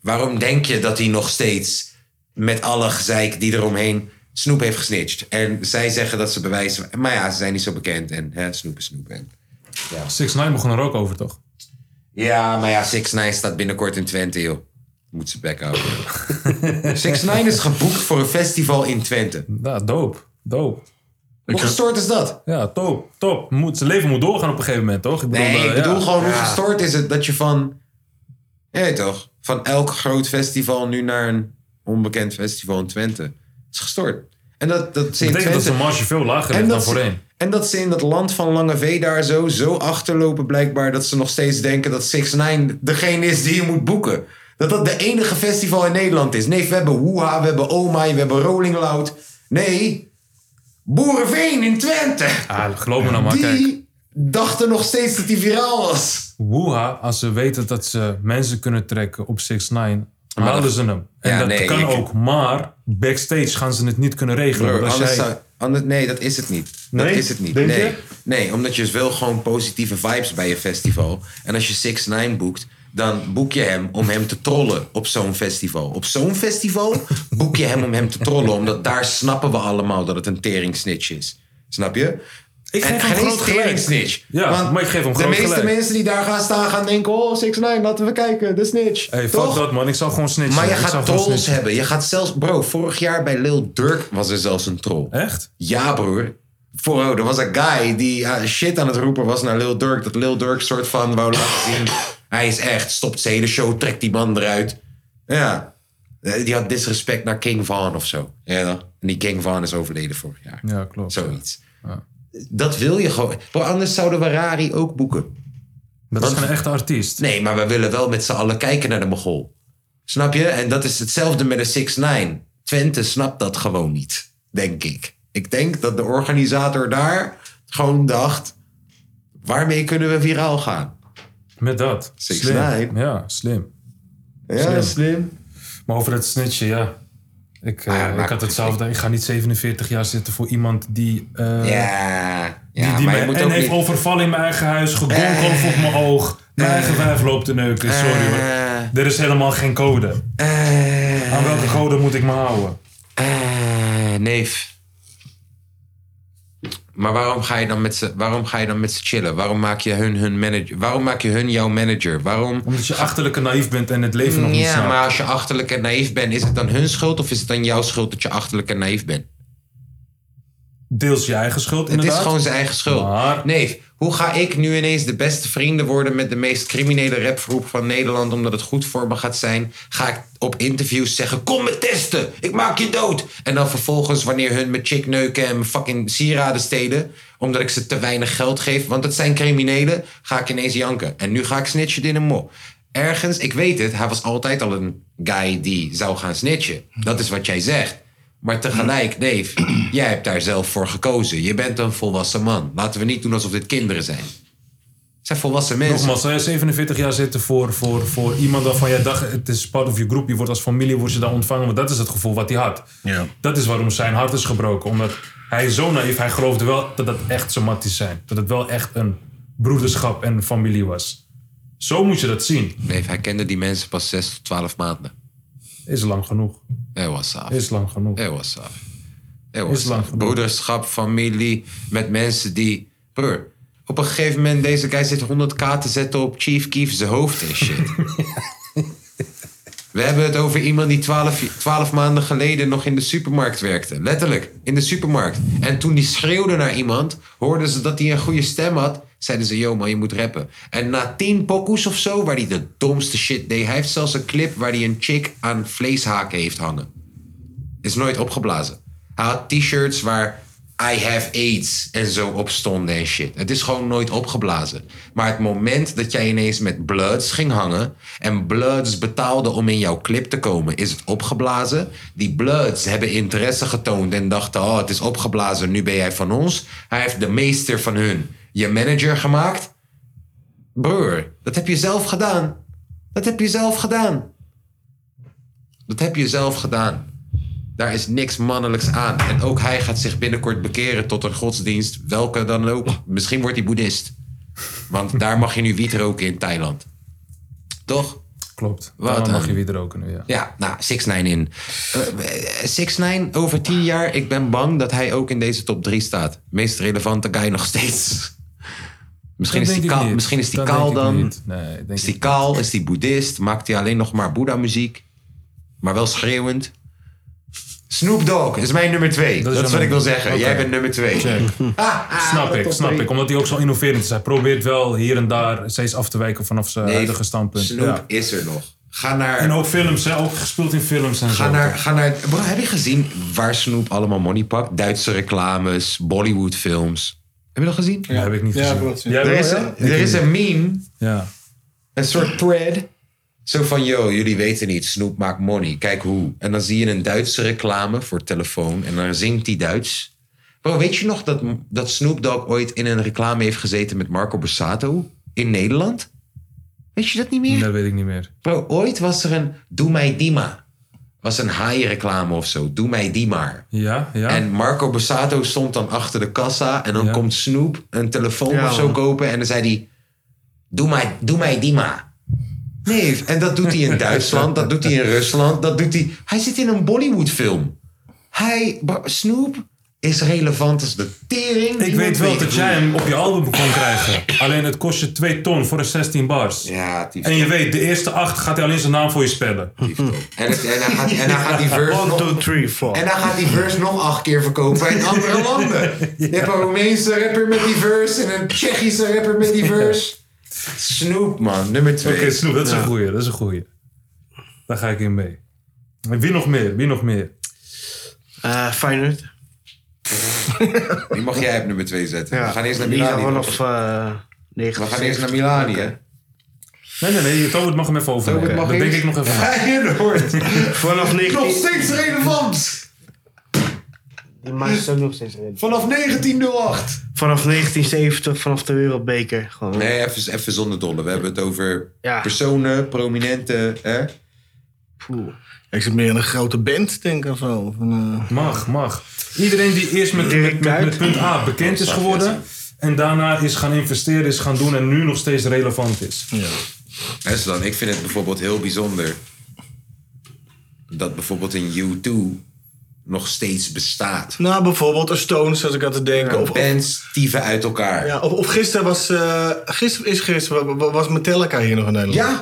[SPEAKER 2] waarom denk je dat hij nog steeds met alle gezeik die eromheen Snoop heeft gesnitcht? En zij zeggen dat ze bewijzen. Maar ja, ze zijn niet zo bekend. En hè, Snoop is Snoop. En,
[SPEAKER 5] Six Nine begon er ook over, toch?
[SPEAKER 2] ja, maar ja, 6 9 staat binnenkort in Twente, joh. Moet ze bek houden. 6 9 is geboekt voor een festival in Twente.
[SPEAKER 5] Ja, doop. Doop.
[SPEAKER 2] Hoe gestoord is dat?
[SPEAKER 5] Ja, top. Top. Moet, zijn leven moet doorgaan op een gegeven moment, toch? Ik bedoel,
[SPEAKER 2] Nee,
[SPEAKER 5] eh,
[SPEAKER 2] ik bedoel
[SPEAKER 5] ja.
[SPEAKER 2] gewoon hoe gestoord is het dat je van... Ja, je toch? Van elk groot festival nu naar een onbekend festival in Twente. Dat is gestoord. En dat, dat ze in
[SPEAKER 5] Ik denk dat
[SPEAKER 2] Twente...
[SPEAKER 5] zijn marge veel lager
[SPEAKER 2] en,
[SPEAKER 5] ligt dan
[SPEAKER 2] dat ze,
[SPEAKER 5] voorheen.
[SPEAKER 2] en dat ze in dat land van Lange V daar zo, zo achterlopen blijkbaar... dat ze nog steeds denken dat 6 9 degene is die je moet boeken. Dat dat de enige festival in Nederland is. Nee, we hebben Hoeha, we hebben Omai, we hebben Rolling Loud. Nee, Boerenveen in Twente.
[SPEAKER 5] Ah, geloof me nou maar, kijk.
[SPEAKER 2] Die dachten nog steeds dat die viraal was.
[SPEAKER 5] Woeha, als ze weten dat ze mensen kunnen trekken op 6 9 halen ze hem. En
[SPEAKER 2] Ja,
[SPEAKER 5] dat
[SPEAKER 2] nee,
[SPEAKER 5] kan
[SPEAKER 2] ik-
[SPEAKER 5] ook, maar backstage gaan ze het niet kunnen regelen.
[SPEAKER 2] Bro,
[SPEAKER 5] want als
[SPEAKER 2] anders
[SPEAKER 5] jij-
[SPEAKER 2] zou- anders- nee, dat is het niet.
[SPEAKER 5] Nee?
[SPEAKER 2] Dat is het niet.
[SPEAKER 5] Denk
[SPEAKER 2] nee.
[SPEAKER 5] je?
[SPEAKER 2] nee, omdat je dus wel gewoon positieve vibes bij je festival. En als je 6 9 boekt, dan boek je hem om hem te trollen op zo'n festival. Op zo'n festival boek je hem om hem te trollen. Omdat daar snappen we allemaal dat het een teringsnitch is. Snap je?
[SPEAKER 5] Ik geef
[SPEAKER 2] en
[SPEAKER 5] hem
[SPEAKER 2] geen eens
[SPEAKER 5] groot gelijk.
[SPEAKER 2] teringsnitch.
[SPEAKER 5] Ja, maar ik geef hem
[SPEAKER 2] de
[SPEAKER 5] groot
[SPEAKER 2] meeste
[SPEAKER 5] gelijk.
[SPEAKER 2] mensen die daar gaan staan gaan denken... Oh, 6 9 laten we kijken. De snitch.
[SPEAKER 5] Hey, fuck
[SPEAKER 2] Toch?
[SPEAKER 5] dat man, ik zou gewoon snitchen.
[SPEAKER 2] Maar je
[SPEAKER 5] Ik zou
[SPEAKER 2] gaat
[SPEAKER 5] gewoon
[SPEAKER 2] trolls
[SPEAKER 5] snitchen.
[SPEAKER 2] hebben. Je gaat zelfs... Bro, vorig jaar bij Lil Durk was er zelfs een troll.
[SPEAKER 5] Echt?
[SPEAKER 2] Ja, broer. Bro, er was een guy die ah, shit aan het roepen was naar Lil Durk. Dat Lil Durk soort van wou laten zien. Hij is echt, stopt zijn hele show, trekt die man eruit. Ja. Eh, Die had disrespect naar King Van of zo. Ja, dan. en die King Van is overleden vorig jaar.
[SPEAKER 5] Ja, klopt.
[SPEAKER 2] Zoiets. Dat wil je gewoon. Bro, anders zouden we Rari ook boeken.
[SPEAKER 5] Dat is geen echte artiest.
[SPEAKER 2] Nee, maar we willen wel met z'n allen kijken naar de Mogol. Snap je? En dat is hetzelfde met een 6 9 Twente snapt dat gewoon niet, denk ik. Ik denk dat de organisator daar gewoon dacht... waarmee kunnen we viraal gaan?
[SPEAKER 5] Met dat.
[SPEAKER 2] Six
[SPEAKER 5] slim.
[SPEAKER 2] Nine?
[SPEAKER 5] Ja, slim.
[SPEAKER 2] Ja, slim.
[SPEAKER 5] Maar over het snitchen, ja. Ik, eh,
[SPEAKER 2] Ah, maar-
[SPEAKER 5] ik had hetzelfde. Ik ga niet 47 jaar zitten voor iemand die... eh,
[SPEAKER 2] Ja, ja
[SPEAKER 5] die, die
[SPEAKER 2] maar
[SPEAKER 5] mij-
[SPEAKER 2] je moet
[SPEAKER 5] en
[SPEAKER 2] ook
[SPEAKER 5] heeft
[SPEAKER 2] niet...
[SPEAKER 5] overvallen in mijn eigen huis, gegolf op mijn oog. Mijn eigen wijf loopt te neuken, sorry hoor.
[SPEAKER 2] Eh.
[SPEAKER 5] Er is helemaal geen code.
[SPEAKER 2] Eh,
[SPEAKER 5] Aan welke code moet ik me houden?
[SPEAKER 2] eh, neef. Maar waarom ga je dan met ze, waarom ga je dan met ze chillen? Waarom maak je hun, hun manager? Waarom maak je hun jouw manager? Waarom?
[SPEAKER 5] Omdat je achterlijke naïef bent en het leven nog niet
[SPEAKER 2] ja,
[SPEAKER 5] snapt.
[SPEAKER 2] maar als je achterlijk en naïef bent, is het dan hun schuld of is het dan jouw schuld dat je achterlijk en naïef bent?
[SPEAKER 5] Deels je eigen schuld
[SPEAKER 2] Het
[SPEAKER 5] inderdaad.
[SPEAKER 2] is gewoon zijn eigen schuld.
[SPEAKER 5] Maar-
[SPEAKER 2] Nee, hoe ga ik nu ineens de beste vrienden worden met de meest criminele rapgroep van Nederland, omdat het goed voor me gaat zijn? Ga ik op interviews zeggen: Kom me testen, ik maak je dood. En dan vervolgens, wanneer hun me chick neuken en me fucking sieraden steden, omdat ik ze te weinig geld geef, want het zijn criminelen, ga ik ineens janken. En nu ga ik snitchen in een mol. Ergens, ik weet het, hij was altijd al een guy die zou gaan snitchen. Dat is wat jij zegt. Maar tegelijk, Dave, jij hebt daar zelf voor gekozen. Je bent een volwassen man. Laten we niet doen alsof dit kinderen zijn. Het zijn volwassen mensen.
[SPEAKER 5] Nogmaals, zou jij 47 jaar zitten voor, voor, voor iemand waarvan jij dacht... het is part of je groep, je wordt als familie wordt je daar ontvangen. Want dat is het gevoel wat hij had.
[SPEAKER 4] Ja.
[SPEAKER 5] Dat is waarom zijn hart is gebroken. Omdat hij zo naïef, hij geloofde wel dat dat echt zo matties zijn. Dat het wel echt een broederschap en familie was. Zo moet je dat zien.
[SPEAKER 2] Nee, hij kende die mensen pas 6 tot 12 maanden.
[SPEAKER 5] Is lang genoeg.
[SPEAKER 2] Hij was af.
[SPEAKER 5] Is lang genoeg.
[SPEAKER 2] Hij was af. Hij
[SPEAKER 5] Is
[SPEAKER 2] was
[SPEAKER 5] lang
[SPEAKER 2] af.
[SPEAKER 5] genoeg.
[SPEAKER 2] Broederschap, familie, met mensen die... Broer, op een gegeven moment, deze guy zit 100k te zetten op Chief Keef zijn hoofd en shit. We hebben het over iemand die 12, 12 maanden geleden nog in de supermarkt werkte. Letterlijk, in de supermarkt. En toen die schreeuwde naar iemand, hoorden ze dat hij een goede stem had. Zeiden ze, yo man, je moet rappen. En na 10 pokoes of zo, waar hij de domste shit deed. Hij heeft zelfs een clip waar hij een chick aan vleeshaken heeft hangen. Is nooit opgeblazen. Hij had t-shirts waar I have AIDS en zo op stonden en shit. Het is gewoon nooit opgeblazen. Maar het moment dat jij ineens met Bloods ging hangen... en Bloods betaalde om in jouw clip te komen, is het opgeblazen. Die Bloods hebben interesse getoond en dachten... oh, het is opgeblazen, nu ben jij van ons. Hij heeft de meester van hun je manager gemaakt. Broer, dat heb je zelf gedaan. Dat heb je zelf gedaan. Dat heb je zelf gedaan. Daar is niks mannelijks aan. En ook hij gaat zich binnenkort bekeren tot een godsdienst, welke dan ook. Misschien wordt hij boeddhist. Want daar mag je nu wiet roken in Thailand. Toch?
[SPEAKER 5] Klopt.
[SPEAKER 2] Wat
[SPEAKER 5] Daarom mag
[SPEAKER 2] een-
[SPEAKER 5] je weer roken nu, ja.
[SPEAKER 2] Ja, nou, 6 9 in. Eh, 6 9 over 10 jaar, ik ben bang dat hij ook in deze top 3 staat. Meest relevante guy nog steeds. Misschien
[SPEAKER 5] Dat
[SPEAKER 2] is, die
[SPEAKER 5] denk ik
[SPEAKER 2] kaal,
[SPEAKER 5] niet.
[SPEAKER 2] misschien is die
[SPEAKER 5] Dat
[SPEAKER 2] kaal
[SPEAKER 5] denk ik
[SPEAKER 2] dan.
[SPEAKER 5] niet. Nee, ik denk
[SPEAKER 2] Is die
[SPEAKER 5] ik
[SPEAKER 2] kaal? Is die boeddhist? Maakt hij alleen nog maar Boeddha-muziek? Maar wel schreeuwend. Snoop Dogg is mijn nummer twee. Dat
[SPEAKER 5] Dat
[SPEAKER 2] is,
[SPEAKER 5] is
[SPEAKER 2] wat
[SPEAKER 5] een-
[SPEAKER 2] ik wil zeggen.
[SPEAKER 5] Oké.
[SPEAKER 2] Jij bent nummer twee.
[SPEAKER 5] Check. snap ik, snap ik. Omdat hij ook zo innoverend is. Hij probeert wel hier en daar steeds af te wijken vanaf zijn
[SPEAKER 2] Nee,
[SPEAKER 5] huidige standpunt.
[SPEAKER 2] Snoop
[SPEAKER 5] Ja.
[SPEAKER 2] is er nog. Ga
[SPEAKER 5] En
[SPEAKER 2] naar...
[SPEAKER 5] ook films, hè? ook gespeeld in films en
[SPEAKER 2] Ga
[SPEAKER 5] zo.
[SPEAKER 2] naar, ga naar bro, heb je gezien waar Snoop allemaal money pakt? Duitse reclames, Bollywood films. Heb je dat gezien?
[SPEAKER 5] Ja, heb ik niet gezien.
[SPEAKER 4] klopt, ja.
[SPEAKER 5] Jij
[SPEAKER 2] Er
[SPEAKER 5] wel,
[SPEAKER 2] is,
[SPEAKER 5] ja?
[SPEAKER 2] een, er is een meme
[SPEAKER 5] Ja.
[SPEAKER 2] een soort thread. Zo van, yo, jullie weten niet, Snoep maakt money, kijk hoe. En dan zie je een Duitse reclame voor telefoon en dan zingt die Duits. Bro, weet je nog dat, dat Snoop Dogg ooit in een reclame heeft gezeten met Marco Borsato in Nederland? Weet je dat niet meer?
[SPEAKER 5] Dat weet ik niet meer.
[SPEAKER 2] Bro, ooit was er een Doe mij die maar. Was een haai-reclame of zo, Doe mij die maar.
[SPEAKER 5] Ja, ja.
[SPEAKER 2] En Marco Borsato stond dan achter de kassa. En dan
[SPEAKER 5] Ja.
[SPEAKER 2] komt Snoep een telefoon
[SPEAKER 3] Ja,
[SPEAKER 2] of zo
[SPEAKER 3] man.
[SPEAKER 2] kopen. En dan zei hij: Doe mij, doe mij die maar. Nee, en dat doet hij in Duitsland, dat doet hij in Rusland, dat doet hij. Hij zit in een Bollywood-film. Hij, bro, Snoep is relevant als de tering.
[SPEAKER 5] ik
[SPEAKER 2] Die
[SPEAKER 5] weet
[SPEAKER 2] moet
[SPEAKER 5] wel
[SPEAKER 2] weten
[SPEAKER 5] dat jij hem op je album kon krijgen. Alleen het kost je 2 ton voor de 16 bars.
[SPEAKER 2] hoe- Ja, die
[SPEAKER 5] En je weet, de eerste 8 gaat hij alleen zijn naam voor je spellen.
[SPEAKER 2] En, het- en, hij gaat, en hij gaat die verse
[SPEAKER 3] 1,
[SPEAKER 2] nog,
[SPEAKER 3] 2, 3, 4.
[SPEAKER 2] en hij gaat die verse nog acht keer verkopen in andere landen. Je hebt een Roemeense rapper met die verse en een Tsjechische rapper met die verse. Snoep, man, nummer twee.
[SPEAKER 5] Oké, Snoep, dat is een goeie, dat is een goeie. Daar ga ik in mee. En Wie nog meer? Wie nog meer?
[SPEAKER 3] Eh Feyenoord.
[SPEAKER 2] Die mag jij op nummer 2 zetten.
[SPEAKER 3] Ja.
[SPEAKER 2] We gaan eerst naar
[SPEAKER 3] Die
[SPEAKER 2] Milani.
[SPEAKER 3] gaan vanaf eh, 90.
[SPEAKER 2] We gaan eerst naar Milani, hè?
[SPEAKER 5] Nee, nee, nee. Tobert mag hem even overnemen.
[SPEAKER 2] Tobert mag
[SPEAKER 5] Dat denk
[SPEAKER 2] eerst.
[SPEAKER 5] ik nog even. na.
[SPEAKER 2] Feyenoord.
[SPEAKER 3] Vanaf 19...
[SPEAKER 2] steeds relevant.
[SPEAKER 3] Maar het is ook nog steeds redelijk.
[SPEAKER 10] Vanaf 1908.
[SPEAKER 3] Vanaf 1970, vanaf de Wereldbeker. Gewoon.
[SPEAKER 2] Nee, even, even zonder dolle. We hebben het over
[SPEAKER 3] Ja.
[SPEAKER 2] personen, prominente. Hè?
[SPEAKER 3] Poeh.
[SPEAKER 4] Ik zit meer in een grote band, denk ik of zo. Of een, eh,
[SPEAKER 5] Mag, mag. Iedereen die eerst met,
[SPEAKER 3] Dirk
[SPEAKER 5] met, met,
[SPEAKER 3] Kuyt.
[SPEAKER 5] met punt A bekend is geworden. En daarna is gaan investeren, is gaan doen en nu nog steeds relevant is.
[SPEAKER 2] Hè, Stan, ik vind het bijvoorbeeld heel bijzonder dat bijvoorbeeld een U2 nog steeds bestaat.
[SPEAKER 4] Nou, bijvoorbeeld een Stones, als ik aan te denken. of, of,
[SPEAKER 2] Bands stieven uit elkaar. Ja.
[SPEAKER 4] ja, of, of gisteren was... eh, gisteren is gisteren, wa- wa- was Metallica hier nog in Nederland.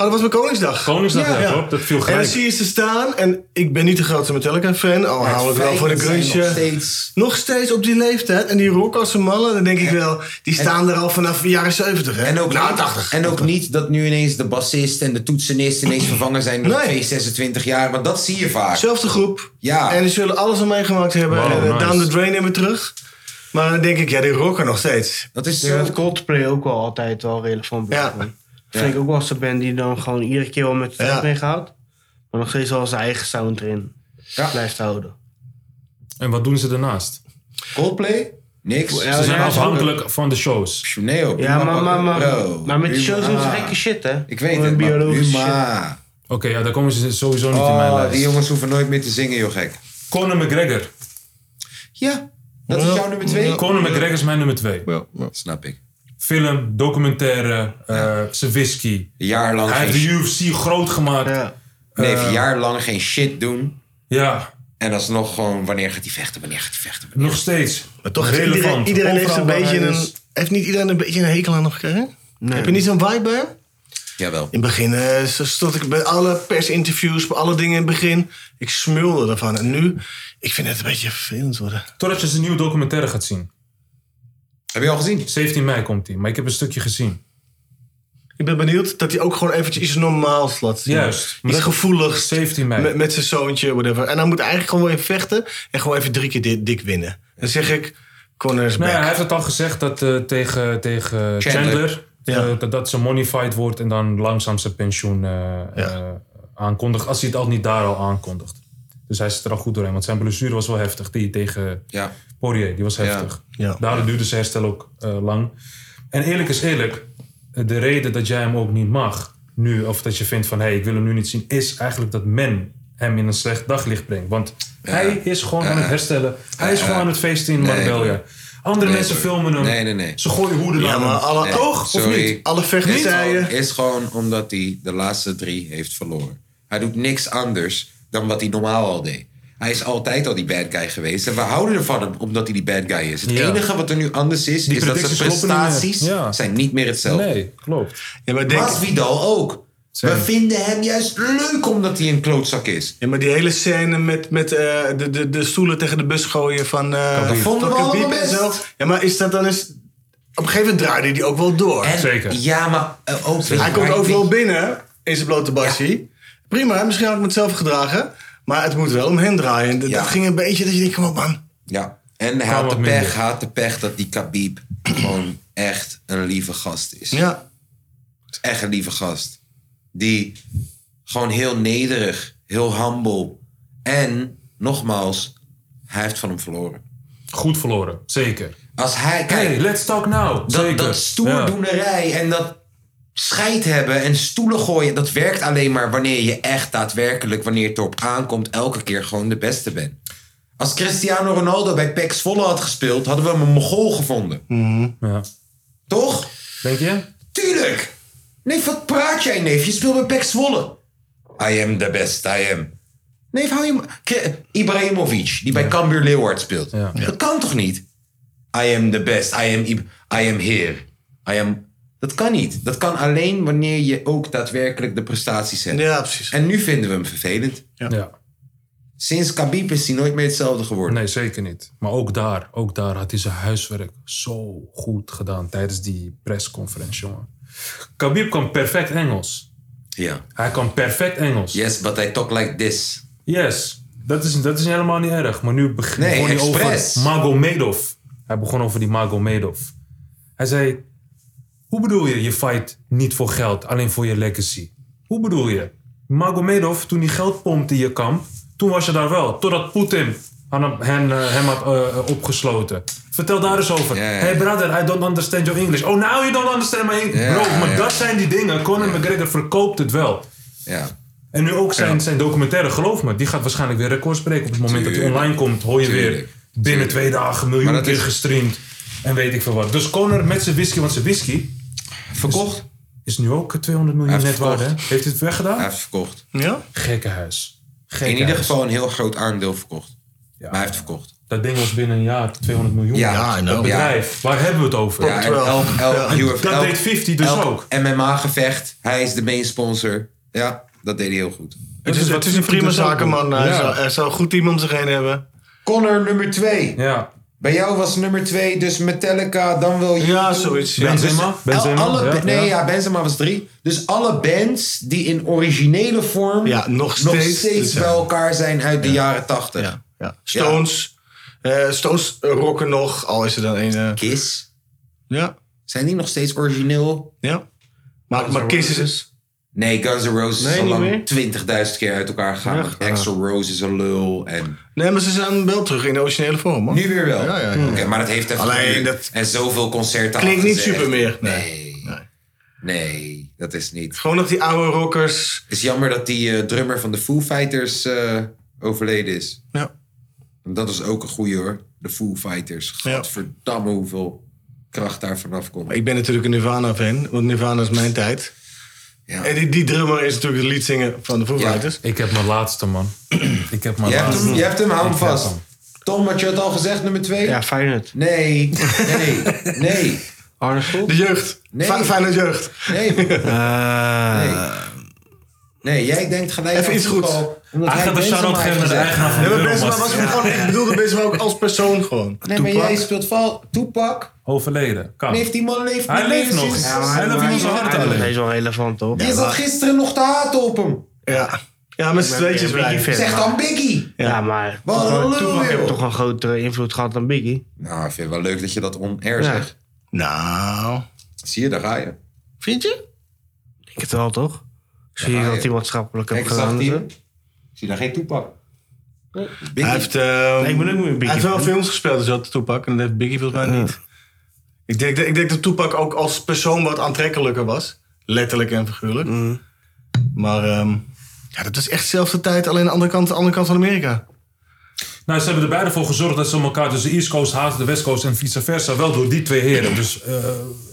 [SPEAKER 4] Oh, dat was mijn Koningsdag.
[SPEAKER 5] Koningsdag, ja, klopt. Dat viel
[SPEAKER 4] En dan
[SPEAKER 5] gelijk.
[SPEAKER 4] zie je ze staan. En ik ben niet de grootste Metallica-fan. Al hou ik wel voor een
[SPEAKER 2] Nog
[SPEAKER 4] kunstje.
[SPEAKER 2] steeds.
[SPEAKER 4] Nog steeds op die leeftijd. En die rock als een malle. Dan denk ik wel, die staan er al vanaf de jaren 70. Hè?
[SPEAKER 2] En ook,
[SPEAKER 4] nou,
[SPEAKER 2] niet,
[SPEAKER 4] 80.
[SPEAKER 2] en ook niet dat nu ineens de bassist en de toetsenist ineens vervangen zijn door
[SPEAKER 4] Nee.
[SPEAKER 2] twee 26 jaar. Want dat zie je vaak.
[SPEAKER 4] Zelfde groep.
[SPEAKER 2] Ja.
[SPEAKER 4] En die zullen alles aan meegemaakt hebben.
[SPEAKER 5] Wow,
[SPEAKER 4] en eh,
[SPEAKER 5] nice.
[SPEAKER 4] down the drain hebben terug. Maar dan denk ik, ja, die rocken nog steeds.
[SPEAKER 2] Dat is
[SPEAKER 3] Ik denk
[SPEAKER 2] zo.
[SPEAKER 3] dat Coldplay ook wel altijd wel relevant blijft.
[SPEAKER 4] Ja.
[SPEAKER 3] man. Dat vind ik ook wel eens een band die dan gewoon iedere keer wel met de tijd
[SPEAKER 4] Ja.
[SPEAKER 3] meegaat. Maar nog steeds wel zijn eigen sound erin
[SPEAKER 2] Ja.
[SPEAKER 3] blijft houden.
[SPEAKER 5] En wat doen ze daarnaast?
[SPEAKER 2] Coldplay? Niks.
[SPEAKER 5] Nou, Ze zijn
[SPEAKER 3] ja,
[SPEAKER 5] afhankelijk van de shows.
[SPEAKER 2] Nee, joh,
[SPEAKER 3] Ja,
[SPEAKER 2] Buma
[SPEAKER 3] maar, maar,
[SPEAKER 2] pakken.
[SPEAKER 3] maar,
[SPEAKER 2] Bro,
[SPEAKER 3] maar met die
[SPEAKER 2] Buma.
[SPEAKER 3] shows doen ze gekke shit, hè?
[SPEAKER 2] Ik weet
[SPEAKER 3] Gewoon
[SPEAKER 2] het, maar
[SPEAKER 3] biologische shit.
[SPEAKER 2] Buma.
[SPEAKER 5] Oké, ja, daar komen ze sowieso niet in mijn
[SPEAKER 2] Oh,
[SPEAKER 5] lijst.
[SPEAKER 2] die jongens hoeven nooit meer te zingen, joh gek.
[SPEAKER 5] Conor McGregor.
[SPEAKER 2] Ja, dat is jouw nummer twee?
[SPEAKER 5] Conor McGregor is mijn nummer twee.
[SPEAKER 2] Snap ik.
[SPEAKER 5] Film, documentaire, eh zijn whisky.
[SPEAKER 2] Jaarlang
[SPEAKER 5] Hij
[SPEAKER 2] geen,
[SPEAKER 5] heeft eh. de
[SPEAKER 2] shit-
[SPEAKER 5] UFC groot gemaakt. Ja.
[SPEAKER 3] Ja.
[SPEAKER 2] nee, heeft jaarlang geen shit doen.
[SPEAKER 5] ja,
[SPEAKER 2] En alsnog gewoon, wanneer gaat hij vechten, wanneer gaat hij vechten.
[SPEAKER 5] nog steeds.
[SPEAKER 4] Maar toch, heeft
[SPEAKER 5] relevant.
[SPEAKER 4] iedereen, iedereen heeft,
[SPEAKER 5] Overal
[SPEAKER 4] een
[SPEAKER 5] waar
[SPEAKER 4] beetje
[SPEAKER 5] hij
[SPEAKER 4] een,
[SPEAKER 5] is.
[SPEAKER 4] heeft niet iedereen een beetje een hekel aan hem gekregen? Heb je niet zo'n vibe bij hem?
[SPEAKER 2] Jawel.
[SPEAKER 4] In het begin eh, zo stond ik bij alle persinterviews, bij alle dingen in het begin. Ik smulde ervan. En nu, ik vind het een beetje vervelend worden.
[SPEAKER 5] Totdat je zijn nieuwe documentaire gaat zien.
[SPEAKER 2] Heb je al gezien?
[SPEAKER 5] 17 mei komt die, maar ik heb een stukje gezien.
[SPEAKER 4] Ik ben benieuwd dat hij ook gewoon eventjes iets normaals laat zien.
[SPEAKER 5] Juist.
[SPEAKER 4] Iets gevoeligs.
[SPEAKER 5] 17 mei.
[SPEAKER 4] Met, met zijn zoontje, whatever. En hij moet eigenlijk gewoon weer even vechten. En gewoon even drie keer di- dik winnen. Dan zeg ik, Conor is
[SPEAKER 5] Nou ja,
[SPEAKER 4] back.
[SPEAKER 5] hij heeft het al gezegd dat eh, tegen, tegen Chandler,
[SPEAKER 4] Ja.
[SPEAKER 5] eh, dat, dat ze monified wordt en dan langzaam zijn pensioen eh, eh, aankondigt. Als hij het al niet daar al aankondigt. Dus hij zit er al goed doorheen, want zijn blessure was wel heftig. Die tegen
[SPEAKER 2] Ja.
[SPEAKER 5] Poirier, die was heftig.
[SPEAKER 4] Ja.
[SPEAKER 5] Daardoor duurde zijn herstel ook eh, lang. En eerlijk is eerlijk, eh, de reden dat jij hem ook niet mag nu, of dat je vindt van hé, hey, ik wil hem nu niet zien, is eigenlijk dat men hem in een slecht daglicht brengt. Want hij is gewoon aan het herstellen. Hij is gewoon aan het feesten in Marbella. Andere
[SPEAKER 2] Nee,
[SPEAKER 5] mensen
[SPEAKER 2] hoor.
[SPEAKER 5] filmen hem.
[SPEAKER 2] Nee, nee, nee.
[SPEAKER 5] Ze gooien hoeden
[SPEAKER 4] Ja,
[SPEAKER 5] naar
[SPEAKER 4] maar
[SPEAKER 5] hem.
[SPEAKER 4] alle,
[SPEAKER 2] Nee,
[SPEAKER 4] toch?
[SPEAKER 2] Eh, sorry.
[SPEAKER 4] Of niet? Alle
[SPEAKER 2] Dit
[SPEAKER 4] vechtpartijen.
[SPEAKER 2] is gewoon omdat hij de laatste drie heeft verloren. Hij doet niks anders dan wat hij normaal al deed. Hij is altijd al die bad guy geweest. En we houden ervan hem omdat hij die bad guy is. Het
[SPEAKER 5] Ja.
[SPEAKER 2] enige wat er nu anders is, is dat zijn
[SPEAKER 5] predicties kloppen niet
[SPEAKER 2] prestaties
[SPEAKER 5] meer. Ja.
[SPEAKER 2] zijn niet meer hetzelfde.
[SPEAKER 5] Nee, klopt.
[SPEAKER 4] Ja, maar, ik denk,
[SPEAKER 2] Masvidal ook. We vinden hem juist leuk omdat hij een klootzak is.
[SPEAKER 4] ja, maar die hele scène met, met eh, de, de, de stoelen tegen de bus gooien van... eh
[SPEAKER 2] Dat vonden we
[SPEAKER 4] van Khabib
[SPEAKER 2] allemaal
[SPEAKER 4] en zo.
[SPEAKER 2] best.
[SPEAKER 4] Ja, maar is dat dan eens... Op een gegeven moment draaide die ook wel door.
[SPEAKER 2] En-
[SPEAKER 5] Zeker.
[SPEAKER 2] Ja, maar eh, ook...
[SPEAKER 4] Hij komt overal binnen in zijn blote bassie. Prima, misschien had ik me het zelf gedragen. Maar het moet wel om hen draaien. En Dat,
[SPEAKER 2] Ja.
[SPEAKER 4] dat ging een beetje dat je denkt, kom op man.
[SPEAKER 2] Ja, en hij
[SPEAKER 5] Kan
[SPEAKER 2] had de
[SPEAKER 5] wat
[SPEAKER 2] pech,
[SPEAKER 5] minder.
[SPEAKER 2] hij had de pech dat die Khabib gewoon echt een lieve gast is.
[SPEAKER 4] Ja.
[SPEAKER 2] Echt een lieve gast. Die gewoon heel nederig, heel humble. En, nogmaals, hij heeft van hem verloren.
[SPEAKER 5] Goed verloren, zeker.
[SPEAKER 2] Als hij, kijk,
[SPEAKER 5] Hey, let's talk now.
[SPEAKER 2] dat,
[SPEAKER 5] Zeker.
[SPEAKER 2] dat stoerdoenerij en dat scheid hebben en stoelen gooien... dat werkt alleen maar wanneer je echt daadwerkelijk, wanneer het erop aankomt... elke keer gewoon de beste bent. Als Cristiano Ronaldo bij PEC Zwolle had gespeeld... hadden we hem een mogol gevonden.
[SPEAKER 5] Ja. Ja.
[SPEAKER 2] Toch?
[SPEAKER 5] Denk je?
[SPEAKER 2] Tuurlijk! Neef, wat praat jij, neef? Je speelt bij Pek Zwolle. I am the best, I am. Neef, hou je... ma- K- Ibrahimovic, die bij Cambuur Leeuward speelt.
[SPEAKER 5] Ja.
[SPEAKER 2] Dat kan toch niet? I am the best, I am, Ib- I am here. I am... Dat kan niet. Dat kan alleen wanneer je ook daadwerkelijk de prestaties hebt.
[SPEAKER 4] ja, precies.
[SPEAKER 2] En nu vinden we hem vervelend.
[SPEAKER 5] Ja.
[SPEAKER 2] Sinds Khabib is hij nooit meer hetzelfde geworden.
[SPEAKER 5] Nee, zeker niet. Maar ook daar, ook daar had hij zijn huiswerk zo goed gedaan tijdens die persconferentie, jongen. Khabib kan perfect Engels.
[SPEAKER 2] Ja.
[SPEAKER 5] Hij kan perfect Engels.
[SPEAKER 2] Yes, but I talk like this.
[SPEAKER 5] Yes. Dat is, dat is helemaal niet erg. Maar nu begin,
[SPEAKER 2] Nee,
[SPEAKER 5] begon hij
[SPEAKER 2] expres.
[SPEAKER 5] over Magomedov. Hij begon over die Magomedov. Hij zei... Hoe bedoel je, je fight niet voor geld, alleen voor je legacy? Hoe bedoel je? Magomedov, toen hij geld pompte in je kamp, toen was je daar wel. Totdat Poetin hem, hem, eh, hem had eh, eh, opgesloten. Vertel daar eens over.
[SPEAKER 2] Ja, ja, ja.
[SPEAKER 5] Hey brother, I don't understand your English. Oh, now you don't understand my English.
[SPEAKER 2] Ja,
[SPEAKER 5] Bro, maar
[SPEAKER 2] ja.
[SPEAKER 5] dat zijn die dingen. Conor McGregor verkoopt het wel.
[SPEAKER 2] Ja.
[SPEAKER 5] En nu ook zijn, zijn documentaire, geloof me, die gaat waarschijnlijk weer records breken. Op het moment dat
[SPEAKER 2] Tuurlijk.
[SPEAKER 5] hij online komt, hoor je weer
[SPEAKER 2] Tuurlijk.
[SPEAKER 5] binnen
[SPEAKER 2] Tuurlijk.
[SPEAKER 5] twee dagen miljoen
[SPEAKER 2] Maar dat
[SPEAKER 5] keer
[SPEAKER 2] is-
[SPEAKER 5] gestreamd. En weet ik veel wat. Dus Conor met zijn whisky, want zijn whisky
[SPEAKER 2] Verkocht?
[SPEAKER 5] is nu ook 200 miljoen
[SPEAKER 2] Hij
[SPEAKER 5] net
[SPEAKER 2] heeft
[SPEAKER 5] waard. hè?
[SPEAKER 2] verkocht.
[SPEAKER 5] Heeft hij het weggedaan?
[SPEAKER 2] Hij heeft verkocht.
[SPEAKER 4] Ja?
[SPEAKER 5] Gekkenhuis. Gekkenhuis.
[SPEAKER 2] In ieder geval een heel groot aandeel verkocht.
[SPEAKER 5] Ja.
[SPEAKER 2] Maar hij heeft verkocht.
[SPEAKER 5] Dat ding was binnen een jaar 200 miljoen.
[SPEAKER 2] Ja,
[SPEAKER 5] waard.
[SPEAKER 4] I know.
[SPEAKER 5] Dat bedrijf. Waar hebben we het over?
[SPEAKER 2] Ja, en elk, elk, UFC
[SPEAKER 5] dat
[SPEAKER 2] elk-
[SPEAKER 5] deed 50 dus
[SPEAKER 2] elk
[SPEAKER 5] ook.
[SPEAKER 2] MMA-gevecht. Hij is de main sponsor. Ja, dat deed hij heel goed.
[SPEAKER 4] Het
[SPEAKER 5] is
[SPEAKER 4] is,
[SPEAKER 5] wat
[SPEAKER 4] het is een
[SPEAKER 5] Fifty
[SPEAKER 4] prima
[SPEAKER 5] dus ook
[SPEAKER 4] zakenman. eh,
[SPEAKER 5] doet.
[SPEAKER 4] Hij,
[SPEAKER 5] Ja.
[SPEAKER 4] zou, hij zou goed iemand om zich heen hebben.
[SPEAKER 2] Connor nummer 2.
[SPEAKER 5] Ja.
[SPEAKER 2] Bij jou was nummer 2 dus Metallica, dan wel U2.
[SPEAKER 4] Ja, zoiets. Ja.
[SPEAKER 5] Benzema? Benzema?
[SPEAKER 2] Alle,
[SPEAKER 5] ja,
[SPEAKER 2] nee, ja.
[SPEAKER 5] ja.
[SPEAKER 2] Benzema was 3. Dus alle bands die in originele vorm
[SPEAKER 4] Ja, nog steeds, dus ja.
[SPEAKER 2] bij elkaar zijn uit de jaren 80.
[SPEAKER 4] Ja, ja. Stones. eh, Stones rocken nog, al is er dan één. eh,
[SPEAKER 2] Kiss,
[SPEAKER 4] ja,
[SPEAKER 2] zijn die nog steeds origineel?
[SPEAKER 4] ja. Maar, maar Kiss is...
[SPEAKER 2] Nee, Guns N' Roses
[SPEAKER 4] Nee,
[SPEAKER 2] is al
[SPEAKER 4] niet meer. Ah.
[SPEAKER 2] lang 20.000 keer uit elkaar gegaan. Axl Rose is een lul en...
[SPEAKER 4] Nee, maar ze zijn wel terug in de originele vorm, man.
[SPEAKER 2] Nu weer wel.
[SPEAKER 4] Ja, ja, ja.
[SPEAKER 2] Oké, maar dat heeft even
[SPEAKER 4] Alleen
[SPEAKER 2] geduurd.
[SPEAKER 4] dat-
[SPEAKER 2] En zoveel concerten
[SPEAKER 4] Klinkt
[SPEAKER 2] hadden
[SPEAKER 4] niet
[SPEAKER 2] ze echt-
[SPEAKER 4] super meer, nee.
[SPEAKER 2] Nee. nee. dat is niet.
[SPEAKER 4] Gewoon nog die oude rockers.
[SPEAKER 2] Het is jammer dat die eh, drummer van de Foo Fighters eh, overleden is.
[SPEAKER 4] Ja.
[SPEAKER 2] Want dat is ook een goeie hoor. De Foo Fighters.
[SPEAKER 4] Ja.
[SPEAKER 2] Godverdamme hoeveel kracht daar vanaf komt.
[SPEAKER 4] Ik ben natuurlijk een Nirvana-fan, want Nirvana is mijn tijd.
[SPEAKER 2] Ja.
[SPEAKER 4] En die, die drummer is natuurlijk de leadzanger van de Foo
[SPEAKER 2] Ja.
[SPEAKER 4] Fighters.
[SPEAKER 5] Ik heb mijn laatste, man. Ik heb mijn
[SPEAKER 2] Je hebt
[SPEAKER 5] laatste.
[SPEAKER 2] hem, je hebt hem hou hem
[SPEAKER 5] Ik heb
[SPEAKER 2] vast.
[SPEAKER 5] hem.
[SPEAKER 2] Tom, had je het al gezegd, nummer twee?
[SPEAKER 3] Ja, Feyenoord.
[SPEAKER 2] Nee, nee, nee,
[SPEAKER 3] Arne Slot?
[SPEAKER 4] De jeugd.
[SPEAKER 2] Nee.
[SPEAKER 4] Fi- Feyenoord jeugd.
[SPEAKER 2] nee. Nee,
[SPEAKER 3] Eh,
[SPEAKER 2] jij denkt gelijk
[SPEAKER 4] Even
[SPEAKER 2] aan
[SPEAKER 4] iets goeds.
[SPEAKER 2] voetbal, omdat
[SPEAKER 5] Hij gaat de
[SPEAKER 2] Benzema
[SPEAKER 5] shout-out
[SPEAKER 2] heeft
[SPEAKER 5] geven naar de
[SPEAKER 2] gezegd.
[SPEAKER 5] eigenaar van de
[SPEAKER 4] Nee, maar
[SPEAKER 5] Euromast.
[SPEAKER 4] Benzema was hem gewoon, ik bedoelde Benzema ook als persoon gewoon.
[SPEAKER 2] Nee, maar jij speelt val. Toepak.
[SPEAKER 5] Overleden. Kan.
[SPEAKER 2] Heeft die man leeft
[SPEAKER 5] Hij
[SPEAKER 2] niet
[SPEAKER 5] leeft
[SPEAKER 2] meer
[SPEAKER 5] nog.
[SPEAKER 2] sinds-
[SPEAKER 5] Ja, maar hij loopt in onze harten
[SPEAKER 3] hij is nog
[SPEAKER 5] alleen.
[SPEAKER 3] steeds wel relevant, toch?
[SPEAKER 2] Je zat gisteren nog te haten op hem.
[SPEAKER 4] Ja, ja met z'n tweetjes
[SPEAKER 3] ben
[SPEAKER 4] blij.
[SPEAKER 3] niet fan.
[SPEAKER 2] Zeg dan Biggie.
[SPEAKER 3] Ja, maar
[SPEAKER 2] Wat een
[SPEAKER 3] Toepak-
[SPEAKER 2] lul,
[SPEAKER 3] Toepak
[SPEAKER 2] joh.
[SPEAKER 3] heeft toch een grotere invloed gehad dan Biggie?
[SPEAKER 2] Nou, ik vind het wel leuk dat je dat on-air
[SPEAKER 3] Ja.
[SPEAKER 2] zegt.
[SPEAKER 4] Nou,
[SPEAKER 2] Zie je, daar ga je.
[SPEAKER 4] vind je?
[SPEAKER 3] Ik het wel, toch? Zie
[SPEAKER 2] Ja,
[SPEAKER 3] je
[SPEAKER 2] ja.
[SPEAKER 3] dat hij maatschappelijk
[SPEAKER 2] Kijk,
[SPEAKER 3] heeft
[SPEAKER 2] zag
[SPEAKER 3] gedaan?
[SPEAKER 2] die.
[SPEAKER 3] en
[SPEAKER 2] Ik zie daar geen toepak.
[SPEAKER 4] Hij
[SPEAKER 2] Biggie.
[SPEAKER 4] heeft, ehm,
[SPEAKER 3] Nee, ik ben ook meer Biggie
[SPEAKER 4] hij heeft wel
[SPEAKER 3] fan.
[SPEAKER 4] films gespeeld, dus dat Toepak. En dat heeft Biggie volgens mij niet. Ik denk, ik denk dat Toepak ook als persoon wat aantrekkelijker was. Letterlijk en figuurlijk. Maar ehm, ja, dat was echt dezelfde tijd, alleen de andere kant, de andere kant van Amerika.
[SPEAKER 5] Nou, ze hebben er beide voor gezorgd dat ze elkaar, dus de East Coast haat de West Coast en vice versa, wel door die twee heren. Dus eh,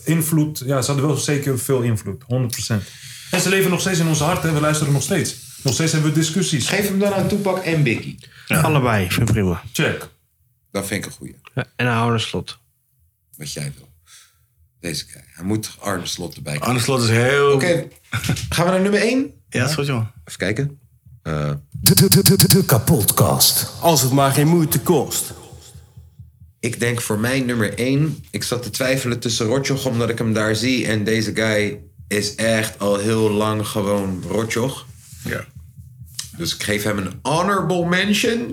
[SPEAKER 5] invloed, ja, ze hadden wel zeker veel invloed, 100%. En ze leven nog steeds in ons hart en we luisteren nog steeds. Nog steeds hebben we discussies.
[SPEAKER 2] Geef hem dan aan Toepak en Biggie.
[SPEAKER 3] zo? Allebei, vind ik prima.
[SPEAKER 5] Check.
[SPEAKER 2] Dat vind ik een goeie.
[SPEAKER 3] Ja, En een Arne Slot.
[SPEAKER 2] Wat jij wil. Deze guy. Hij moet Arne Slot erbij krijgen.
[SPEAKER 4] Arne Slot is heel...
[SPEAKER 2] Oké, gaan we naar nummer 1?
[SPEAKER 4] Ja, dat is goed, jongen.
[SPEAKER 2] Even kijken. Eh,
[SPEAKER 8] De, de, de, de, de kapotkast. Als het maar geen moeite kost.
[SPEAKER 2] ik denk voor mij nummer 1. Ik zat te twijfelen tussen Rotjoch, omdat ik hem daar zie. En deze guy is echt al heel lang gewoon Rotjoch.
[SPEAKER 4] Ja.
[SPEAKER 2] Dus ik geef hem een honorable mention.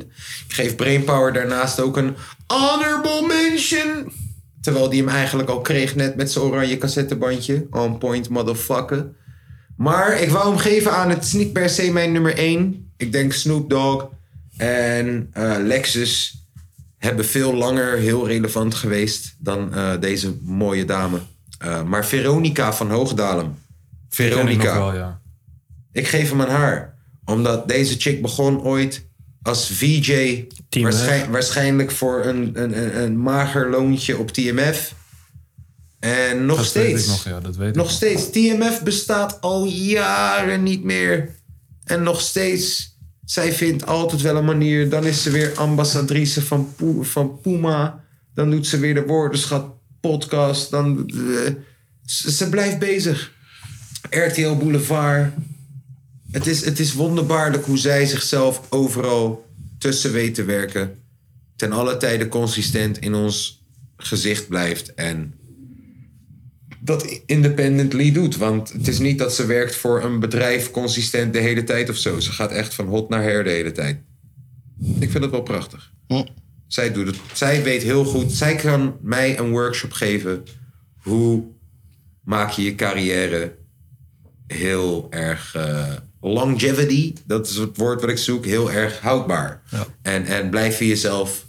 [SPEAKER 2] Ik geef Brainpower daarnaast ook een honorable mention. Terwijl die hem eigenlijk al kreeg net met zijn oranje cassettebandje. On point, motherfucker. Maar ik wou hem geven aan het is niet per se mijn nummer 1. Ik denk Snoop Dogg en eh, Lexus hebben veel langer heel relevant geweest dan eh, deze mooie dame. Eh, maar Veronica van Hoogdalem.
[SPEAKER 5] Ken ik nog
[SPEAKER 2] Veronica.
[SPEAKER 5] wel, ja.
[SPEAKER 2] Ik geef hem aan haar. Omdat deze chick begon ooit als VJ. waarschijn- waarschijnlijk voor een, een, een, een mager loontje op TMF. En nog
[SPEAKER 5] Dat weet
[SPEAKER 2] steeds.
[SPEAKER 5] ik nog, ja, dat weet ik
[SPEAKER 2] Nog steeds. TMF bestaat al jaren niet meer. En nog steeds. Zij vindt altijd wel een manier. Dan is ze weer ambassadrice van, Pu- van Puma. Dan doet ze weer de woordenschat podcast. Dan, eh, ze, ze blijft bezig. RTL Boulevard. Het is, het is wonderbaarlijk hoe zij zichzelf overal tussen weet te werken. Ten alle tijde consistent in ons gezicht blijft. En dat independently doet. Want het is niet dat ze werkt voor een bedrijf consistent de hele tijd of zo. Ze gaat echt van hot naar her de hele tijd. Ik vind dat wel prachtig. Zij doet het. Zij weet heel goed. Zij kan mij een workshop geven. Hoe maak je je carrière heel erg eh, longevity, dat is het woord wat ik zoek, heel erg houdbaar. En, en blijf je jezelf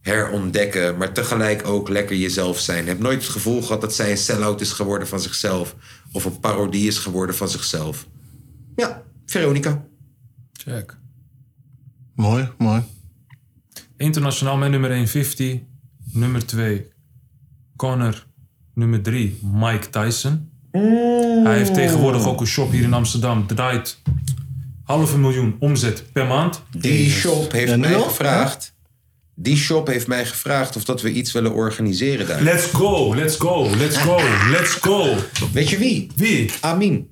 [SPEAKER 2] herontdekken, maar tegelijk ook lekker jezelf zijn. Heb nooit het gevoel gehad dat zij een sell-out is geworden van zichzelf. Of een parodie is geworden van zichzelf. Ja, Veronica.
[SPEAKER 5] Check.
[SPEAKER 4] Mooi, mooi.
[SPEAKER 5] Internationaal met nummer 1 50. Nummer 2 Connor. Nummer 3 Mike Tyson.
[SPEAKER 2] Mm.
[SPEAKER 5] Hij heeft tegenwoordig ook een shop hier in Amsterdam. Draait halve miljoen omzet per maand.
[SPEAKER 2] Die shop heeft
[SPEAKER 4] Ja, nu
[SPEAKER 2] mij
[SPEAKER 4] al?
[SPEAKER 2] gevraagd. Die shop heeft mij gevraagd of dat we iets willen organiseren daar.
[SPEAKER 5] Let's go, let's go, let's go, let's go.
[SPEAKER 2] Weet je wie?
[SPEAKER 5] Wie?
[SPEAKER 2] Amin.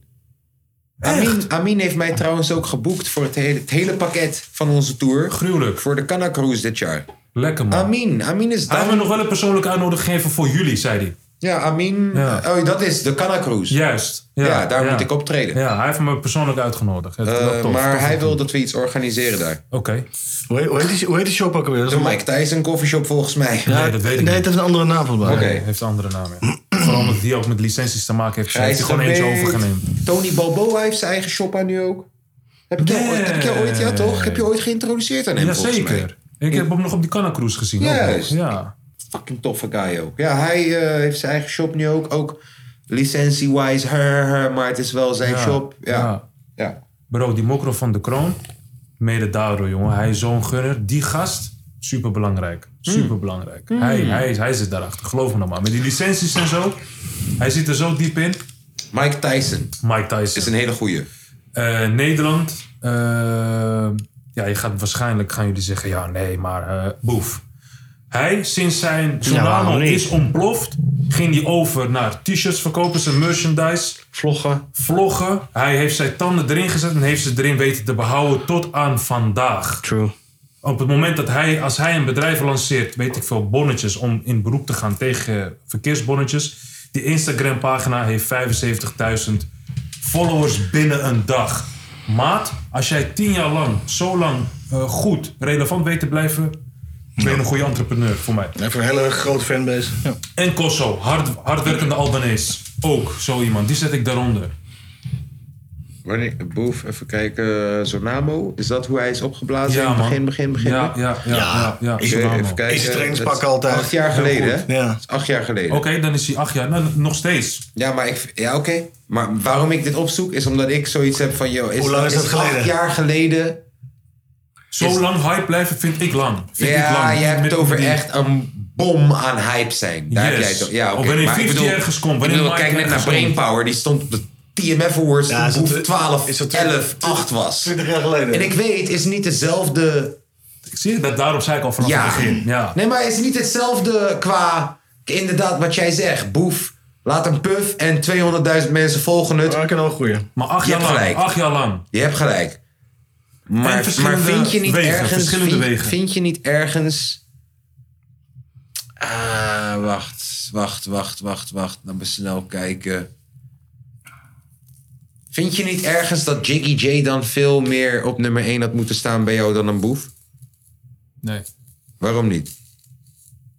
[SPEAKER 2] Amin, Amin heeft mij trouwens ook geboekt voor het hele, het hele pakket van onze tour.
[SPEAKER 5] Gruwelijk. Ah.
[SPEAKER 2] Voor de Canna Cruise dit jaar.
[SPEAKER 5] Lekker man.
[SPEAKER 2] Amin, Amin is
[SPEAKER 5] Hij heeft
[SPEAKER 2] daar.
[SPEAKER 5] me nog wel een persoonlijke uitnodiging gegeven voor jullie, zei hij.
[SPEAKER 2] Ja, Amin.
[SPEAKER 5] Ja.
[SPEAKER 2] Oh, dat is de Canna Cruise. Ja,
[SPEAKER 5] Juist. Ja,
[SPEAKER 2] daar
[SPEAKER 5] ja.
[SPEAKER 2] moet ik optreden.
[SPEAKER 5] Ja, hij heeft me persoonlijk uitgenodigd. Dat- dat
[SPEAKER 2] Eh,
[SPEAKER 5] tof,
[SPEAKER 2] maar
[SPEAKER 5] tof.
[SPEAKER 2] hij wil dat we iets organiseren daar.
[SPEAKER 5] Oké.
[SPEAKER 4] Hoe heet, hoe heet die, hoe heet die shop ook alweer? Dat is
[SPEAKER 2] De
[SPEAKER 4] een-
[SPEAKER 2] Mike Tyson coffeeshop volgens mij.
[SPEAKER 5] Nee, dat weet ik
[SPEAKER 4] Nee,
[SPEAKER 5] niet.
[SPEAKER 4] het heeft een andere naam volgens mij.
[SPEAKER 2] Oké.
[SPEAKER 5] Hij heeft een andere namen. Vooral omdat die ook met licenties te maken heeft. Hij heeft er gewoon eentje
[SPEAKER 2] geweest.
[SPEAKER 5] overgenomen.
[SPEAKER 2] Tony Balboa heeft zijn eigen shop aan nu ook. Heb ik jou,
[SPEAKER 5] Nee.
[SPEAKER 2] heb ik jou ooit, ja toch? Heb je ooit geïntroduceerd aan hem volgens mij?
[SPEAKER 5] Jazeker. Ik heb hem nog op die Canna Cruise gezien. ook nog.
[SPEAKER 2] Juist.
[SPEAKER 5] Ja.
[SPEAKER 2] Fucking toffe guy ook. Ja, hij eh, heeft zijn eigen shop nu ook. Ook licentie-wise, her, her, maar het is wel zijn
[SPEAKER 5] Ja.
[SPEAKER 2] shop. Ja.
[SPEAKER 5] Ja.
[SPEAKER 2] ja.
[SPEAKER 5] Bro, die mokro van de kroon. Mede daardoor, jongen. Hij is zo'n gunner. Die gast, superbelangrijk.
[SPEAKER 2] Hm.
[SPEAKER 5] Superbelangrijk. Hij, hij, hij zit daarachter. Geloof me nou maar. Met die licenties en zo. Hij zit er zo diep in.
[SPEAKER 2] Mike Tyson
[SPEAKER 5] Mike Tyson.
[SPEAKER 2] is een hele goeie.
[SPEAKER 5] Eh, Nederland. eh, ja, je gaat waarschijnlijk gaan jullie zeggen, ja, nee, maar eh, boef. Hij, sinds zijn
[SPEAKER 3] waarom
[SPEAKER 5] tsunami
[SPEAKER 3] niet?
[SPEAKER 5] is ontploft, ging hij over naar t-shirts verkopen, zijn merchandise,
[SPEAKER 3] Vloggen.
[SPEAKER 5] vloggen. Hij heeft zijn tanden erin gezet en heeft ze erin weten te behouden tot aan vandaag.
[SPEAKER 3] True.
[SPEAKER 5] Op het moment dat hij, als hij een bedrijf lanceert, weet ik veel, bonnetjes om in beroep te gaan tegen eh, verkeersbonnetjes. Die Instagram pagina heeft 75.000 followers binnen een dag. Maat, als jij tien jaar lang, zo lang eh, goed, relevant weet te blijven, ben je een goede entrepreneur voor mij.
[SPEAKER 4] Even een hele grote fanbase. Ja.
[SPEAKER 5] En Kosso, hard, hardwerkende Albanese. Ook zo iemand, die zet ik daaronder.
[SPEAKER 2] Wanneer, boef, even kijken. Zonamo, is dat hoe hij is opgeblazen? in het
[SPEAKER 5] man.
[SPEAKER 2] begin, begin, begin.
[SPEAKER 5] Ja, ja, ja. ja, ja,
[SPEAKER 2] Oké,
[SPEAKER 5] Zonamo.
[SPEAKER 2] even kijken.
[SPEAKER 4] Is trainingspak
[SPEAKER 2] Dat is
[SPEAKER 4] altijd.
[SPEAKER 2] Acht jaar
[SPEAKER 4] Heel
[SPEAKER 2] geleden,
[SPEAKER 4] goed.
[SPEAKER 2] hè?
[SPEAKER 4] Ja.
[SPEAKER 2] Dat is Acht jaar geleden.
[SPEAKER 5] Oké, dan is hij acht jaar. Nou, nog steeds.
[SPEAKER 2] Ja, maar, ik, ja, oké. maar waarom ik dit opzoek is omdat ik zoiets heb van... Yo, is,
[SPEAKER 4] Hoe lang is dat
[SPEAKER 2] het acht
[SPEAKER 4] geleden?
[SPEAKER 2] jaar geleden?
[SPEAKER 5] Zo lang hype blijven vind ik lang. Vind ik
[SPEAKER 2] ja,
[SPEAKER 5] lang.
[SPEAKER 2] je hebt
[SPEAKER 5] Met-
[SPEAKER 2] het over
[SPEAKER 5] met die-
[SPEAKER 2] echt een bom aan hype zijn. Daar heb
[SPEAKER 5] Yes.
[SPEAKER 2] jij het over. Ja,
[SPEAKER 5] Of
[SPEAKER 2] oké.
[SPEAKER 5] wanneer
[SPEAKER 2] Maar ik
[SPEAKER 5] 50
[SPEAKER 2] bedoel-
[SPEAKER 5] ergens komt,
[SPEAKER 2] Ik
[SPEAKER 5] wanneer
[SPEAKER 2] bedoel,
[SPEAKER 5] Mike
[SPEAKER 2] kijk net naar
[SPEAKER 5] ergens komt.
[SPEAKER 2] Brainpower. Die stond op de TMF Awards
[SPEAKER 4] Ja, is
[SPEAKER 2] toen
[SPEAKER 4] dat
[SPEAKER 2] Boef
[SPEAKER 4] twi-
[SPEAKER 2] 12,
[SPEAKER 4] is dat twi-
[SPEAKER 2] 11, 8 was.
[SPEAKER 4] 20 jaar geleden.
[SPEAKER 2] En ik weet, is niet dezelfde...
[SPEAKER 5] Ik zie dat daarop zei ik al vanaf
[SPEAKER 2] Ja.
[SPEAKER 5] het begin. Ja.
[SPEAKER 2] Nee, maar is niet hetzelfde qua... Inderdaad, wat jij zegt. Boef, laat een puff en 200.000 mensen volgen het.
[SPEAKER 4] Maar ik kan wel een goeie.
[SPEAKER 5] Maar acht
[SPEAKER 2] Je
[SPEAKER 5] jaar
[SPEAKER 2] hebt
[SPEAKER 5] lang.
[SPEAKER 2] gelijk.
[SPEAKER 5] Acht jaar lang.
[SPEAKER 2] Je hebt gelijk. Maar, maar
[SPEAKER 5] verschillende
[SPEAKER 2] vind je niet
[SPEAKER 5] wegen,
[SPEAKER 2] ergens...
[SPEAKER 5] verschillende
[SPEAKER 2] vind,
[SPEAKER 5] wegen.
[SPEAKER 2] vind je niet ergens... Ah, wacht, wacht, wacht, wacht, wacht. Dan maar snel kijken. Vind je niet ergens dat Jiggy J dan veel meer op nummer 1 had moeten staan bij jou dan een boef?
[SPEAKER 5] Nee.
[SPEAKER 2] Waarom niet?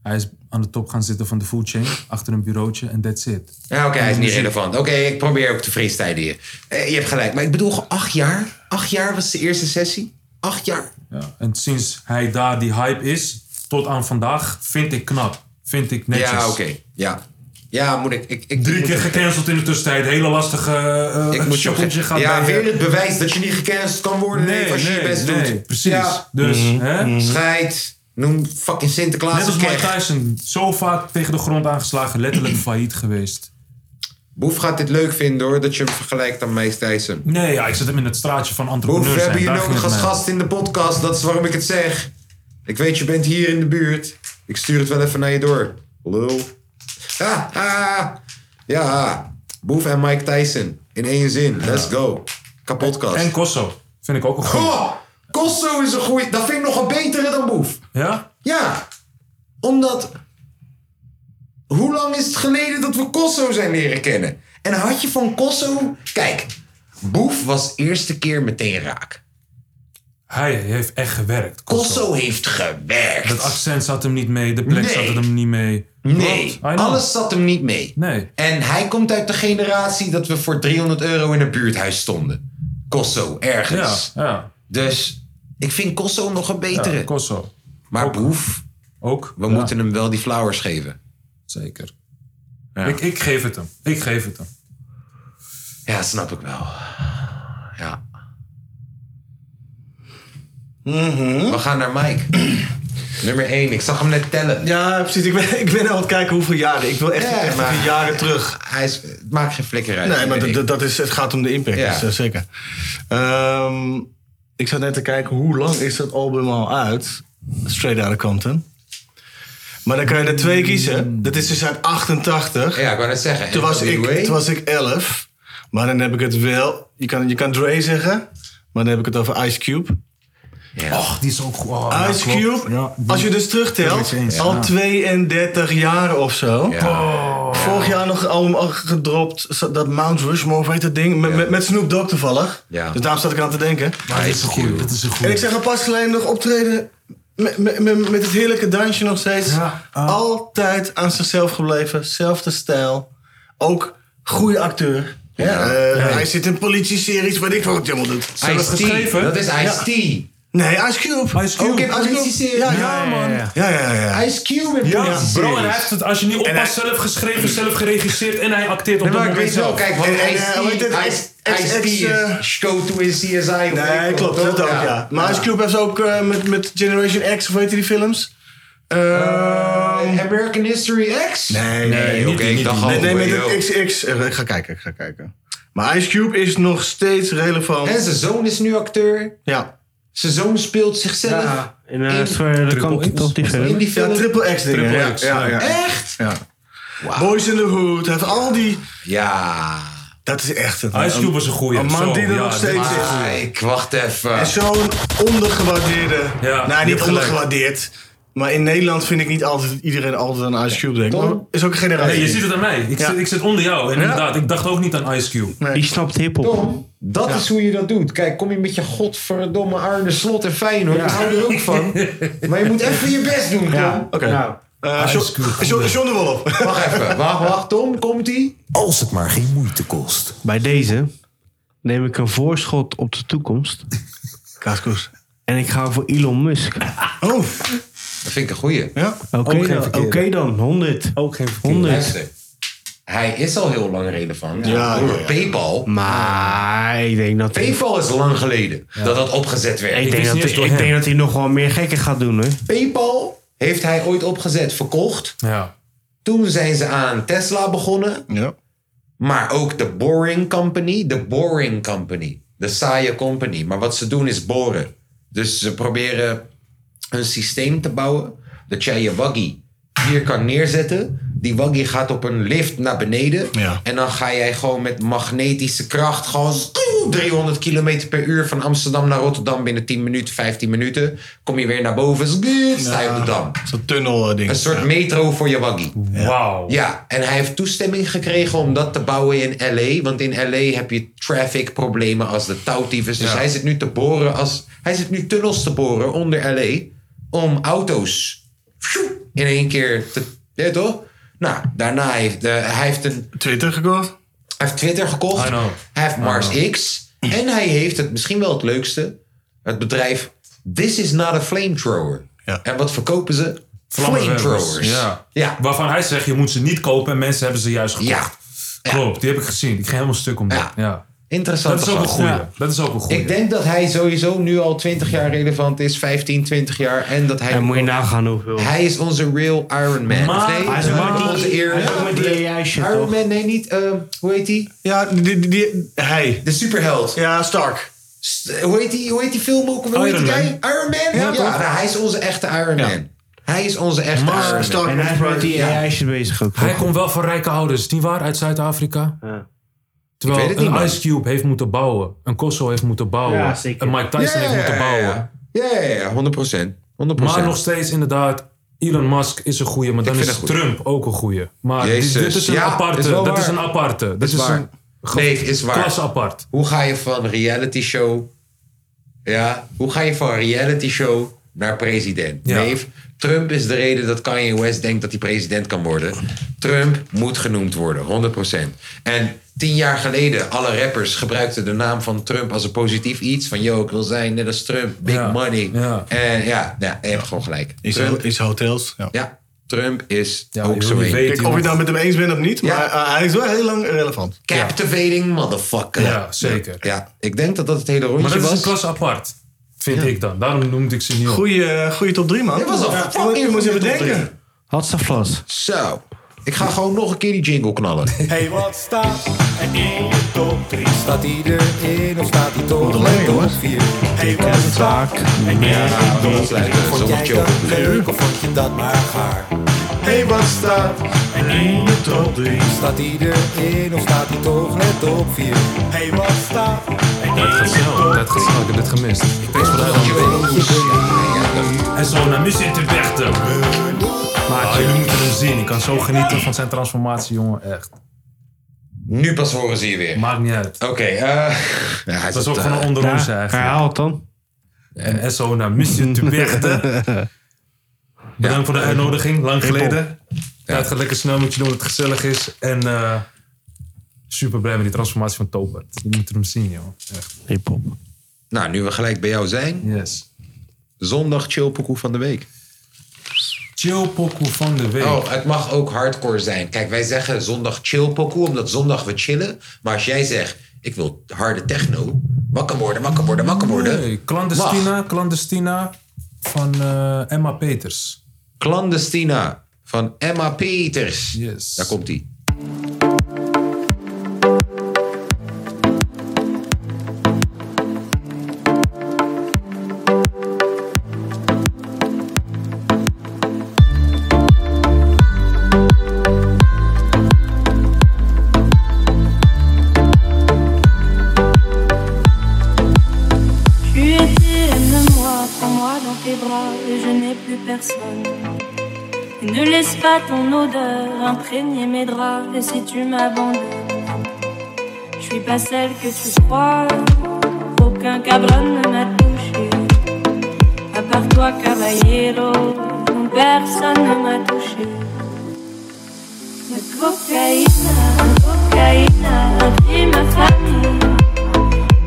[SPEAKER 5] Hij is aan de top gaan zitten van de food chain. Achter een bureautje. En that's it.
[SPEAKER 2] Ja, oké, hij is niet relevant. Oké, ik probeer ook te freestylen hier. Eh, je hebt gelijk, maar ik bedoel gewoon acht jaar. Acht jaar was de eerste sessie. Acht jaar.
[SPEAKER 5] Ja. En sinds hij daar die hype is. Tot aan vandaag. Vind ik knap. Vind ik netjes.
[SPEAKER 2] Ja, oké. Ja. ja, moet ik... ik, ik
[SPEAKER 5] Drie
[SPEAKER 2] moet
[SPEAKER 5] keer gecanceld in de tussentijd. Hele lastige eh
[SPEAKER 2] Ik moet je
[SPEAKER 5] shoppeltje
[SPEAKER 2] ge-
[SPEAKER 5] gaat
[SPEAKER 2] Ja,
[SPEAKER 5] bij- eh,
[SPEAKER 2] weer het bewijs dat je niet gecanceld kan worden nee, als je je best
[SPEAKER 5] nee,
[SPEAKER 2] doet.
[SPEAKER 5] Precies.
[SPEAKER 2] Ja, Mhm.
[SPEAKER 5] Dus, hè?
[SPEAKER 2] scheid. Noem fucking Sinterklaas
[SPEAKER 5] Net als
[SPEAKER 2] een
[SPEAKER 5] Mike
[SPEAKER 2] keg.
[SPEAKER 5] Tyson. Zo vaak tegen de grond aangeslagen. Letterlijk failliet geweest.
[SPEAKER 2] Boef gaat dit leuk vinden hoor, dat je hem vergelijkt aan Mike Tyson.
[SPEAKER 5] Nee, ja, ik zit hem in het straatje van
[SPEAKER 2] Boef,
[SPEAKER 5] entrepreneurs.
[SPEAKER 2] we hebben
[SPEAKER 5] zijn.
[SPEAKER 2] je
[SPEAKER 5] Daar ging
[SPEAKER 2] nodig
[SPEAKER 5] het
[SPEAKER 2] als
[SPEAKER 5] mij om.
[SPEAKER 2] gast in de podcast. Dat is waarom ik het zeg. Ik weet, je bent hier in de buurt. Ik stuur het wel even naar je door. Lul. Ha, ha. Ja, Boef en Mike Tyson. In één zin. Let's go. Kapotkast.
[SPEAKER 5] En Kosso. Vind ik ook een goeie.
[SPEAKER 2] Oh, Kosso is een goeie. Dat vind ik nog een betere dan Boef.
[SPEAKER 5] Ja?
[SPEAKER 2] Ja, omdat. Hoe lang is het geleden dat we Kosso zijn leren kennen? En had je van Kosso. Kijk, Boef was eerste keer meteen raak.
[SPEAKER 5] Hij heeft echt gewerkt.
[SPEAKER 2] Kosso heeft gewerkt.
[SPEAKER 5] Het accent zat hem niet mee, de plek
[SPEAKER 2] Nee.
[SPEAKER 5] zat het hem niet mee.
[SPEAKER 2] nee,
[SPEAKER 5] Klopt, I know.
[SPEAKER 2] alles zat hem niet mee.
[SPEAKER 5] Nee.
[SPEAKER 2] En hij komt uit de generatie dat we voor 300 euro in een buurthuis stonden. Kosso, ergens.
[SPEAKER 5] Ja, ja.
[SPEAKER 2] Dus ik vind Kosso nog een betere.
[SPEAKER 5] Ja, Kosso.
[SPEAKER 2] Maar Boef,
[SPEAKER 5] ook.
[SPEAKER 2] we
[SPEAKER 5] Ja.
[SPEAKER 2] moeten hem wel die flowers geven.
[SPEAKER 5] Zeker. Ik, ik geef het hem. Ik geef het hem.
[SPEAKER 2] Ja, snap ik wel. Ja.
[SPEAKER 4] Mhm.
[SPEAKER 2] We gaan naar Mike. Nummer 1, ik zag hem net tellen.
[SPEAKER 4] Ja, precies. Ik ben, ik ben aan het kijken hoeveel jaren. Ik wil echt,
[SPEAKER 2] Ja,
[SPEAKER 4] echt
[SPEAKER 2] maar-
[SPEAKER 4] even jaren terug.
[SPEAKER 2] Hij is, het maakt geen flikker uit.
[SPEAKER 4] Nee, maar
[SPEAKER 2] Nee.
[SPEAKER 4] dat- dat is, het gaat om de impact,
[SPEAKER 2] Ja.
[SPEAKER 4] dus, eh, zeker. Ehm, ik zat net te kijken, hoe lang is dat album al uit? Straight Outta Compton. Maar dan kan je er twee kiezen. Dat is dus uit 88.
[SPEAKER 2] Mm. Ja, ik wou net zeggen.
[SPEAKER 4] Toen was, ik,
[SPEAKER 2] NWA?
[SPEAKER 4] toen was ik 11. Maar dan heb ik het wel... Je kan, je kan Dre zeggen, maar dan heb ik het over Ice Cube.
[SPEAKER 2] Ja.
[SPEAKER 5] Och, die is ook goed. Oh, ja,
[SPEAKER 4] Ice
[SPEAKER 5] klopt.
[SPEAKER 4] Cube,
[SPEAKER 5] Ja, die-
[SPEAKER 4] als je dus terugtelt,
[SPEAKER 5] ben ik eens,
[SPEAKER 4] al
[SPEAKER 5] ja. Oh.
[SPEAKER 4] 32 jaar of zo. Vorig jaar nog een album al gedropt, zo- dat Mount Rushmore, of heet dat ding? Met, met, met Snoop Dogg toevallig.
[SPEAKER 2] Ja.
[SPEAKER 4] Dus daarom zat ik aan te denken.
[SPEAKER 5] Ja, dit is een goeie. Dit is een
[SPEAKER 4] En
[SPEAKER 5] goeie.
[SPEAKER 4] ik zeg al pas geleden nog optreden met, met, met, met het heerlijke dansje nog steeds.
[SPEAKER 5] Ja, ah.
[SPEAKER 4] Altijd aan zichzelf gebleven, zelfde stijl. Ook goede acteur. Ja. eh, Hij zit in politie-series, weet ik wat hij allemaal doet.
[SPEAKER 2] Ice-T.
[SPEAKER 5] geschreven?
[SPEAKER 2] Dat is Ice-T.
[SPEAKER 4] Nee, Ice Cube.
[SPEAKER 5] Ice Cube.
[SPEAKER 2] Ook in
[SPEAKER 4] Ice Cube.
[SPEAKER 2] politie
[SPEAKER 4] Ja, ja,
[SPEAKER 5] Ja, man.
[SPEAKER 4] ja, ja. ja.
[SPEAKER 2] Ice Cube in
[SPEAKER 5] Ja, bro, en hij
[SPEAKER 2] politie-series.
[SPEAKER 5] heeft het, als je niet oppast, zelf geschreven, zelf geregisseerd en hij acteert op
[SPEAKER 2] Nee,
[SPEAKER 5] dat
[SPEAKER 2] maar ik
[SPEAKER 5] moment
[SPEAKER 2] weet wel,
[SPEAKER 5] zelf.
[SPEAKER 2] kijk, want
[SPEAKER 4] En- en, eh, hoe heet het?
[SPEAKER 2] Ice-T
[SPEAKER 4] Ex-
[SPEAKER 2] Ice-T
[SPEAKER 4] ex, eh,
[SPEAKER 2] is go to in CSI. of weet
[SPEAKER 4] Nee,
[SPEAKER 2] ik
[SPEAKER 4] klopt.
[SPEAKER 2] wat,
[SPEAKER 4] Dat ook,
[SPEAKER 2] toch?
[SPEAKER 4] ja. Maar Ice Cube heeft ook eh, met, met Generation X, of weet je die films? Ehm,
[SPEAKER 2] Eh, American History X?
[SPEAKER 4] nee,
[SPEAKER 2] Nee, oké, ik dacht al.
[SPEAKER 4] Nee, nee, met
[SPEAKER 2] yo.
[SPEAKER 4] het XX. Eh, Ik ga kijken, ik ga kijken. Maar Ice Cube is nog steeds relevant.
[SPEAKER 2] En zijn zoon is nu acteur.
[SPEAKER 4] Ja.
[SPEAKER 2] Zijn zoon speelt zichzelf
[SPEAKER 3] Ja, in
[SPEAKER 2] Eén-
[SPEAKER 3] uh, Straight Outta Compton, toch die
[SPEAKER 2] in
[SPEAKER 3] film?
[SPEAKER 2] die
[SPEAKER 4] Ja,
[SPEAKER 2] film.
[SPEAKER 4] triple X dingen.
[SPEAKER 5] Triple
[SPEAKER 4] ja,
[SPEAKER 5] X,
[SPEAKER 4] ja,
[SPEAKER 5] ja.
[SPEAKER 4] ja.
[SPEAKER 2] Echt?
[SPEAKER 4] Ja. Boys in the Hood. Hij heeft al die...
[SPEAKER 2] Ja.
[SPEAKER 4] Dat is echt een...
[SPEAKER 5] Ice Cube was een goeie.
[SPEAKER 4] Een man
[SPEAKER 5] Zo,
[SPEAKER 4] die er
[SPEAKER 5] ja, dit-
[SPEAKER 4] nog steeds is.
[SPEAKER 2] Ah, ik wacht even.
[SPEAKER 4] En zo'n ondergewaardeerde...
[SPEAKER 5] Ja,
[SPEAKER 4] nou,
[SPEAKER 5] je hebt
[SPEAKER 4] niet
[SPEAKER 5] gelijk.
[SPEAKER 4] ondergewaardeerd. Maar in Nederland vind ik niet altijd iedereen altijd aan Ice Cube denkt. Maar is ook een generatie.
[SPEAKER 5] Nee, je ziet het aan mij. Ik,
[SPEAKER 4] Ja.
[SPEAKER 5] zit, ik zit onder jou. En inderdaad, ik dacht ook niet aan Ice Cube.
[SPEAKER 3] Die snapt hiphop.
[SPEAKER 2] Tom, dat is hoe je dat doet. Kijk, kom je met je godverdomme Arne Slot en Feyenoord. Ik hou er ook van. Maar je moet even je best doen, Tom.
[SPEAKER 3] Ja,
[SPEAKER 4] Oké.
[SPEAKER 3] nou,
[SPEAKER 4] Eh,
[SPEAKER 5] Ice
[SPEAKER 4] John,
[SPEAKER 5] Cube.
[SPEAKER 4] John- John de Wolf.
[SPEAKER 2] Wacht even. Wacht, wacht. Tom, komt-ie?
[SPEAKER 6] Als het maar geen moeite kost.
[SPEAKER 3] bij deze neem ik een voorschot op de toekomst.
[SPEAKER 4] Kaaskoes.
[SPEAKER 3] En ik ga voor Elon Musk.
[SPEAKER 4] Oh,
[SPEAKER 2] Dat vind ik een goeie.
[SPEAKER 4] ja.
[SPEAKER 3] Oké
[SPEAKER 5] Ook geen
[SPEAKER 3] dan,
[SPEAKER 5] verkeerde.
[SPEAKER 3] oké dan, 100.
[SPEAKER 5] Ook geen verkeerde.
[SPEAKER 3] 100.
[SPEAKER 2] Luister. Hij is al heel lang relevant.
[SPEAKER 4] Ja,
[SPEAKER 2] Door
[SPEAKER 4] ja.
[SPEAKER 2] Paypal.
[SPEAKER 3] Maar ik denk dat hij,
[SPEAKER 2] Paypal is lang geleden dat dat opgezet werd.
[SPEAKER 3] ik
[SPEAKER 5] is
[SPEAKER 3] denk dat
[SPEAKER 5] niet
[SPEAKER 3] hij,
[SPEAKER 5] door
[SPEAKER 3] ik
[SPEAKER 5] hem.
[SPEAKER 3] denk dat hij nog wel meer gekken gaat doen, hoor.
[SPEAKER 2] Paypal heeft hij ooit opgezet, verkocht.
[SPEAKER 5] Ja.
[SPEAKER 2] Toen zijn ze aan Tesla begonnen.
[SPEAKER 4] ja.
[SPEAKER 2] Maar ook de Boring Company. De Boring Company. De saaie company. Maar wat ze doen is boren. Dus ze proberen een systeem te bouwen. Dat jij je waggie hier kan neerzetten. Die waggie gaat op een lift naar beneden.
[SPEAKER 4] Ja.
[SPEAKER 2] En dan ga jij gewoon met magnetische kracht. Gewoon 300 km per uur van Amsterdam naar Rotterdam. Binnen 10 minuten, 15 minuten. Kom je weer naar boven. Sta je op de dam.
[SPEAKER 4] Zo'n tunnel eh, ding.
[SPEAKER 2] Een soort metro voor je waggie.
[SPEAKER 5] Wauw.
[SPEAKER 2] Ja, en hij heeft toestemming gekregen om dat te bouwen in LA. Want in LA heb je traffic problemen als de touwtiefes. Dus hij zit nu te boren als. Hij zit nu tunnels te boren onder LA. Om auto's pjoe, in één keer te. Ja, toch? Nou, daarna heeft eh, hij heeft een,
[SPEAKER 4] Twitter gekocht.
[SPEAKER 2] hij heeft Twitter gekocht.
[SPEAKER 5] I know.
[SPEAKER 2] Hij heeft Mars X. En hij heeft het misschien wel het leukste. Het bedrijf This is not a flamethrower.
[SPEAKER 4] Ja.
[SPEAKER 2] En wat verkopen ze?
[SPEAKER 5] Vlammenwerpers.
[SPEAKER 2] Flamethrowers.
[SPEAKER 5] Ja.
[SPEAKER 2] ja.
[SPEAKER 5] Waarvan hij zegt, je moet ze niet kopen en mensen hebben ze juist gekocht.
[SPEAKER 2] Ja.
[SPEAKER 5] Klopt, die heb ik gezien. Ik ging helemaal stuk om dat.
[SPEAKER 2] Ja.
[SPEAKER 5] Ja.
[SPEAKER 2] Interessant.
[SPEAKER 5] Dat is ook een goeie. Dat is ook een goeie.
[SPEAKER 2] Ik denk dat hij sowieso nu al 20 jaar relevant is, 15, 20 jaar. En dat hij.
[SPEAKER 3] En moet je nagaan hoeveel.
[SPEAKER 2] Hij is onze real Iron Man.
[SPEAKER 5] Maar-
[SPEAKER 2] of nee,
[SPEAKER 5] Hij
[SPEAKER 3] is ook
[SPEAKER 2] maar
[SPEAKER 3] met die-
[SPEAKER 2] onze eer.
[SPEAKER 3] hij is ook met die AI shit,
[SPEAKER 2] Iron
[SPEAKER 3] toch?
[SPEAKER 2] Man, nee, niet. eh, hoe heet die?
[SPEAKER 4] Ja, die, die, die- hij.
[SPEAKER 2] De superheld.
[SPEAKER 4] Ja, Stark.
[SPEAKER 2] S- Hoe, heet die, hoe heet die film ook? Hoe heet
[SPEAKER 5] Iron
[SPEAKER 2] die guy?
[SPEAKER 5] Man.
[SPEAKER 2] Iron Man? Ja,
[SPEAKER 5] toch?
[SPEAKER 2] nou, hij is onze echte Iron
[SPEAKER 4] Ja.
[SPEAKER 2] Man. Hij is onze echte
[SPEAKER 4] Maar
[SPEAKER 2] Iron Man.
[SPEAKER 4] Stark-
[SPEAKER 3] En hij is met die
[SPEAKER 2] Ja.
[SPEAKER 3] AI shit bezig ook.
[SPEAKER 5] Hij komt wel van rijke ouders, niet waar? Uit Zuid-Afrika.
[SPEAKER 3] Ja.
[SPEAKER 2] Ik
[SPEAKER 5] Terwijl
[SPEAKER 2] weet het
[SPEAKER 5] een
[SPEAKER 2] niet, man.
[SPEAKER 5] Ice Cube heeft moeten bouwen. Een Kosso heeft moeten bouwen.
[SPEAKER 3] Ja, zeker.
[SPEAKER 5] Een Mike Tyson heeft moeten bouwen.
[SPEAKER 2] Ja, ja, ja, ja, 100 procent. 100
[SPEAKER 5] Maar nog steeds inderdaad, Elon Musk is een goeie. Maar dan
[SPEAKER 2] vind
[SPEAKER 5] is
[SPEAKER 2] het goed.
[SPEAKER 5] Trump ook een goeie. Maar dit-
[SPEAKER 2] Jezus.
[SPEAKER 5] dit is een
[SPEAKER 2] Ja,
[SPEAKER 5] aparte.
[SPEAKER 2] is wel
[SPEAKER 5] dat
[SPEAKER 2] waar.
[SPEAKER 5] is een aparte. Dat
[SPEAKER 2] Is
[SPEAKER 5] is,
[SPEAKER 2] waar.
[SPEAKER 5] een ge-
[SPEAKER 2] Nee, is waar.
[SPEAKER 5] klasse apart.
[SPEAKER 2] Hoe ga je van reality show. Ja, hoe ga je van reality show naar president.
[SPEAKER 5] Ja.
[SPEAKER 2] Nee, Trump is de reden dat Kanye West denkt dat hij president kan worden. Trump moet genoemd worden, 100%. En tien jaar geleden, alle rappers gebruikten de naam van Trump als een positief iets. Van, yo, ik wil zijn net als Trump, big
[SPEAKER 5] Ja.
[SPEAKER 2] money.
[SPEAKER 5] Ja.
[SPEAKER 2] En ja, ja, je hebt gewoon gelijk.
[SPEAKER 4] Is,
[SPEAKER 2] Trump,
[SPEAKER 4] is hotels. Ja.
[SPEAKER 2] ja, Trump is
[SPEAKER 5] Ja,
[SPEAKER 2] ook
[SPEAKER 5] je
[SPEAKER 2] zo
[SPEAKER 5] wil niet
[SPEAKER 2] een.
[SPEAKER 5] weten.
[SPEAKER 4] Kijk, of je het nou met hem eens bent of niet,
[SPEAKER 2] Ja.
[SPEAKER 4] maar eh, hij is wel heel lang relevant.
[SPEAKER 2] Captivating motherfucker.
[SPEAKER 5] Ja, zeker.
[SPEAKER 2] Ja, ik denk dat dat het hele rondje
[SPEAKER 5] Maar dat is een
[SPEAKER 2] was.
[SPEAKER 5] klas apart, vind ik dan. Daarom noemde ik ze niet op.
[SPEAKER 4] Goeie, eh, goeie top 3, man.
[SPEAKER 2] Dit was al
[SPEAKER 4] Ja,
[SPEAKER 2] fucking
[SPEAKER 4] je moet je
[SPEAKER 2] goede top
[SPEAKER 4] bedenken.
[SPEAKER 3] Had ze vlas.
[SPEAKER 2] Zo. Ik ga gewoon nog een keer die jingle knallen.
[SPEAKER 9] Hey, wat staat er in je top 3? Staat hij erin of staat hij toch
[SPEAKER 4] Wat een
[SPEAKER 9] in
[SPEAKER 4] jongens.
[SPEAKER 9] top 4? Hey, wat staat er in
[SPEAKER 2] Ja, we
[SPEAKER 9] je top
[SPEAKER 2] sluiten.
[SPEAKER 9] 3? Vond
[SPEAKER 2] Zonder
[SPEAKER 9] jij
[SPEAKER 2] chill.
[SPEAKER 9] dat leuk of vond je dat maar gaar?
[SPEAKER 4] Hey, wat staat er in je top 3?
[SPEAKER 9] Staat hij erin of staat hij toch net op 4? Hey, wat staat
[SPEAKER 5] Dat gaat snel, dat gaat snel. Ik heb dit gemist. Thanks voor de aandacht. En zo naar muziek te vechten. Maar Ah, jullie moeten hem zien. Ik kan zo genieten van zijn transformatie, jongen. Echt.
[SPEAKER 2] Nu pas horen ze je weer.
[SPEAKER 5] Maakt niet uit.
[SPEAKER 2] Oké, eh, ja, hij
[SPEAKER 5] Dat is
[SPEAKER 2] zat,
[SPEAKER 5] ook
[SPEAKER 2] eh,
[SPEAKER 5] gewoon onder ons eigenlijk.
[SPEAKER 3] Herhaal het dan.
[SPEAKER 5] En SO naar Mission te vechten. Bedankt voor de uitnodiging, lang geleden. Ja. Het gaat lekker snel, moet je doen dat het gezellig is. En eh, super blij met die transformatie van Tobert. Je moet hem zien, joh. Echt.
[SPEAKER 3] Hip-hop.
[SPEAKER 2] Nou, nu we gelijk bij jou zijn.
[SPEAKER 5] Yes.
[SPEAKER 2] Zondag chillpokoe van de week.
[SPEAKER 5] Chill pokoe van de week.
[SPEAKER 2] Oh, het mag ook hardcore zijn. Kijk, wij zeggen zondag chillpokoe omdat zondag we chillen. Maar als jij zegt, ik wil harde techno. Wakker worden, wakker worden, wakker worden.
[SPEAKER 5] Nee, clandestina, clandestina van eh, Emma Peters.
[SPEAKER 2] Clandestina van Emma Peters.
[SPEAKER 5] Yes.
[SPEAKER 2] Daar komt ie.
[SPEAKER 11] Tu étais aime-moi, prends-moi dans tes bras et je n'ai plus personne. Et ne laisse pas ton odeur imprégner mes draps et si tu m'abandonnes, je suis pas celle que tu crois. Aucun cabron ne m'a touché, à part toi, caballero, personne ne m'a touché. La cocaïne, la cocaïne, a pris ma famille.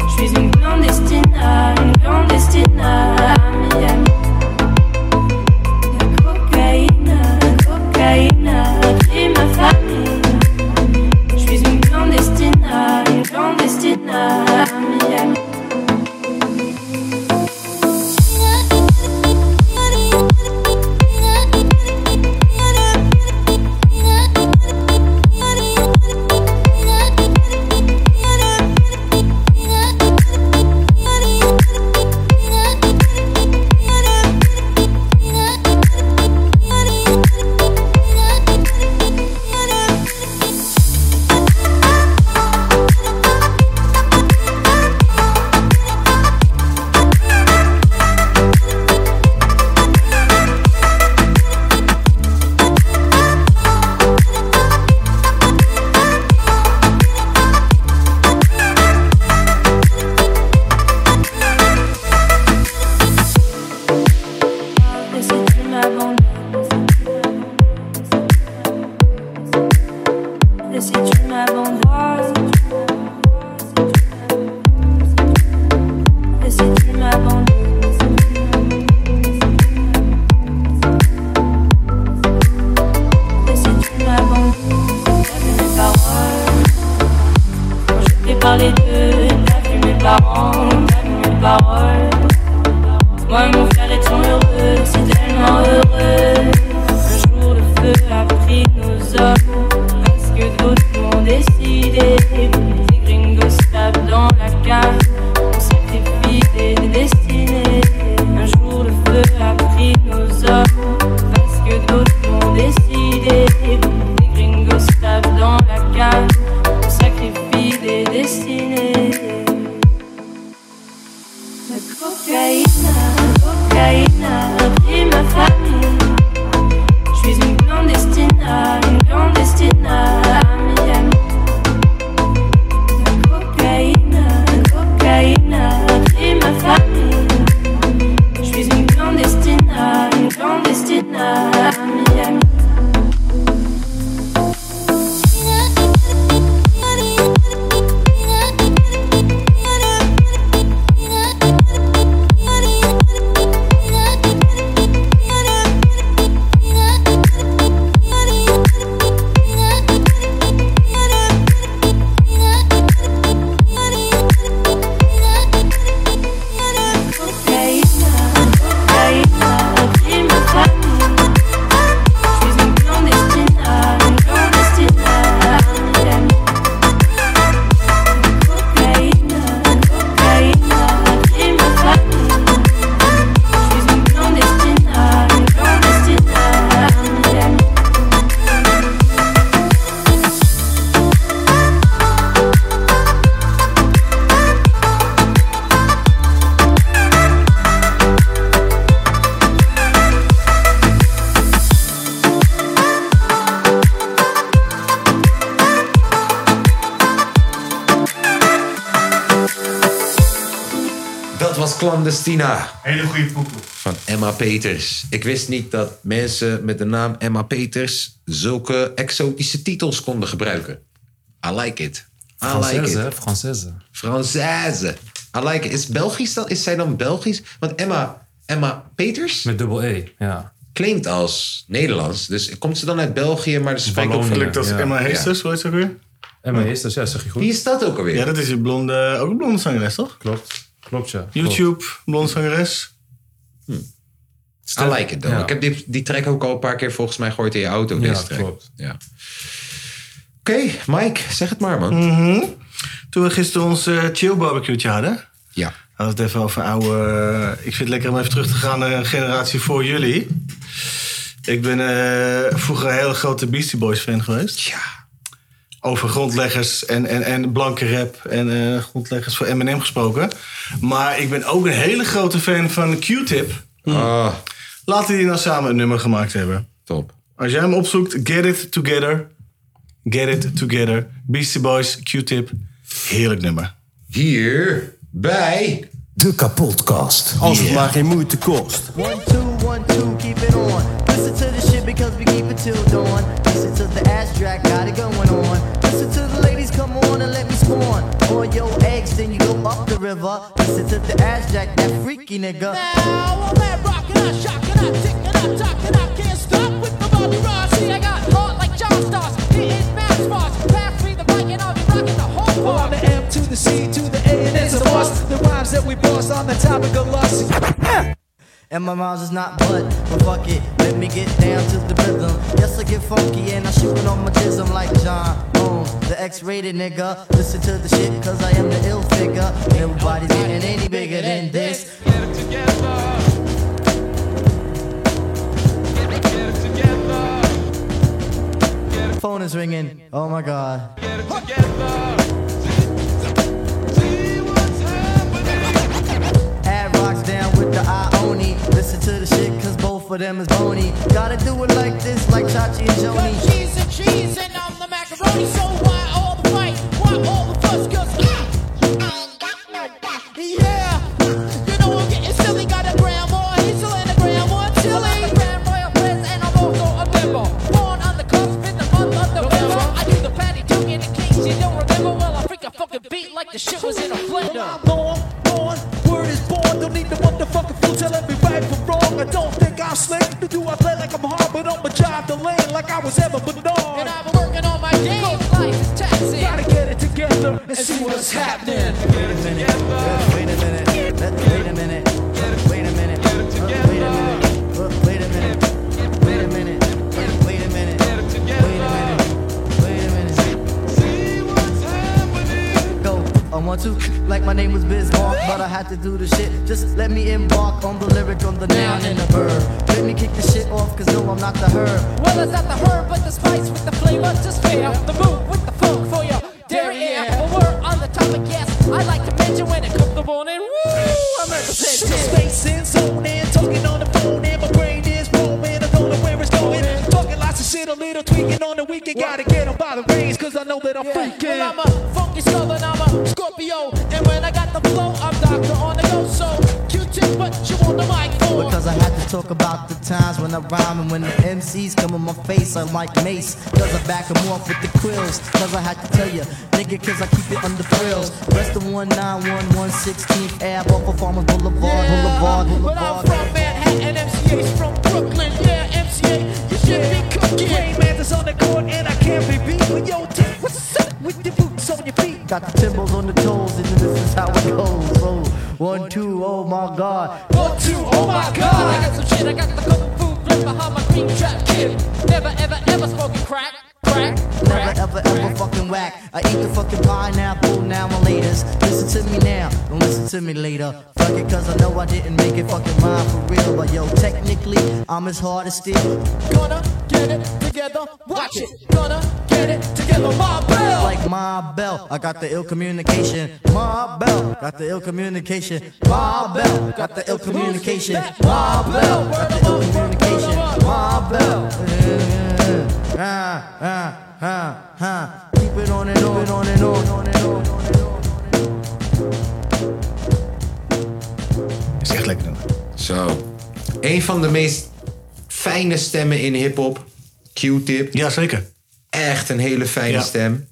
[SPEAKER 11] Je suis une clandestina, une clandestina à Miami. La cocaïne, la cocaïne a pris ma famille. Je suis une clandestina, une clandestina à Miami. Et si tu m'abandonnes, et si tu m'abandonnes, et si tu m'abandonnes, et si tu m'abandonnes, t'as vu mes paroles, quand je t'ai parlé d'eux, t'as vu mes parents, t'as vu mes paroles. Moi et mon frère étions heureux, si tellement heureux. Un jour le feu a pris nos hommes, parce que d'autres l'ont décidé. Les gringos tapent dans la cave, on sacrifie des destinées. Un jour le feu a pris nos hommes, parce que d'autres l'ont décidé. Les gringos tapent dans la cave, on sacrifie des destinées. La cocaïne, la cocaïne
[SPEAKER 2] Clandestina
[SPEAKER 12] Hele goede poepoe.
[SPEAKER 2] van Emma Peters. Ik wist niet dat mensen met de naam Emma Peters zulke exotische titels konden gebruiken. I like it. I like it.
[SPEAKER 5] Française, Française.
[SPEAKER 2] Française. I like it. Is, Belgisch dan, is zij dan Belgisch? Want Emma, Emma Peters
[SPEAKER 5] Met dubbel E, ja.
[SPEAKER 2] klinkt als Nederlands. Dus komt ze dan uit België, maar ze spreekt ook...
[SPEAKER 5] Wallonië.
[SPEAKER 4] Gelukkig dat is
[SPEAKER 5] Ja.
[SPEAKER 4] Emma Heesters, hoe heet ze ook weer?
[SPEAKER 5] En mijn eerste, ja, zeg je goed.
[SPEAKER 2] Wie is dat ook alweer?
[SPEAKER 4] Ja, dat is die blonde, ook een blonde zangeres, toch?
[SPEAKER 5] Klopt. Klopt, ja. Klopt.
[SPEAKER 4] YouTube, blonde zangeres.
[SPEAKER 2] I like it though.
[SPEAKER 5] Ja.
[SPEAKER 2] Ik heb die, die track ook al een paar keer volgens mij gehoord in je auto.
[SPEAKER 5] Ja,
[SPEAKER 2] deze track.
[SPEAKER 5] klopt.
[SPEAKER 2] Ja. Oké, Mike, zeg het maar man.
[SPEAKER 5] Mm.
[SPEAKER 4] Toen we gisteren ons eh, chill barbecue hadden,
[SPEAKER 2] Ja.
[SPEAKER 4] hadden we het even over oude... eh, ik vind het lekker om even terug te gaan naar een generatie voor jullie. Ik ben eh, vroeger een hele grote Beastie Boys fan geweest.
[SPEAKER 2] Ja.
[SPEAKER 4] over grondleggers en, en, en blanke rap en eh, grondleggers voor Eminem gesproken. Maar ik ben ook een hele grote fan van Q-Tip.
[SPEAKER 5] Mm.
[SPEAKER 2] Ah,
[SPEAKER 4] Laten die nou samen een nummer gemaakt hebben.
[SPEAKER 2] top.
[SPEAKER 4] Als jij hem opzoekt, Get It Together. Get It Together. Beastie Boys, Q-Tip. Heerlijk nummer.
[SPEAKER 2] Hier bij
[SPEAKER 13] De kapotkast.
[SPEAKER 14] Als het maar geen moeite kost.
[SPEAKER 11] One, two, one, two, keep it on. Listen to the shit because we keep it till dawn. Listen to the ass track, got it going on. Listen to the ladies, come on and let me spawn. On your eggs, then you go up the river. Listen to the ass jack, that freaky nigga.
[SPEAKER 15] Now I'm mad rockin', I shockin', I tickin', I talkin', I can't stop with my Bobby Ross. See, I got heart like John Stars, hitting fast bars. Pass me the mic and I'll be rockin' the whole
[SPEAKER 11] Well, I'm
[SPEAKER 15] bar.
[SPEAKER 11] the M to the C to the A, and it's a must. The rhymes that we boss on the topic of lust. And my rhymes is not butt, but fuck it, let me get down to the rhythm. Yes, I get funky and I shoot it on my tism like John Bones, the X-rated nigga. Listen to the shit, cause I am the ill figure. Everybody's getting any bigger than this.
[SPEAKER 15] Get it together. Get it, get it together.
[SPEAKER 11] Phone is ringing, oh my god.
[SPEAKER 15] Get it together. See, see what's happening.
[SPEAKER 11] Add rocks down with the Ioni. Listen to the shit, cause both of them is bony. Gotta do it like this, like Chachi and
[SPEAKER 15] But
[SPEAKER 11] Joni.
[SPEAKER 15] she's a cheese and I'm the macaroni, so why all the fight? Why all the fuss? Cause I, I ain't got no back. Yeah, you know I'm getting silly. Got a grandma, Hazel, and a grandma, Tilly. I'm a grand royal prince and I'm also a member. Born on the cusp in the month of November. I do the patty tongue in the case you don't remember. Well, I freak a fucking beat like the shit was in a blender.
[SPEAKER 11] I'm born, born, word is born. Don't need the motherfucking fool telling me right from wrong. I don't think I'm slick. Do I play like I'm hard, but on my job the lane like I was ever
[SPEAKER 15] And
[SPEAKER 11] Bernard?
[SPEAKER 15] I've been working on my game. Life is taxing.
[SPEAKER 11] Gotta get it together and see what's happening. Wait a minute, uh, wait a minute, uh, wait a minute, uh, wait a minute, uh, wait a minute, uh, wait a minute, uh, wait a minute, uh, wait a minute, uh, wait a minute, wait a minute.
[SPEAKER 15] See what's happening.
[SPEAKER 11] go. I want to, like my name was Bismarck, but I had to do the shit. Just let me embark on the lyric, on the noun and the verb. Let me kick the shit off, cause no, I'm not the herb.
[SPEAKER 15] Well, it's not the herb, but the spice with the flavor. Just pair the mood with the funk for your derriere. Well, we're on the topic, yes. I like to mention when it comes to morning. Woo, I'm representing.
[SPEAKER 11] Space and zone and talking on the phone, and my brain is roaming. I don't know where it's going. Talking lots of shit, a little tweaking on the weekend. Gotta get them by the reins, cause I know that I'm freaking.
[SPEAKER 15] Well, I'm a funky soul and I'm a Scorpio. And when I got the flow, I'm doctor on the go. So Q-tip, but you on the mic for?
[SPEAKER 11] Because I had to talk about the times when I rhyme and when the MCs come in my face, I like mace. Cause I back 'em off with the quills. Cause I had to tell ya, nigga, cause I keep it under frills. Rest of 191116th Ave off of Farmers Boulevard, Boulevard,
[SPEAKER 15] But I'm from
[SPEAKER 11] Boulevard.
[SPEAKER 15] Manhattan, MCA's from Brooklyn. Yeah, MCA, you should be cooking.
[SPEAKER 11] Mantis on the court and I can't be beat. But yo, Tim, what's up with the boots on your feet? Got the timbals on the toes and this is how it goes. Oh, one, two, oh my god.
[SPEAKER 15] One, two, oh my god! I got some shit, I got the kung fu grip behind my green trap kid. Never, ever, ever smoking crack, crack, crack.
[SPEAKER 11] Never ever ever fucking whack. I eat the fucking pineapple now and laters. Listen to me now, don't listen to me later. Fuck it, cause I know I didn't make it fucking mine for real. But yo, technically, I'm as hard as steel.
[SPEAKER 15] Gonna get it together, watch it. Gonna get it together, my bell.
[SPEAKER 11] Like my bell, I got the ill communication. My bell, got the ill communication. My bell, got the ill communication. My bell, got the ill communication. My bell. Yeah, yeah, yeah. Ah, ah, ah, ah. Keep it on and on, on and on, on and on, on and on. on and on.
[SPEAKER 2] Een van de meest fijne stemmen in hip-hop. Q-tip.
[SPEAKER 4] Ja, zeker.
[SPEAKER 2] Echt een hele fijne
[SPEAKER 4] Ja.
[SPEAKER 2] stem.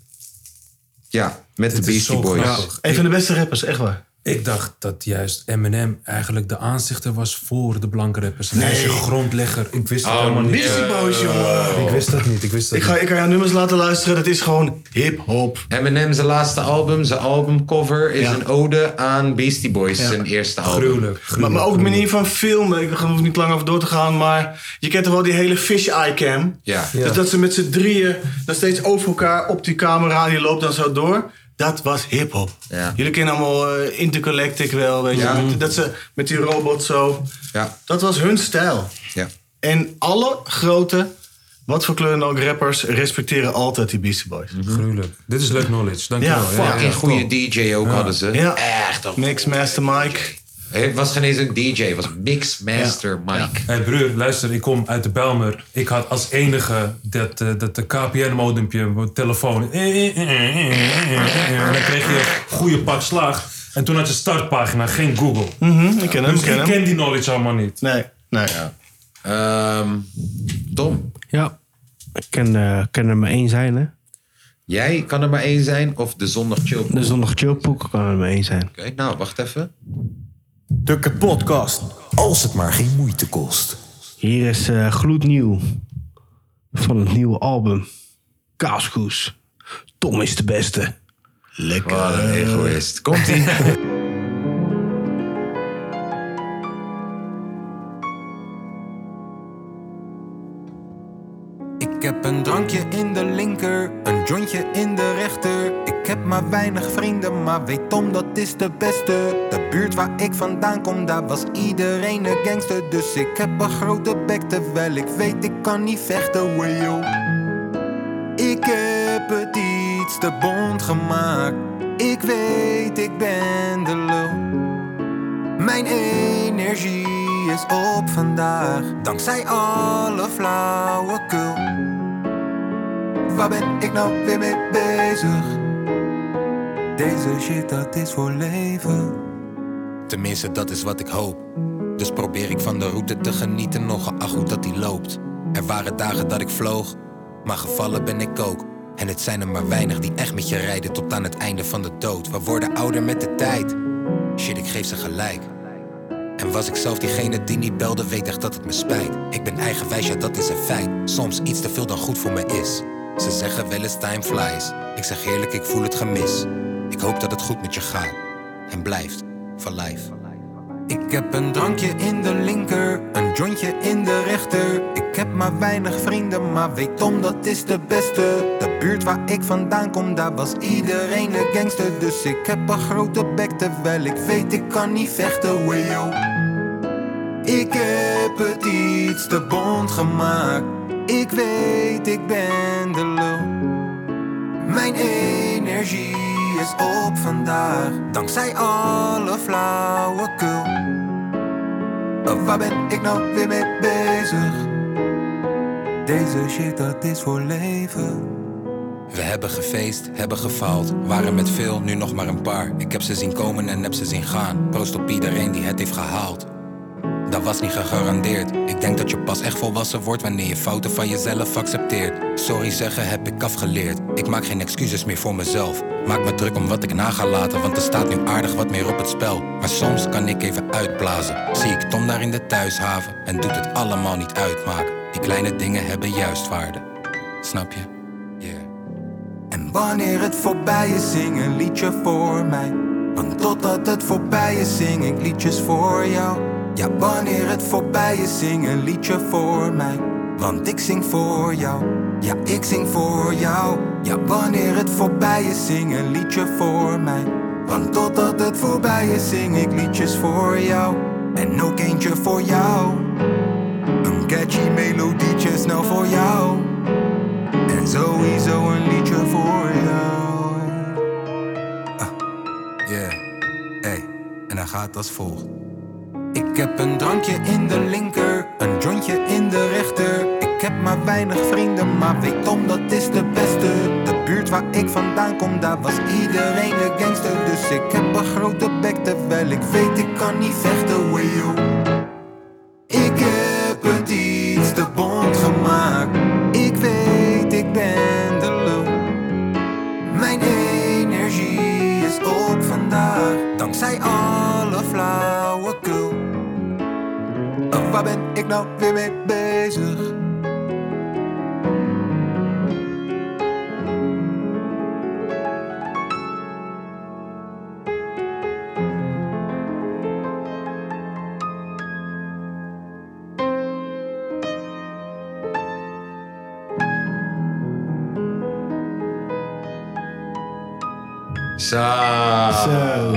[SPEAKER 2] Ja, met
[SPEAKER 5] Dit
[SPEAKER 2] de
[SPEAKER 5] is
[SPEAKER 2] Beastie
[SPEAKER 5] zo
[SPEAKER 2] Boys.
[SPEAKER 5] grappig.
[SPEAKER 4] Een van de beste rappers, echt waar.
[SPEAKER 5] Ik dacht dat juist Eminem eigenlijk de aanzichter was voor de blanke rappers. En Hij is een grondlegger. Ik wist
[SPEAKER 4] Oh,
[SPEAKER 5] dat helemaal niet.
[SPEAKER 4] Beastie Boys, jongen.
[SPEAKER 5] Ik wist dat niet. Ik wist dat
[SPEAKER 4] Ik ga,
[SPEAKER 5] niet.
[SPEAKER 4] ik ga jou nummers laten luisteren, dat is gewoon hip-hop.
[SPEAKER 2] Eminem, zijn laatste album, zijn albumcover is
[SPEAKER 4] Ja.
[SPEAKER 2] een ode aan Beastie Boys,
[SPEAKER 4] Ja.
[SPEAKER 2] zijn eerste album.
[SPEAKER 4] Maar, maar ook de manier van filmen, ik hoef niet lang over door te gaan, maar je kent toch wel die hele fish-eye cam?
[SPEAKER 2] Ja.
[SPEAKER 4] Dus dat ze met z'n drieën dan steeds over elkaar op die camera, die loopt dan zo door. Dat was hip-hop.
[SPEAKER 2] Ja.
[SPEAKER 4] Jullie kennen allemaal eh, Intergalactic wel, weet je.
[SPEAKER 2] Ja.
[SPEAKER 4] met- dat ze met die robot zo.
[SPEAKER 2] Ja.
[SPEAKER 4] Dat was hun stijl.
[SPEAKER 2] Ja.
[SPEAKER 4] En alle grote, wat voor kleur dan ook rappers, respecteren altijd die Beastie Boys.
[SPEAKER 5] Gruwelijk. Dit is leuk knowledge.
[SPEAKER 4] Ja,
[SPEAKER 5] Dankjewel.
[SPEAKER 4] fucking
[SPEAKER 2] goede DJ ook
[SPEAKER 5] Ja.
[SPEAKER 2] hadden ze.
[SPEAKER 4] Ja.
[SPEAKER 2] Echt. een-
[SPEAKER 4] Mix Master Mike.
[SPEAKER 2] Het was geen eens een DJ, het was Mixmaster Mike.
[SPEAKER 5] Hé broer, luister, ik kom uit de Belmer. Ik had als enige dat, eh, dat de KPN-modempje op mijn telefoon. En dan kreeg je een goede pak slaag. En toen had je startpagina, geen Google.
[SPEAKER 4] Mhm, ik ken hem,
[SPEAKER 5] dus
[SPEAKER 4] ik ken
[SPEAKER 5] ik
[SPEAKER 4] hem.
[SPEAKER 5] ken die knowledge allemaal niet.
[SPEAKER 4] Nee, nee.
[SPEAKER 2] Ehm, Tom,
[SPEAKER 3] Ja. Ik ken, eh, kan er maar één zijn, hè?
[SPEAKER 2] jij kan er maar één zijn of de zondag chill. Oké,
[SPEAKER 3] De zondag chillpoek kan er maar één zijn.
[SPEAKER 2] nou, wacht even.
[SPEAKER 16] De podcast. Als het maar geen moeite kost.
[SPEAKER 3] Hier is eh, gloednieuw van het nieuwe album. Kaaskoes. Tom is de beste.
[SPEAKER 4] Lekker.
[SPEAKER 2] Wat een egoïst. Komt-ie.
[SPEAKER 9] Ik heb een drankje in de linker, een jointje in de rechter. Ik heb maar weinig vrienden, maar weet Tom dat is de beste. De buurt waar ik vandaan kom, daar was iedereen een gangster. Dus ik heb een grote bek, terwijl ik weet ik kan niet vechten, wayo. Ik heb het iets te bond gemaakt. Ik weet, ik ben de lul. Mijn energie is op vandaag, dankzij alle flauwekul. Waar ben ik nou weer mee bezig? Deze shit, dat is voor leven.
[SPEAKER 16] Tenminste, dat is wat ik hoop.
[SPEAKER 9] Dus probeer ik van de route te genieten, nog geacht hoe dat die loopt. Er waren dagen dat ik vloog, maar gevallen ben ik ook. En het zijn er maar weinig die echt met je rijden tot aan het einde van de dood. We worden ouder met de tijd. Shit, ik geef ze gelijk. En was ik zelf diegene die niet belde, weet echt dat het me spijt. Ik ben eigenwijs, ja dat is een feit. Soms iets te veel dan goed voor me is. Ze zeggen wel eens time flies. Ik zeg eerlijk, ik voel het gemis. Ik hoop dat het goed met je gaat en blijft van life. Ik heb een drankje in de linker, een jointje in de rechter. Ik heb maar weinig vrienden, maar weet Tom dat is de beste. De buurt waar ik vandaan kom, daar was iedereen een gangster. Dus ik heb een grote bek, terwijl ik weet ik kan niet vechten, wayo. Ik heb het iets te bond gemaakt. Ik weet, ik ben de lul. Mijn energie is op vandaag, dankzij alle flauwekul. Eh, Waar ben ik nou weer mee bezig? Deze shit, dat is voor leven.
[SPEAKER 16] We hebben gefeest, hebben gefaald. Waren met veel, nu nog maar een paar. Ik heb ze zien komen en heb ze zien gaan. Proost op iedereen die het heeft gehaald.
[SPEAKER 9] Dat was niet gegarandeerd. Ik denk dat je pas echt volwassen wordt wanneer je fouten van jezelf accepteert. Sorry zeggen heb ik afgeleerd. Ik maak geen excuses meer voor mezelf. Maak me druk om wat ik na ga laten, want er staat nu aardig wat meer op het spel. Maar soms kan ik even uitblazen. Zie ik Tom daar in de thuishaven en doet het allemaal niet uitmaken. Die kleine dingen hebben juist waarde. Snap je? En wanneer het voorbij is, zing een liedje voor mij. Want totdat het voorbij is, zing ik liedjes voor jou. Ja, wanneer het voorbij is, zing een liedje voor mij. Want ik zing voor jou. Ja, ik zing voor jou. Ja, wanneer het voorbij is, zing een liedje voor mij. Want totdat het voorbij is, zing ik liedjes voor jou. En ook eentje voor jou. Een catchy melodietje snel voor jou. En sowieso een liedje voor jou. Ah,
[SPEAKER 16] Yeah. Hey, en dan gaat als volgt.
[SPEAKER 9] Ik heb een drankje in de linker, een jointje in de rechter. Ik heb maar weinig vrienden, maar weet Tom dat is de beste. De buurt waar ik vandaan kom, daar was iedereen een gangster. Dus ik heb een grote bek, terwijl ik weet ik kan niet vechten, wayo. Ik
[SPEAKER 11] Oh, waar ben ik nou weer mee bezig?
[SPEAKER 2] Zo.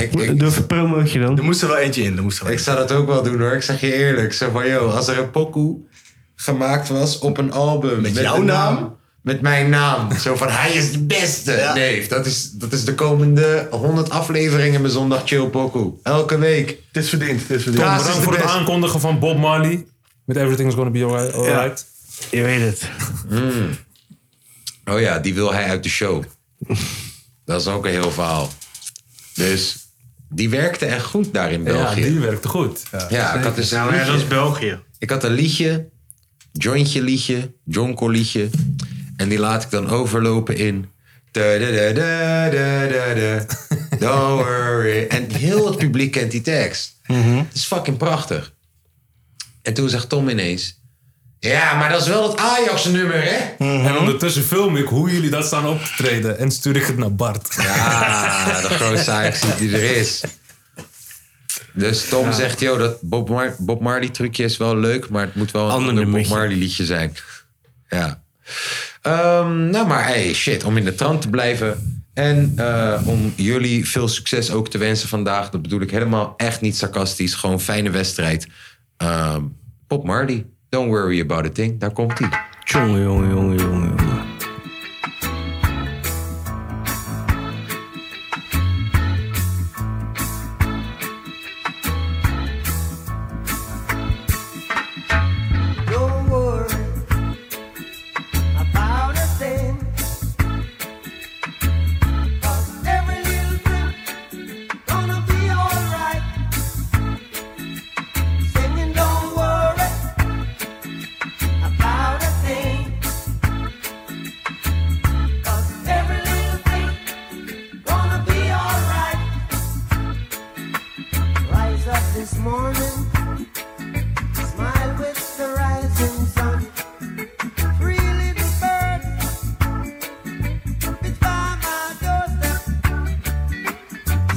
[SPEAKER 2] Ik, ik,
[SPEAKER 3] Durf een promootje dan.
[SPEAKER 4] Er moest er wel eentje in. Er moest er wel
[SPEAKER 2] ik zou dat ook wel doen hoor. Ik zeg je eerlijk. Zo van, joh, als er een pokoe gemaakt was op een album. Met,
[SPEAKER 4] jouw
[SPEAKER 2] een
[SPEAKER 4] naam?
[SPEAKER 2] Met mijn naam. Zo van, hij is de beste. Nee, dat is, dat is de komende 100 afleveringen mijn zondag chill pokoe. Elke week.
[SPEAKER 4] Het is verdiend. Het is
[SPEAKER 5] Tom,
[SPEAKER 2] verdiend. Klaas is
[SPEAKER 5] bedankt
[SPEAKER 2] de
[SPEAKER 5] voor het
[SPEAKER 2] best.
[SPEAKER 5] aankondigen van Bob Marley. Met Everything's Gonna Be Alright. alright.
[SPEAKER 3] Je weet het.
[SPEAKER 2] Oh ja, die wil hij uit de show. dat is ook een heel verhaal. Dus die werkte echt goed daar in België.
[SPEAKER 5] Ja, die werkte goed. Ja,
[SPEAKER 2] Ja, ik had dus een liedje.
[SPEAKER 3] België.
[SPEAKER 2] Ik had een liedje, jointje liedje, jonko liedje. En die laat ik dan overlopen in... da, da, da, da, da, da, da. Don't worry. En heel het publiek kent die tekst. Het is fucking prachtig. En toen zegt Tom ineens... Ja, maar dat is wel het Ajax-nummer, hè?
[SPEAKER 5] En ondertussen film ik hoe jullie dat staan op te treden. En stuur ik het naar Bart.
[SPEAKER 2] Ja, de grootste ajax die er is. Dus Tom zegt, joh, dat Bob, Mar- Bob Marley trucje is wel leuk, maar het moet wel een ander, Bob Marley liedje zijn. Ja. Ehm, nou, maar hey, shit, om in de trant te blijven. En eh, om jullie veel succes ook te wensen vandaag. Dat bedoel ik helemaal echt niet sarcastisch. Gewoon fijne wedstrijd. Ehm, Bob Marley, don't worry about a thing. Daar komt hij.
[SPEAKER 3] Jongen, jongen, jongen, jongen.
[SPEAKER 11] Don't worry about a thing. 'Cause every little thing gonna be alright. Singing, don't worry about a thing. 'Cause every little thing gonna be alright. Rise up this morning. Smile with the rising sun. Free little bird, it's by my doorstep.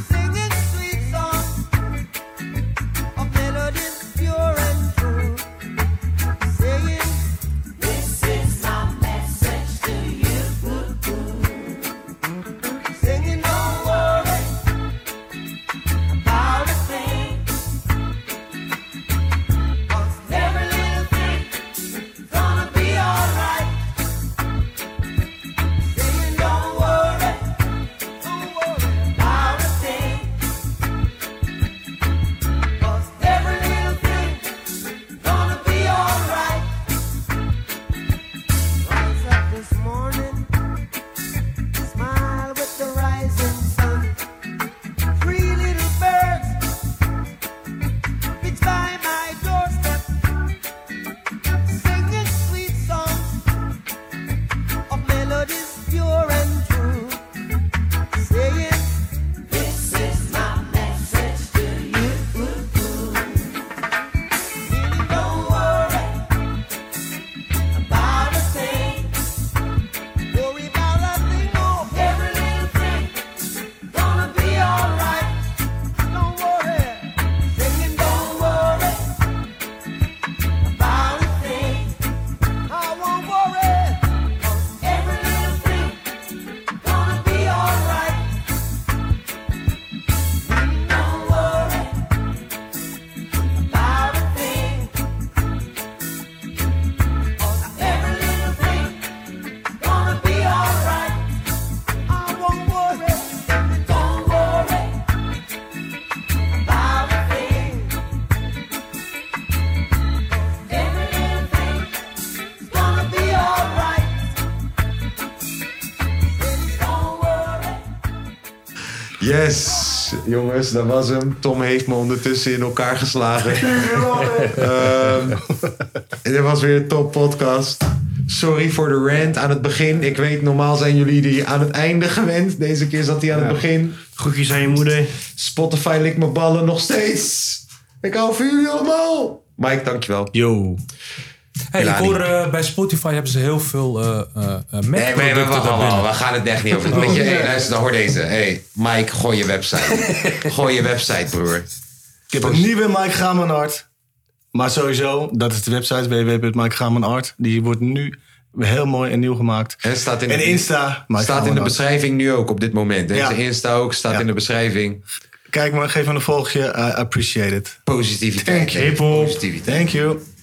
[SPEAKER 11] Singing sweet songs of melodies pure and true. Saying, This is my message to you. Singing, don't worry about a thing. Every little thing's gonna be alright. Saying don't worry, don't worry about a thing. 'Cause every little thing's gonna be alright. Rise up this morning, smile with the rising sun. Free little birds, it's by my doorstep. Singing sweet songs of melodies pure and true. Saying, This is my message to you. Really don't worry about a thing. Worry about a thing, no. Every little thing gonna be alright. Don't worry. Singing, don't worry about a thing. I won't worry. 'Cause every little thing gonna be alright. Don't worry about a thing. 'Cause every little thing gonna be alright. I won't worry. Don't worry about a thing. Every little thing is gonna be alright. Don't worry.
[SPEAKER 2] Yes, jongens, dat was hem. Tom heeft me ondertussen in elkaar geslagen. Ehm, dit was weer een top podcast. Sorry voor de rant aan het begin. Ik weet, normaal zijn jullie die aan het einde gewend. Deze keer zat hij aan het begin.
[SPEAKER 3] Groetjes aan je moeder.
[SPEAKER 2] Spotify likt mijn ballen nog steeds. Ik hou van jullie allemaal. Mike, dankjewel. Yo.
[SPEAKER 5] Hey, ik
[SPEAKER 2] Elani.
[SPEAKER 5] hoor eh, bij Spotify hebben ze heel veel eh eh eh, Mac-producten
[SPEAKER 2] Nee, nee, nee, wacht
[SPEAKER 5] daar
[SPEAKER 2] allemaal.
[SPEAKER 5] binnen.
[SPEAKER 2] We gaan het echt niet over. Weet je, hey, luister, dan hoor deze. Hey, Mike, gooi je website. gooi je website, broer.
[SPEAKER 4] Ik heb een nieuwe Mike Gamanart. Maar sowieso, dat is de website www.mikegamanart. Die wordt nu heel mooi en nieuw gemaakt.
[SPEAKER 2] En staat in
[SPEAKER 4] en
[SPEAKER 2] de-
[SPEAKER 4] Insta. Mike
[SPEAKER 2] staat in de
[SPEAKER 4] Gamanart.
[SPEAKER 2] beschrijving nu ook op dit moment. Deze
[SPEAKER 4] Ja.
[SPEAKER 2] Insta ook staat in de beschrijving.
[SPEAKER 4] Kijk maar, geef me een volgje. I appreciate it.
[SPEAKER 2] Positiviteit.
[SPEAKER 4] Thank you. Positiviteit. Thank you.